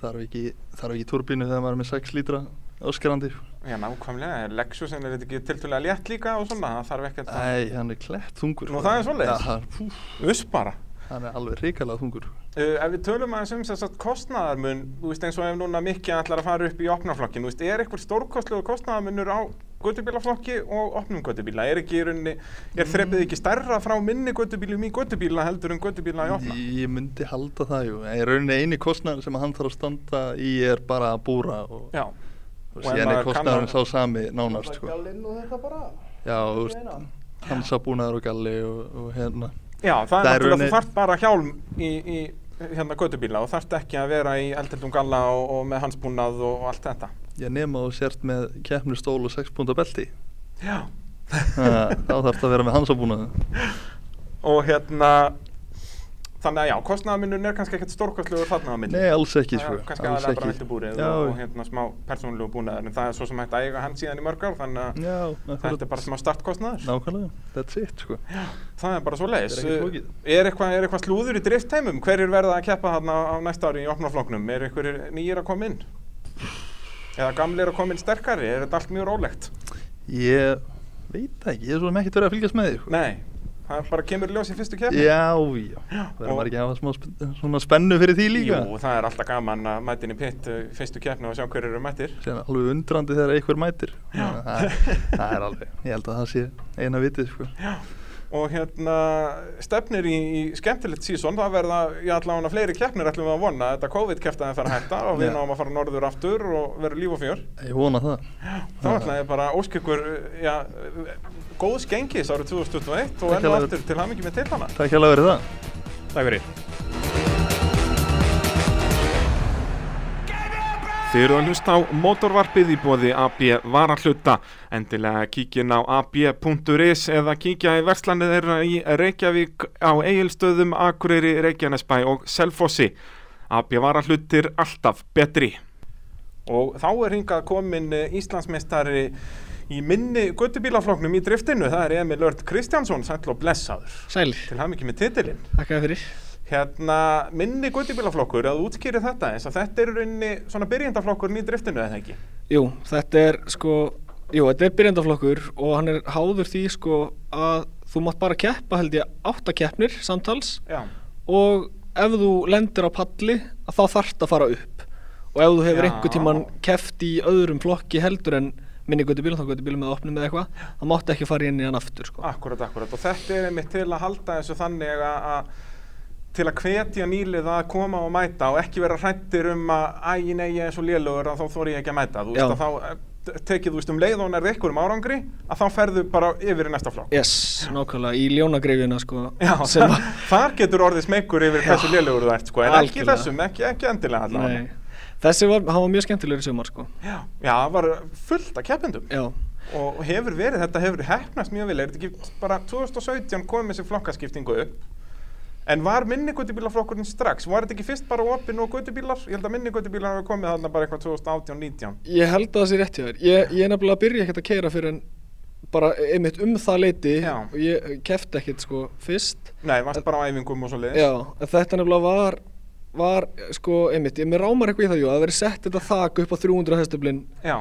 J: þarf, ekki, þarf ekki turbínu þegar maður er með 6 lítra öskrandi sko.
A: Já, nákvæmlega, Lexusin er þetta ekki tiltölulega létt líka og svona, það þarf ekkert að
J: Æ, hann er klett þungur
A: Nú,
J: sko.
A: það er svoleiðis?
J: Já, hann- pú,
A: Uss bara
J: Hann er alveg hrikalega þungur
A: Uh, ef við tölum aðeins um þess að kostnaðarmun, þú veist eins og ef núna Mikki ætlar að fara upp í opnaflokkin, þú veist, er eitthvað stórkostlegu kostnaðarmunur á göttubílaflokki og opnum göttubíla? Er ekki í rauninni,
J: Mm.
A: er þreppið ekki stærra frá minni göttubílum í göttubíla heldur en göttubíla í opna?
J: Ég myndi halda það, jú En í rauninni eini kostnæður sem hann þarf að standa í er bara að búra og
A: Já,
J: og
A: Og ef
J: síðan er
A: maður
J: kostnaðurinn sá
A: kann að-
J: sami nánast sko.
I: gallinn og þetta bara
J: Já, þú veist, hansabúnaður og galli og, og hérna Það
A: Já það, er
J: er
A: náttúrulega,
J: rauninni-
A: þú þarft bara hjálm í, í hérna göttubíla og þarft ekki að vera í eldhildum galla og, og með hansbúnað og, og allt þetta.
J: Ég nema þú sért með keppni stól og 6 púnta belti
A: Já.
J: Ha, Þá þarf að vera með hansabúnaður
A: og hérna, þannig að já, kostnaðarmunurinn er kannski ekkert stórkostlegur þarna að minni.
J: Nei, alls ekki
A: Já,
J: sko
A: kannski
J: alls
A: aðalega bara
J: ekki.
A: viltubúrið
J: Já,
A: og, og hérna smá persónulegu búnaður en það er svo sem hægt að eiga hann síðan í mörg ár þannig að
J: já
A: þetta er bara smá startkostnaður
J: Nákvæmlega, that's it sko
A: það er bara svo leiðis
J: Þetta er ekkert flókið.
A: er eitthvað er eitthvað slúður í driftheimum hverjir verða að keppa þarna á næsta ári í opnafloknum er einhverjir nýjir að koma inn eða gamlir að koma inn sterkari er þetta allt mjög rólegt
J: Ég veit það ekki, ég er svo með ekkert verið að fylgjast með því sko.
A: nei það bara kemur í ljós í fyrstu keppni
J: Já, já, verður
A: og-
J: maður ekki að hafa smá sp svona spennu fyrir því líka
A: Jú, það er alltaf gaman að mæta inn í pitt uh, í fyrstu keppni og sjá hverjir eru mættir
J: Síðan er alveg undrandi þegar einhver mætir Þannig að það, það er alveg, ég held að það sé eina vitið sko
A: og hérna stefnir í, í skemmtilegt sísón það verða, ég ætla hún að fleiri keppnir ætlum við að vona þetta COVID-keftaðin fara að hætta og við
J: Já.
A: náum að fara norður aftur og verður líf og fjör
J: Ég vona það.
A: þá ætla ég bara að óska ykkur já, góðs gengis árið 2021 og
J: Takk
A: enn og
J: hérlega.
A: aftur til hamingi með tilhana
J: Takk hérlega fyrir það.
A: Takk fyrir Þið eru að hlusta á mótorvarpið í bóði AB varahluta. Endilega kíkin á ab.is eða kíkja í verslanið þeirra í Reykjavík á Egilstöðum, Akureyri, Reykjanesbæ og Selfossi. AB varahlutir alltaf betri. Og þá er hingað komin eh, Íslandsmeistari í minni göttubílafloknum í driftinu. Það er Emil Örd Kristjánsson, sæll og blessaður.
K: Sælir,
A: Til hafði mikið með titilinn.
K: þakka þér fyrir.
A: Hérna, minni göttibílaflokkur, að útskýri þetta eins og þetta er í rauninni svona byrjandaflokkurinn í driftinu eða ekki?
K: Jú, þetta er sko, jú, þetta er byrjandaflokkur og hann er háður því sko að þú mátt bara keppa held ég átta keppnir samtals
A: Já.
K: og ef þú lendir á palli að þá þarft að fara upp og ef þú hefur
A: Já.
K: einhver tíman keft í öðrum flokki heldur en minni götu bílum, þá götu bílum eða opnum eða eitthvað, þá máttu ekki fara inn í hann aftur sko.
A: Akkurat, akkurat. Og þetta er einmitt til að halda þessu þannig að, að til að hvetja nýlið að koma og mæta og ekki vera hrættir um að æ, nei, ég er svo lélugur að þá þóri ég ekki að mæta. Þú veist
K: Já.
A: að þá eh, t- tekið þú veist um leið og nærði ykkur um árangri að þá ferðu bara yfir í næsta flokk.
K: Yes, nákvæmlega, í ljónagreifina sko.
A: Já,
K: sem
A: þar,
K: að-
A: þar getur orðið smekur yfir hversu lélugur þú ert, sko, en ekki í
K: Algjörlega.
A: þessum, ekki, ekki endilega allavega.
K: Nei. Þessi var, hann var mjög skemmtilegur í sumar sko.
A: Já, já, það var fullt af keppendum.
K: Já.
A: og og hefur verið, þetta hefur hefnast mjög vel er þetta ekki bara 2017 komið þessi flokkaskiptingu upp en var minni guttubílaflokkurinn strax var þetta ekki fyrst bara opinn og guttubílar ég held að minni guttubílar hafa komið þarna bara eitthvað 2018-19
K: Ég held að það sé rétt hjá þér. Ég, ég er nefnilega að byrja ekkert að keira fyrir en bara einmitt um það leiti
A: Já.
K: og ég kefti ekkert sko fyrst.
A: nei, varst bara á æfingum og svo leiðis
K: Já, en þetta nefnilega var, var sko einmitt, ég mér rámar eitthvað í það, jú, að verið sett þetta þak upp á 300 hestöflin.
A: já,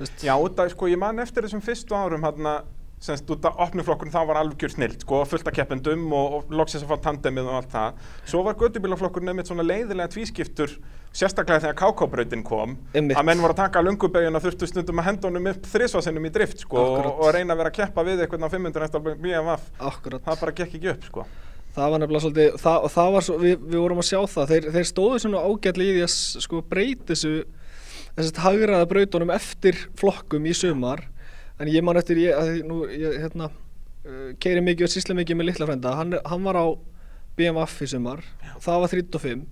K: Þú veist.
A: já og það, sko, ég man eftir þessum fyrstu árum hana, semst út af opnuflokkurinn þá var alveg snilt sko, fullt af keppendum og, og loksins að fá tandemið og allt það svo var gödubílaflokkurinn einmitt svona leiðilega tvískiptur sérstaklega þegar KK-brautin kom
K: Einmitt.
A: að menn voru að taka lungubegjun og þurftu stundum að henda honum upp þrisvasinum í drift sko, og,
K: Akkurat.
A: og reyna að vera að keppa við eitthvað á 500 hesta BMF
K: Akkurat.
A: það bara gekk ekki upp sko.
K: Það var nefnilega svolítið, það, og það var svo, við, við vorum að sjá það, þeir, þeir stóðu svona ágætlega í því að s- sko breyti þessu, þessi hagraða brautunum eftir flokkum í sumar, en ég man eftir, ég, að, því nú, ég, hérna, uh, keiri mikið og sýsla mikið með litla frenda, hann, hann var á BMF í sumar, það var 35,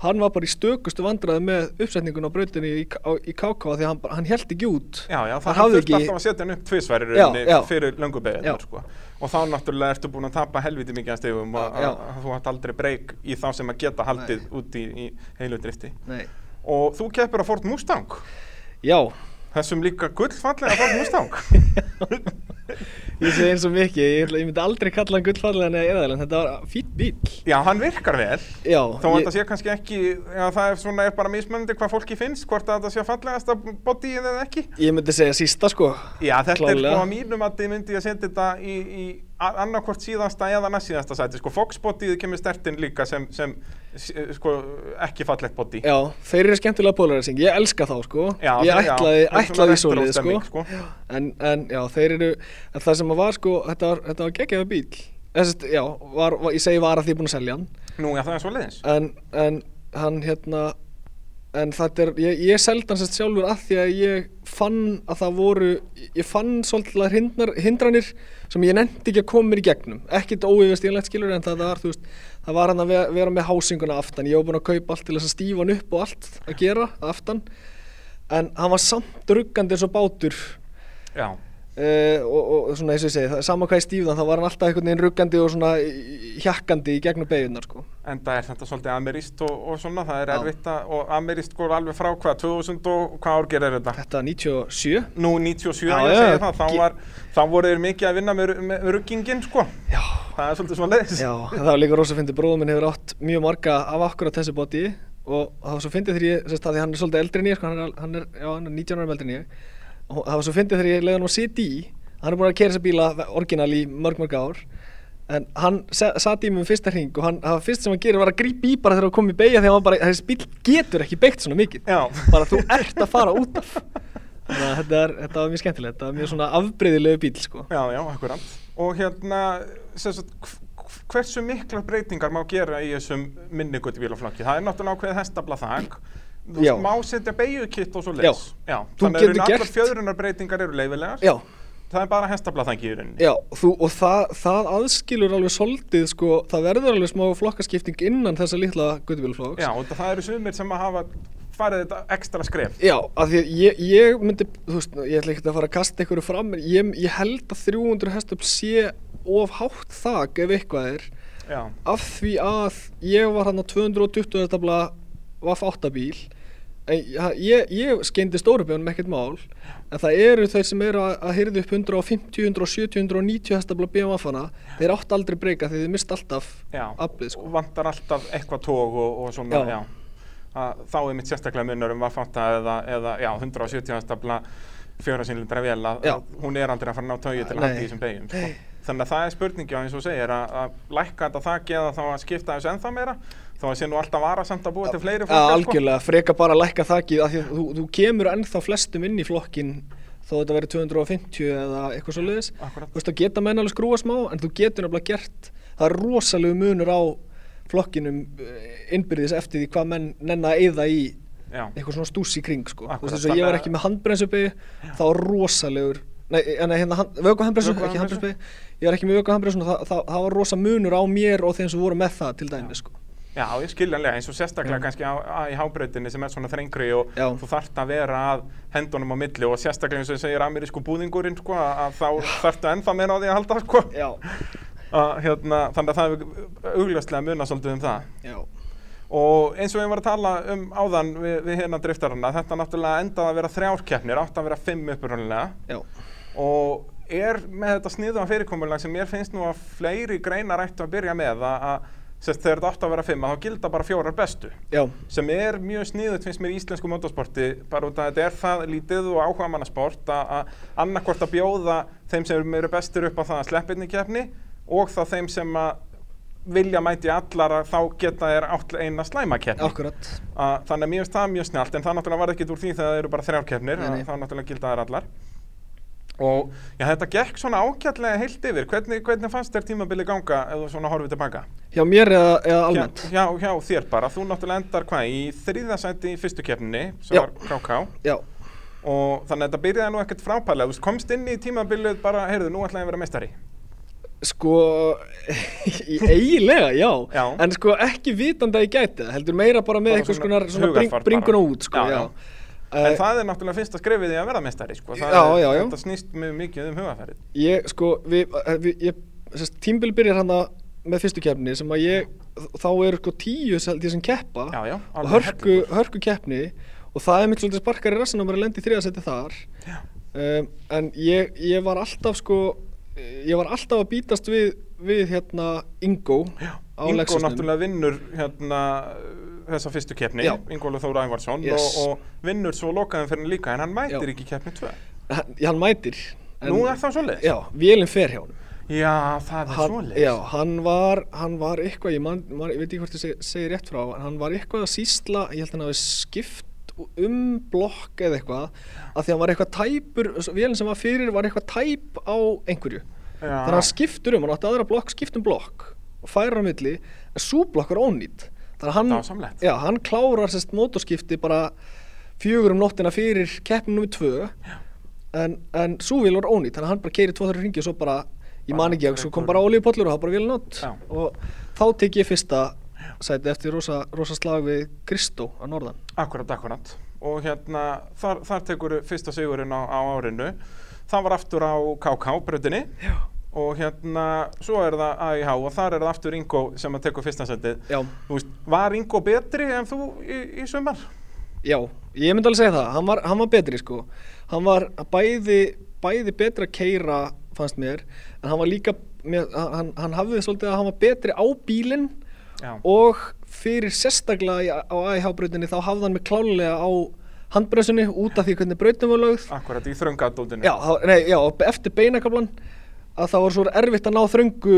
K: hann var bara í stökustu vandræði með uppsetningun á brautinni í, K- á, í KK því að hann, bara- hann held ekki út.
A: Já, já, það
K: Hann hafði
A: þurfti
K: ekki-
A: alltaf að setja hann upp tvisværi
K: Já,
A: rauninni
K: já.
A: fyrir löngu
K: Já.
A: beðinnar sko. og þá náttúrulega ertu búin að tapa helviti mikið að stegum og
K: Já.
A: að- að þú hatt aldrei breyk í þá sem að geta haldið út í, í heilu drifti
K: Nei.
A: og þú keppir á Ford Mustang
K: Já.
A: þessum líka gullfallega Ford Mustang
K: Ég segi eins og mikið, ég, ætla- ég myndi aldrei kalla hann gullfallega neða eðalega, þetta var fýtt bíl.
A: Já, hann virkar vel
K: Já,
A: þó að
K: ég-
A: þetta sé kannski ekki já, það er svona er bara mismöndi hvað fólki finnst hvort að þetta sé fallegasta bodyið eða ekki
K: Ég myndi segja sísta sko
A: Já, þetta
K: Klárlega.
A: er sko að mínum að þið myndi ég að setja þetta í, í annarkvort síðasta eða næst síðasta sæti sko Foxbodyð kemur stertinn líka sem, sem s- sko, ekki fallegt body
K: Já, þeir eru skemmtilega polarising, ég elska þá sko
A: Já,
K: Ég
A: þeir- já,
K: ætlaði,
A: það er svona
K: ætlaði í
A: retro
K: svolítið sko,
A: stemming, sko.
K: En, en já, þeir eru, en það sem að var sko, þetta var, þetta var geggjaða bíl Þessast, já, var, var, ég segi var að því ég er búinn að selja hann
A: Nú, já, það er svo leiðins
K: En, en hann hérna, en þetta er, ég, ég seldi hann sérst sjálfur að því að ég fann að það voru Ég fann svolítið hindrar, hindranir sem ég nefndi ekki að koma mér í gegnum Ekkit óyfistíðanlegt skilur en það var, þú veist Það var hann að ve- vera með hásinguna aftan, ég var búinn að kaupa allt til þess að stífa hann upp og allt að gera aftan En hann var samt ruggandi eins og bátur
A: Já,
K: Uh, og, og svona eins og ég segi, það, sama hvað ég stífðan þá var hann alltaf einhvern veginn ruggandi og svona í- í- hjakkandi í gegnum beigunar sko.
A: en það er þetta svolítið ameríst og, og svona, það er erfitt að, og ameríst sko alveg frá hvað, 2000 og hvað ár gerir þetta?
K: Þetta 97
A: Nú, 97,
K: Já,
A: ég
K: já,
A: segi það,
K: ge-
A: þá, var, þá voru þeir mikið að vinna með, ru- með ruggingin sko Já Það er svolítið svo leiðis
K: Já, en það var líka rosa fyndið, bróðum minn hefur átt mjög marga af akkur á þessu bóti og það var svo fyndið þegar ég, sérst það því hann er svolítið eldri en ég, sko, hann er, hann er, já, hann er 19 ára eldri en ég og það var svo fyndið þegar ég leiði hann að sitja í, hann er búin að kera þessa bíla orginal í mörg mörg ár en hann sati í mig um fyrsta hring og hann, það var fyrst sem hann gerir var að grípa í bara þegar hann kom í beigja þegar hann bara, þessi bíl getur ekki beigt svona mikið,
A: já.
K: bara þú ert að fara út af þannig að þetta, er, þetta var mjög skemmtilegt, þetta var mjög svona afbreyðilegu bíl sko.
A: Já, já, akkurat. Og hérna, sem sagt, hv- hv- hversu miklar breytingar má gera í þessum minni guttubílaflokki? Það er náttúrulega ákveðið hestabla þak. Þú
K: Já.
A: má setja beigjukitt og svo leys. Já.
K: Þú getur
A: Þannig að í rauninni
K: gert-
A: allar fjöðrunarbreytingar eru leifilegar.
K: Já.
A: Það er bara hestabla þakki í rauninni.
K: Já, þú, og það, það aðskilur alveg soldið, sko, það verður alveg smá flokkaskipting innan þessa litla guttubílflokks.
A: Já, og það eru sumir sem að hafa farið þetta ekstra skref.
K: Já, af því að ég, ég myndi, þú veist, ég ætla ekkert að fara að kasta einhverju fram, en ég, ég held að 300 hestöfl sé of hátt þak ef eitthvað er,
A: Já.
K: af því að ég var hann á 220 hestöfla vaff 8 bíl, en ég- ég, ég skeindi stórubjörnum ekkert mál, en það eru þeir sem eru að, að hyrðu upp 150, 170, 190 hestöfla BMF-ana, þeir átt aldrei breyka því þeir mist alltaf
A: Já.
K: aflið, sko.
A: Og vantar alltaf eitthvað tóg og, og svona,
K: Já.
A: já. Að, þá er mitt sérstaklega munur um að fatta eða, eða já, 170 stafla fjóra sínlindra vél að
K: Já.
A: að hún er aldrei að fara að ná tögi til að
K: Nei.
A: halda í þessum beigjum sko. þannig að það er spurningi á eins og þú segir að, að lækka þetta þakki eða þá að skipta þessu ennþá meira þá að sé nú alltaf varasamt að búa til fleiri
K: Já,
A: flokkar, sko.
K: algjörlega, freka bara að lækka þakið af því að þú, þú kemur ennþá flestum inn í flokkin þó þetta verið 250 eða eitthvað svo leiðis
A: Akkurat.
K: Þú veist, þá geta menn alveg skrúa smá en þú getur nefnilega gert það er rosalegu munur á flokkinum eh, innbyrðis eftir því hvað menn nenna að eyða í
A: Já.
K: eitthvað svona stús í kring sko. Þú
A: Akkurat,
K: veist, eins og ég
A: þannig
K: var
A: að-
K: ekki með handbremsubegi þá er rosalegur Nei, en hérna, vöku handbremsu, ekki
A: Vökvahandbremsu?
K: handbremsu Ég var ekki með vöku handbremsu það, það, það var rosa munur á mér og þeim sem voru með það til dæmis sko.
A: Já, ég skiljanlega, eins og sérstaklega kannski á, á, í hábreytinni sem er svona þrengri og
K: Já.
A: þú þarft að vera að hendunum á milli og sérstaklega eins og segir amerísku búðingurinn sko, að að þá þarftu ennþá meira á því að halda sko.
K: Já,
A: að, hérna, þannig að það er augljóslega muna svolítið um það
K: já
A: og eins og við varum að tala um áðan við, við hérna driftarana, þetta náttúrulega endaði að vera þrjár keppnir, átt að vera fimm upprunalega
K: Já.
A: og er með þetta sniðum fyrirkomulag sem mér finnst nú að fleiri greinar ættu að byrja með að, að Sest, þegar þetta átt að vera fimm að þá gilda bara fjórar bestu
K: Já.
A: sem er mjög sniðut finnst mér í íslensku motorsporti bara út að þetta er það lítið og áhuga mannasport að annarkvort að bjóða þeim sem eru bestur upp á það að sleppa inn í keppni og þá þeim sem að vilja mæti allar að þá geta þér átt eina slæma keppni
K: Akkurat.
A: að, þannig að mér finnst það mjög snjált en það náttúrulega var ekkert úr því þegar það eru bara þrjár keppnir
K: Nei,
A: að
K: nei.
A: þá náttúrulega gilda þær allar og já, þetta gekk svona ákjallega heilt yfir hvernig, hvernig fannst þér tímabili ganga ef þú svona horfið tilbaka?
K: Hjá mér eða, eða almennt?
A: Hjá, hjá, hjá þér bara, þú náttúrulega endar hvað í þriðasæti í fyrstu keppninni sem
K: Já.
A: var KK
K: Já.
A: og þannig að þetta byrjaði nú ekkert frábælega þú veist, komst inn í tímabilið bara, heyrðu, nú ætlaði ég að vera meistari
K: Sko, í- eiginlega, já.
A: já.
K: En sko, ekki vitandi að ég gæti það, heldur meira bara með
A: Bara
K: einhvers
A: svona
K: konar svona
A: hugarfar
K: bring,
A: bara.
K: bringuna út, sko,
A: Já,
K: já.
A: já. en það er náttúrulega fyrsta skrefið í að vera meistari sko. Það
K: Eh, Já,
A: er,
K: já, já.
A: þetta snýst mjög mikið um hugafærið
K: Ég, sko, við, við ég, sérst, tímbil byrjar hann með fyrstu keppni sem að ég, þá eru sko tíu held ég sem keppa
A: Já, já,
K: og
A: alveg
K: hörku, hörku keppni og það er mitt svolítið sparkar í rassin og maður lendi í þriðasetti þar um, en ég, ég var alltaf sko ég var alltaf að bítast við við hérna Ingo já, á
A: Ingo
K: Lexusnum.
A: náttúrulega vinnur hérna, þessa fyrstu keppni
K: Já.
A: Ingólu Þóra Ævarsson
K: Yes.
A: og, og vinnur svo lokaðum fyrir líka en hann mætir
K: Já.
A: ekki í keppni 2
K: hann, hann mætir
A: Nú er það svoleiðis?
K: Já, vélinn fer hjá honum
A: Já, það er
K: hann,
A: svoleiðis.
K: Já, hann var, hann var eitthvað, ég, man, man, ég veit ekki hvort ég seg, segi rétt frá en hann var eitthvað að sýsla, ég held að hann hafi skipt um blokk eða eitthvað að því hann var eitthvað tæpur, vélinn sem var fyrir var eitthvað tæp á einhverju
A: Já.
K: þannig að hann skiptur um, hann átti aðra blokk, skipt um blokk og færir á milli, en sú blokk er ónýtt þannig að hann,
A: Dásamlegt.
K: já, hann klárar sérst mótorskipti bara fjögur um nóttina fyrir keppnum nummer tvö en, en svo vil var ónýtt þannig að hann bara keiri tvo-þrjur ringi og svo bara ég man ekki, svo kom bara olíupollur og það bara vil nátt
A: Já.
K: og þá tek ég fyrsta sæti eftir rosa, rosa slag við Kristó að norðan
A: Akkurat, akkurat og hérna þar, þar tekur fyrsta sigurinn á, á árinu það var aftur á KK bröðinni og hérna svo er það AIH og þar er það aftur Ingo sem að tekur fyrsta setið
K: Já.
A: veist, var Ingo betri en þú í, í sumar?
K: Já, ég myndi alveg segja það, hann var, hann var betri sko Hann var bæði, bæði betri að keira fannst mér En hann var líka, mér, hann, hann hafði svolítið að hann var betri á bílinn
A: Já.
K: Og fyrir sérstaklega í- á AIH-brautinni þá hafði hann mig klálega á handbremsunni Út af því hvernig brautin var lögð
A: Akkurat í þröngadótinu
K: Já, þá, nei, já, eftir beinakablan að það var svo erfitt að ná þröngu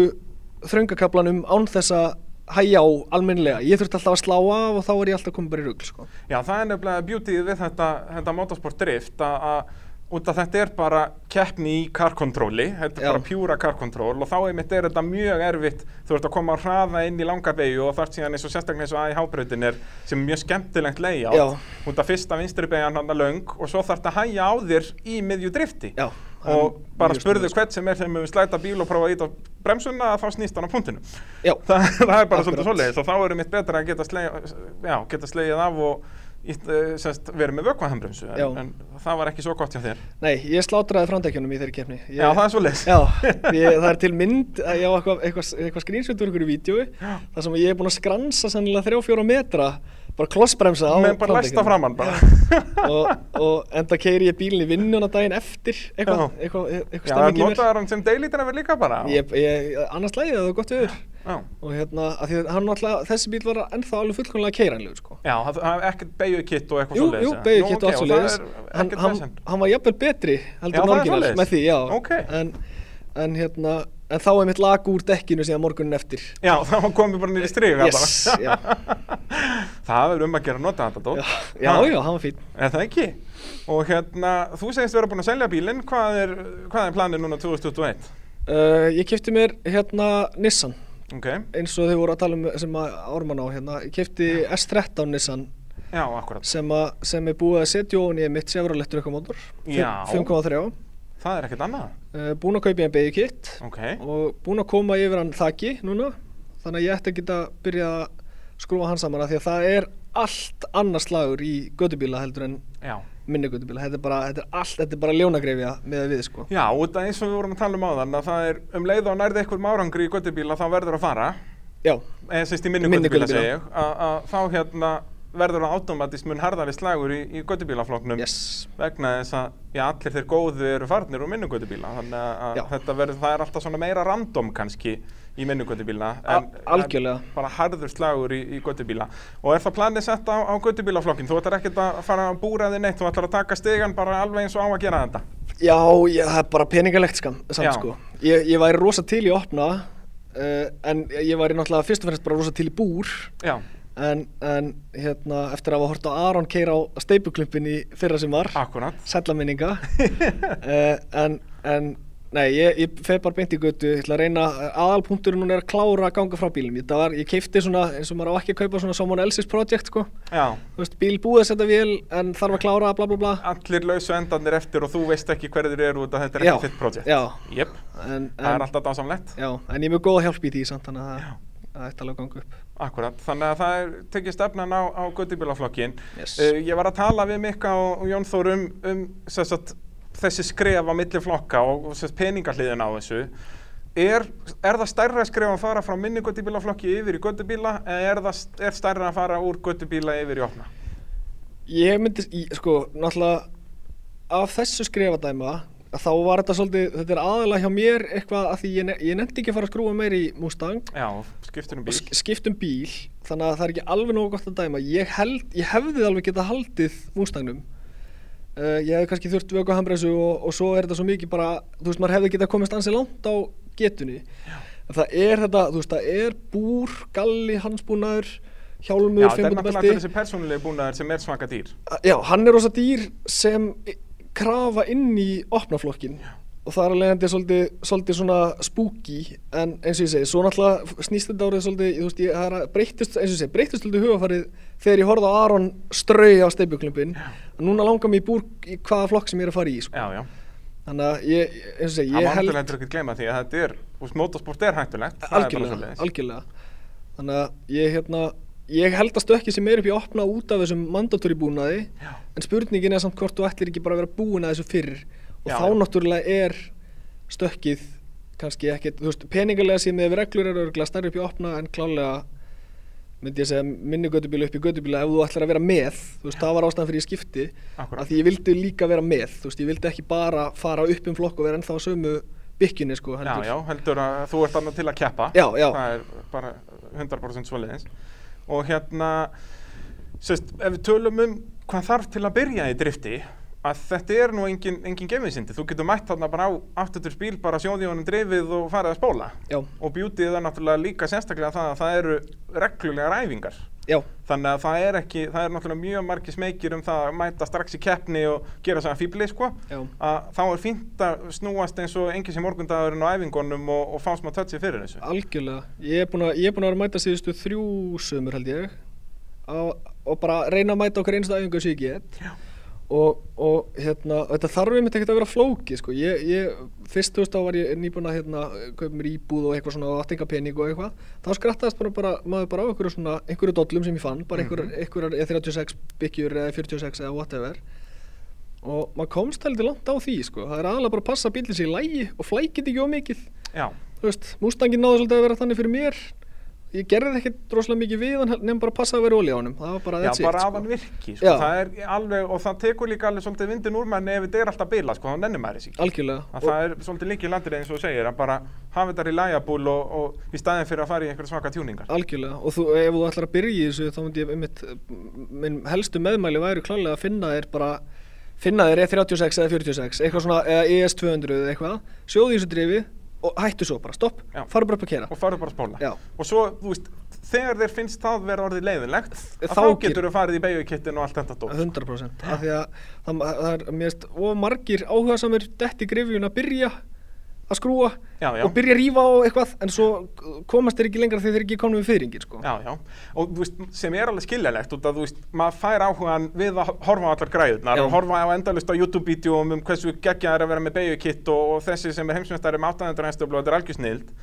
K: þröngakablanum án þess að hæja á almennilega. Ég þurfti alltaf að slá af og þá var ég alltaf komið bara í rugl, sko.
A: Já, það er nefnilega beautyð við þetta, þetta motorsport drift að- að út af þetta er bara keppni í karkontróli, þetta er
K: Já.
A: bara pjúra karkontról og þá einmitt er þetta mjög erfitt, þú ert að koma að hraða inn í langa beigju og þar síðan eins og sérstaklega eins og aði hábrautin er sem er mjög skemmtilegt leiðjátt,
K: Já.
A: út af fyrsta vinstri beigjan hann að löng og svo þarf þetta að hæja á þér í miðju drifti
K: Já, það er
A: og bara
K: mjög
A: spurðu
K: snúið, sko.
A: hvern sem er þeim við slæta bíl og prófa að íta á bremsuna þá snýst hann á punktinu
K: Já.
A: Þa, það er bara
K: Akkurat.
A: svolítið svoleiðis og þá er mitt betra að geta, slegja, já, geta slegið af og ít, semst, verið með vökvahambremsu
K: Já.
A: en, en það var ekki svo gott hjá þér
K: Nei, ég slátraði framdækjunum í þeirri keppni. Ég,
A: Já, það er svoleiðis.
K: Já, ég, það er til mynd, að ég á eitthvað, eitthvað, eitthvað skrýnsveitur ykkur í vídjói, þar sem ég er búinn að skransa sennilega þrjá, fjóra metra, bara klossbremsa á
A: Menn bara læsta framann bara.
K: Já. og, og enda keiri ég bílinn í vinnuna daginn eftir, eitthvað,
A: Já.
K: eitthvað, eitthvað
A: Já,
K: stemning í mér.
A: notaður hann sem deilítinn verið líka bara
K: ég, ég, annars lægið það var gott viður
A: Já.
K: og hérna, að því að hann náttúrulega, þessi bíl var ennþá alveg fullkomlega keiranlegur sko.
A: Já, það það er ekkert beigjurkitt og eitthvað
K: jú,
A: svoleiðis
K: jú,
A: eða?
K: beigir
A: Nú,
K: kitt
A: ok,
K: og allt svoleiðis
A: það er
K: hann,
A: ekkert
K: hann,
A: vesen.
K: hann var jafnvel betri
A: Já,
K: heldur
A: það er
K: norginar
A: svoleiðis.
K: með því, já
A: Ókei.
K: en, en hérna, en þá er mitt lag úr dekkinu síðan morgunin eftir
A: Já, þá komum við bara niður í stríf
K: Yes, já.
A: Það er um að gera að nota þetta dót.
K: já,
A: Ha?
K: já, hann var fín
A: Er það ekki? Og hérna, þú segist vera búin að selja bílinn, hvað er, hvað er planið núna 2021?
K: uh, ég kefti mér hérna Nissan
A: Ok,
K: eins og þau voru að tala um sem að Ármann á hérna, ég kefti S13 Nissan
A: já, akkurat.
K: sem, að, sem er búið að setja ofan í mitt Chevrolet trukkamótor
A: Já.
K: 5,3
A: Það er ekkert annað.
K: uh, búin að kaupa ég en beigju kitt
A: Ok,
K: og búin að koma yfir hann þaki núna þannig að ég ætti að geta byrja að skrúfa hann saman að því að það er allt annars slagur í gödubíla heldur en
A: já.
K: minni gödubíla þetta er bara, þetta er allt, þetta er bara ljónagrefja með við sko
A: Já, og þetta eins og við vorum að tala um áðan að það er um leið og nærði einhver márangri í göttubíla þá verður að fara,
K: já,
A: eða sérst í minni
K: Minni
A: göttubíla
K: götubíla.
A: segi ég, að að þá hérna verður að automatist mun harðari slagur í, í göttubílafloknum
K: yes
A: vegna þess að já, allir þeir góðu eru farnir úr minni göttubíla þannig að
K: Já.
A: þetta verður, það er alltaf svona meira random kannski í minnu göttubílna
K: A- algjörlega.
A: bara harður slagur í, í göttubíla og er það planið sett á, á göttubílaflokkin þú ætlar ekkert að fara að búra þig neitt þú ætlar að taka stegan bara alveg eins og á að gera þetta
K: Já, ég, það er bara peningalegt skam, samt
A: Já.
K: sko. Ég, ég væri rosa til í að opna, uh, en ég væri náttúrulega fyrst og fremst bara rosa til í búr.
A: Já.
K: En, en hérna, eftir að hafa hort á Aron keira á steipuklumpin í fyrra sem var.
A: Akkurat.
K: Sællaminninga. uh, en, en, nei, ég, ég fer bara beint í götu, ég ætla að reyna, aðalpunkturinn hún er að klára að ganga frá bílum. Ég, var, ég keipti svona, eins og maður á ekki að kaupa svona Someone Else's Project, sko.
A: Já.
K: Þú veist, bíl búið að setja vél, en þarf að klára, bla bla bla.
A: allir lausu endarnir eftir og þú veist ekki hverðir eru út að þetta er
K: Já,
A: ekki þitt projekt
K: já.
A: Jep,
K: en,
A: það er alltaf dásamlegt
K: Já, en ég er með góða hjálp í því samt þannig að það- það ætti alveg að ganga upp
A: Akkurat, þannig að það er tekið stefnan á, á göttibílaflokkin
K: Yes.
A: Ég var að tala við Mikka og, og Jón Þór um, um sem sagt, þessi skref á milli flokka og, og sem sagt, peningahliðina á þessu er, er það stærra skref að fara frá minni göttibílaflokki yfir í göttibíla eða er það st- er stærra að fara úr göttibíla yfir í opna?
K: Ég myndi, í- sko, náttúrulega af þessu skrifadæma að þá var þetta svolítið, þetta er aðalega hjá mér eitthvað að því ég, ne ég nefndi ekki að fara að skrúa meir í Mustang
A: Já, skiptunum
K: og
A: bíl
K: sk- skipta um bíl þannig að það er ekki alveg nógu gott að dæma ég, held, ég hefði alveg getað haldið Mustangnum uh, ég hefði kannski þurft vöku hambresu og, og svo er þetta svo mikið bara þú veist maður hefði getað komist ansi langt á getunni en það er þetta þú veist það er búr, galli, hansbúnaður
A: Já,
K: hjálmur,
A: það er náttúrulega
K: fimmundabelti
A: allir þessi persónulegi búnaður sem er svaka dýr
K: Já, hann er rosa dýr sem i- krafa inn í opnaflokkin og það er alveg hendur svolítið, svolítið svona spooky en eins og ég segi, svo náttúrulega f- snýst þetta árið svolítið, þú veist, ég, það er að breyttist eins og ég segi, breyttist svolítið hugafarið þegar ég horfði á Aron strau á steipjuklumpin núna langar mér í búr í hvaða flokk sem ég er að fara í, sko
A: Já, já
K: Þannig að ég, eins og ég segi, ég
A: Það má
K: held
A: náttúrulega heldur ekki gleyma því að þetta er, úst, motorsport er hættulegt, það er bara
K: algjörlega,
A: svoleiðis.
K: algjörlega þannig að ég hérna ég held að stökki sem er upp í að opna út af þessum mandatóri búnaði já. en spurningin er samt hvort þú ætlir ekki bara að vera búin að þessu fyrr og
A: Já,
K: þá
A: já.
K: náttúrulega er stökkið kannski ekkert, þú veist, peningalega séð með reglur eru örgulega stærri upp í að opna en klálega myndi ég segja minni gödubíla upp í gödubíla ef þú ætlar að vera með þú veist, það var ástæðan fyrir ég skipti
A: Akkúrat.
K: að því ég vildi líka vera með, þú veist, ég vildi ekki bara fara upp um flokk og vera ennþá á sömu byggjunni, sko,
A: Já, já, heldur að þú ert annað til að keppa.
K: Já, já.
A: Það er bara 100% svoleiðins. Og hérna, sérst, ef við tölum um hvað þarf til að byrja í drifti, að þetta er nú engin, engin gemisindi. Þú getur mætt þarna bara á aftutur spíl, bara sjóði honum drifið og farið að spóla.
K: Já.
A: Og bjútið er náttúrulega líka sérstaklega það að það eru reglulegar æfingar.
K: Já.
A: Þannig að það er ekki, það er náttúrulega mjög margir smeykir um það að mæta strax í keppni og gera svona fíbli, sko.
K: Já.
A: að þá er fínt að snúast eins og engi sem morgundagurinn á æfingunum og, og fá smá tötsi fyrir þessu.
K: Algjörlega, ég er búin að, ég er búin að vera að mæta síðustu þrjú sömur held ég á, og bara reyna að mæta okkur einstu æfingu sem ég get og, og hérna, þetta þarf einmitt ekkert að vera flóki sko. ég, ég, fyrst þú veist þá var ég nýbúin að hérna, kaupa mér íbúð og eitthvað svona og aftingapening og eitthvað, þá skrattaðist bara, bara maður bara á einhverju svona, einhverju dollum sem ég fann bara einhverjar, mm E36 byggjur eða 46 eða whatever og maður komst heldur langt á því sko. það er aðalega bara að passa bílinn sér í lægi og flækit ekki of mikið
A: Já.
K: þú veist, Mustangin náði svolítið að vera þannig fyrir mér ég gerði ekki droslega mikið við hann nefn bara að passa að vera óli á honum það var bara
A: Já,
K: that's it,
A: bara
K: sko.
A: af hann virki, sko,
K: Já.
A: það er alveg, og það tekur líka alveg svolítið vindin úr manni ef þetta er alltaf bila, sko, þá nennir maður þessi ekki.
K: algjörlega
A: Að það er svolítið líkið landrið eins og þú segir, að bara hafa þetta í lægabúl og, og í staðin fyrir að fara í einhverja svaka tjúningar.
K: Algjörlega, og þú, ef þú ætlar að byrja í þessu þá myndi ég einmitt, minn helstu meðmæli væri klálega að finna þér bara finna þér E E36 eða 46 eitthvað svona, eða E ES200 eða eitthvað sjóðu í þessu drifi og hættu svo bara, stopp,
A: Já.
K: farðu bara upp að kera
A: Og farðu bara að spóla.
K: Já.
A: Og svo, þú veist, þegar þeir finnst það vera orðið leiðinlegt, að
K: þá
A: þá
K: ger-
A: getur þau farið í beigukittin og allt þetta dót.
K: 100% af því að það, það er mérst og margir áhuga samir detti grifjun að byrja að skrúa
A: Já, já.
K: og byrja að rífa á eitthvað en svo komast þeir ekki lengra þegar þeir ekki komnum við fyrringir sko.
A: Já, já, og þú veist, sem er alveg skiljalegt út að þú veist, maður fær áhugan við að horfa á allar græðunar
K: Já.
A: og horfa á endalust á YouTube-vídeóum um hversu geggja er að vera með beigjukit og, og þessi sem er heimsmyndstæri með 800 hestöflu og þetta er algjör snild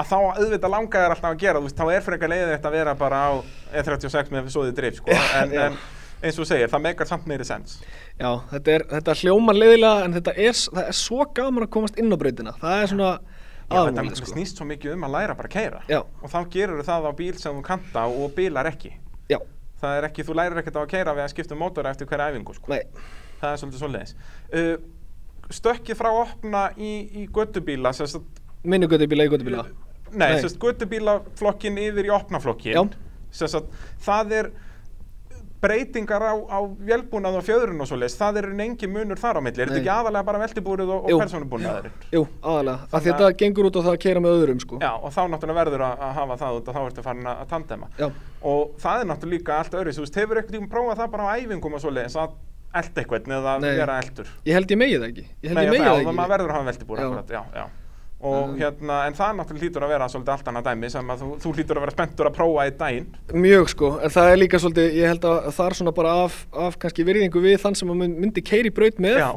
A: að þá auðvitað langar þér alltaf að gera þú veist, þá er frekar leiðið þetta að vera bara á E E36 með svoðið drif, sko en,
K: já.
A: en eins og þú segir, það meikar samt meiri sens
K: Já, þetta, er, þetta hljómar leiðilega en þetta er, s- það er svo gaman að komast inn á brautina það er svona
A: Já, þetta
K: aðalmálið,
A: sko. snýst svo mikið um að læra bara að keira
K: Já.
A: og þá gerur það á bíl sem þú kanta og bílar ekki
K: Já,
A: það er ekki, þú lærir ekkert á að keira við að skipta um mótor eftir hverja æfingu sko.
K: nei,
A: það er svolítið svoleiðis uh, stökkið frá opna í, í göttubíla sem sagt,
K: minni göttubíla í göttubíla
A: Nei, sérst, guttubílaflokkin yfir í opnaflokkin sérst að það er breytingar á, á vélbúnað og fjöðrun og svoleiðis, það er engin munur þar á milli, er þetta
K: Nei.
A: ekki aðalega bara veltibúrið og,
K: Jú.
A: og persónubúnaðurinn?
K: Jú, aðalega, af því
A: Þannig að-
K: þetta gengur út á það að keira með öðrum sko.
A: Já, og þá náttúrulega verður að, að hafa það út og þá ertu farin að, að tandema.
K: Já.
A: Og það er náttúrulega líka allt öðru, þú veist, hefur eitthvað tíma prófað það bara á æfingum og svoleiðis að elda eitthvað eða
K: Nei.
A: vera eldur?
K: Ég held ég megi það ekki Ég held
A: Nei,
K: ég megi
A: já,
K: það
A: það
K: ekki
A: maður verður að hafa veltibúr,
K: Já.
A: akkurat, já, já. Og hérna, en það náttúrulega hlýtur að vera svolítið allt annað dæmi sem að þú, þú hlýtur að vera spenntur að prófa í daginn.
K: Mjög sko, en það er líka svolítið, ég held að það er svona bara af, af kannski virðingu við þann sem að mun- myndi keiri braut með
A: Já.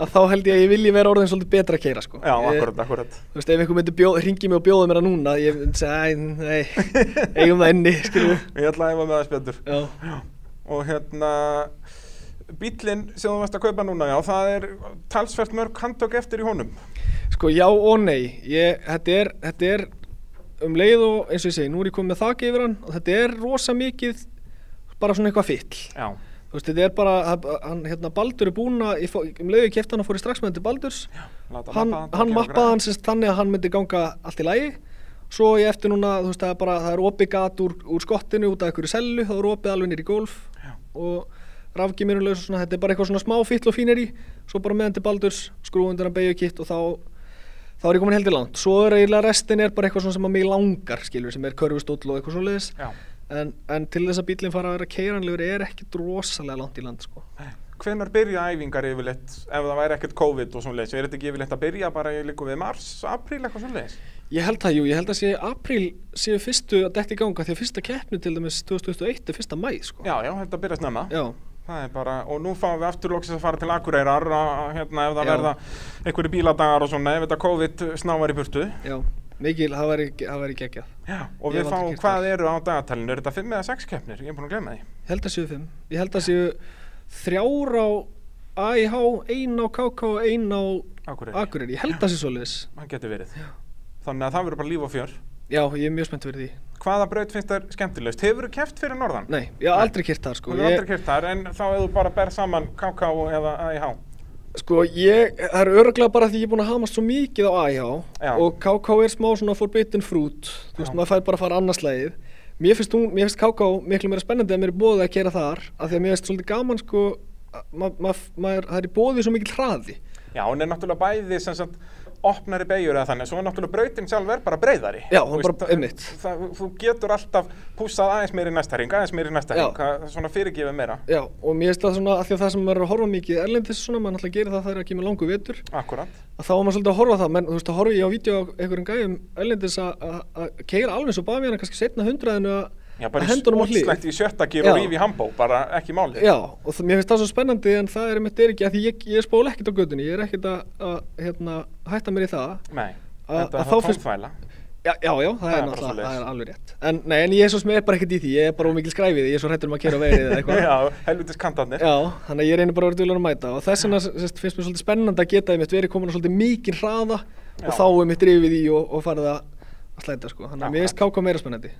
K: að þá held ég að ég vilji vera orðin svolítið betra að keira sko.
A: Já,
K: Ég-
A: akkurat, akkurat.
K: Þú veist, ef einhver myndi bjóð, ringi mig og bjóði mér að núna, ég myndi segja, æ, nei, eigum það inni, skilju.
A: Ég ætla að æfa með það spjöndur.
K: Já.
A: Og hérna, bíllinn sem þú varst að kaupa núna, já, það er talsvert mörg handtök eftir í honum.
K: Sko, já og nei, ég, þetta, er, þetta er um leið og eins og ég segi, nú er ég komið með þak yfir hann og þetta er rosa mikið bara svona eitthvað fyll.
A: Já.
K: Þú veist, þetta er bara, hann- hann, hérna, Baldur er búinn að, ég fó- um leið og ég kefti hann og fór ég strax með þetta Baldurs,
A: láta
K: hann,
A: mappa þetta og
K: hann
A: gera
K: mappaði
A: græn.
K: hann sérst þannig að hann myndi ganga allt í lagi svo ég eftir núna, þú veist, það er bara það er opið gat úr, úr skottinu út af einhverju sellu það er opið alveg nýri gólf Já. og rafgimirunlega svona, þetta er bara eitthvað svona smá fyll og fínir í, svo bara meðan til baldurs skrúfundur að beigja kitt og þá þá er ég komin heldur langt, svo er eiginlega restin er bara eitthvað svona sem að mig langar skilur sem er körfustóll og eitthvað svoleiðis
A: Já.
K: en, en til þess að bílinn fara að vera keiranlegur er ekki drosalega langt í land sko.
A: Hvenar byrja æfingar yfirleitt ef það væri ekkert COVID og svona leys? Er þetta ekki yfirleitt að byrja bara í líku við mars, apríl eitthvað svona leys?
K: Ég held það, jú, ég held að sé apríl séu fyrstu að detti í ganga því að fyrsta keppni til dæmis 2021 er fyrsta mæ, sko.
A: Já, já, þetta byrja snemma.
K: Já.
A: Það er bara, og nú fáum við aftur loksins að fara til Akureyrar að, að, hérna, ef það
K: Já.
A: verða einhverju bíladagar og svona, ef þetta COVID snávar í burtu.
K: Já, mikil, það væri, það væri geggjað.
A: Já, Og
K: Ég hef aldrei
A: við fáum,
K: gert
A: hvað eru á dagatalinu? Er þetta 5 eða 6 keppnir? Ég er búin að glemma því.
K: Ég held að séu fimm. Ég held að séu þrjár á AIH, ein á KK og ein á
A: Akureyri.
K: Akureyri. Ég held að séu svoleiðis.
A: Það getur verið. Þannig að það verður bara líf og fjör.
K: Já, ég er mjög spennt fyrir því.
A: Hvaða braut finnst þér skemmtilegust? Hefur þú keft fyrir norðan?
K: Nei, ég hef aldrei kert það, sko.
A: Þú hefur aldrei keft þar, en þá hefur þú bara berð saman KK eða AIH.
K: Sko, ég, það er örglega bara því ég er búin að hamast svo mikið á
A: Já.
K: AIH og KK er smá svona forbidden fruit, þú veist, maður fær bara að fara annarslægið. Mér finnst, hún, mér finnst KK miklu meira spennandi að mér er bóðið að gera þar, af því að mér finnst svolítið gaman, sko, að ma, ma, maður, það er í bóðið svo mikil hraði.
A: Já, hún er náttúrulega bæði sem sagt opnari beigur eða þannig, svo er náttúrulega brautin sjálf er bara breyðari.
K: Já, hún
A: Þú
K: bara-
A: það-
K: einmitt.
A: það- Þú getur alltaf pússað aðeins meiri næsta ring, aðeins meiri næsta
K: Já.
A: ring, það- svona fyrirgefið meira.
K: Já, og mér finnst það svona, af því að það sem maður er að horfa mikið erlendis svona, maður náttúrulega gerir það þegar það kemur langu vetur,
A: Akkurat.
K: að þá var maður svolítið að horfa á það, menn þú veist, þá horfi ég á vídeo á einhverjum gæjum erlendis að- að að keyra alveg eins og Bavíana kannski seinna hundraðinu að-
A: Já,
K: að
A: bara í
K: hendunum á hlið.
A: útslætt í sjötta gír og
K: Já.
A: rífi í hambó, bara ekki málið.
K: Já, og það, mér finnst það svo spennandi en það er mitt er ekki, af því ég, ég spóla ekkert á gödunni, ég er ekkert að, að hérna, hætta mér í það.
A: Nei,
K: Að- að
A: þetta er
K: þá
A: það
K: finnst-
A: tónþvæla.
K: Já, já, já það,
A: Það
K: er
A: er bara
K: náttúrulega,
A: svoleiðis.
K: það er alveg rétt. En, nei, en ég er svo sem er bara ekkert í því, ég er bara ómikil skræfið, ég er svo hrættur um að kera vegið eða eitthvað.
A: Já, helvitis kantarnir.
K: Já, þannig að ég reynir bara að vera duglegur að mæta og þess vegna sest, finnst mér svolítið spennandi að geta einmitt verið komin á svolítið mikinn hraða
A: Já.
K: og þá er mitt drifið í og, og farið að að slæta sko. Þannig að mér finnst káka meira spennandi.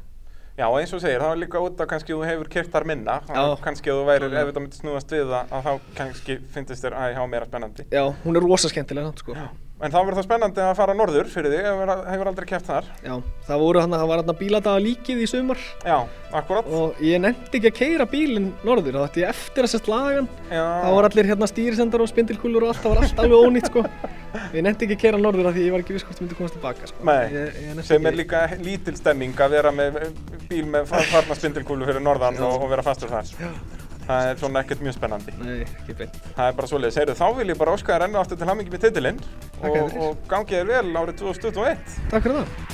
A: Já, og eins og þú segir, það er líka út að kannski þú hefur kert þar minna, þá
K: Já.
A: kannski ef þú
K: Já.
A: værir, ef þetta myndi snúast við það, að þá kannski fyndist þér AIH meira spennandi.
K: Já, hún er rosa skemmtilega samt sko.
A: En þá verður það spennandi að fara norður fyrir þig, ef- hefur aldrei keft þar.
K: Já, það voru hann það var hann bíladaga líkið í sumar
A: Já, akkurat.
K: Og ég nefndi ekki að keira bílinn norður, þá ætti ég eftir að sest lagan
A: Já.
K: Það voru allir hérna stýrisendar og spindilkúlur og allt, það var allt alveg ónýtt sko Ég nefndi ekki að keira norður af því ég var ekki viss hvort ég myndi komast tilbaka sko
A: Nei,
K: ég, ég nennti
A: sem er
K: ekki-
A: líka lítil stemming að vera með eh, bíl með fa- farna spindilkúlu fyrir norðan og, og vera fastur þar. Það er svona ekkert mjög spennandi.
K: Nei, ekki beint
A: Það er bara svoleiðis. Heyrðu, þá vil ég bara óska þér ennu aftur til hamingi með titilinn
K: fyrir.
A: og, og gangi þér vel árið 2021.
K: Takk fyrir það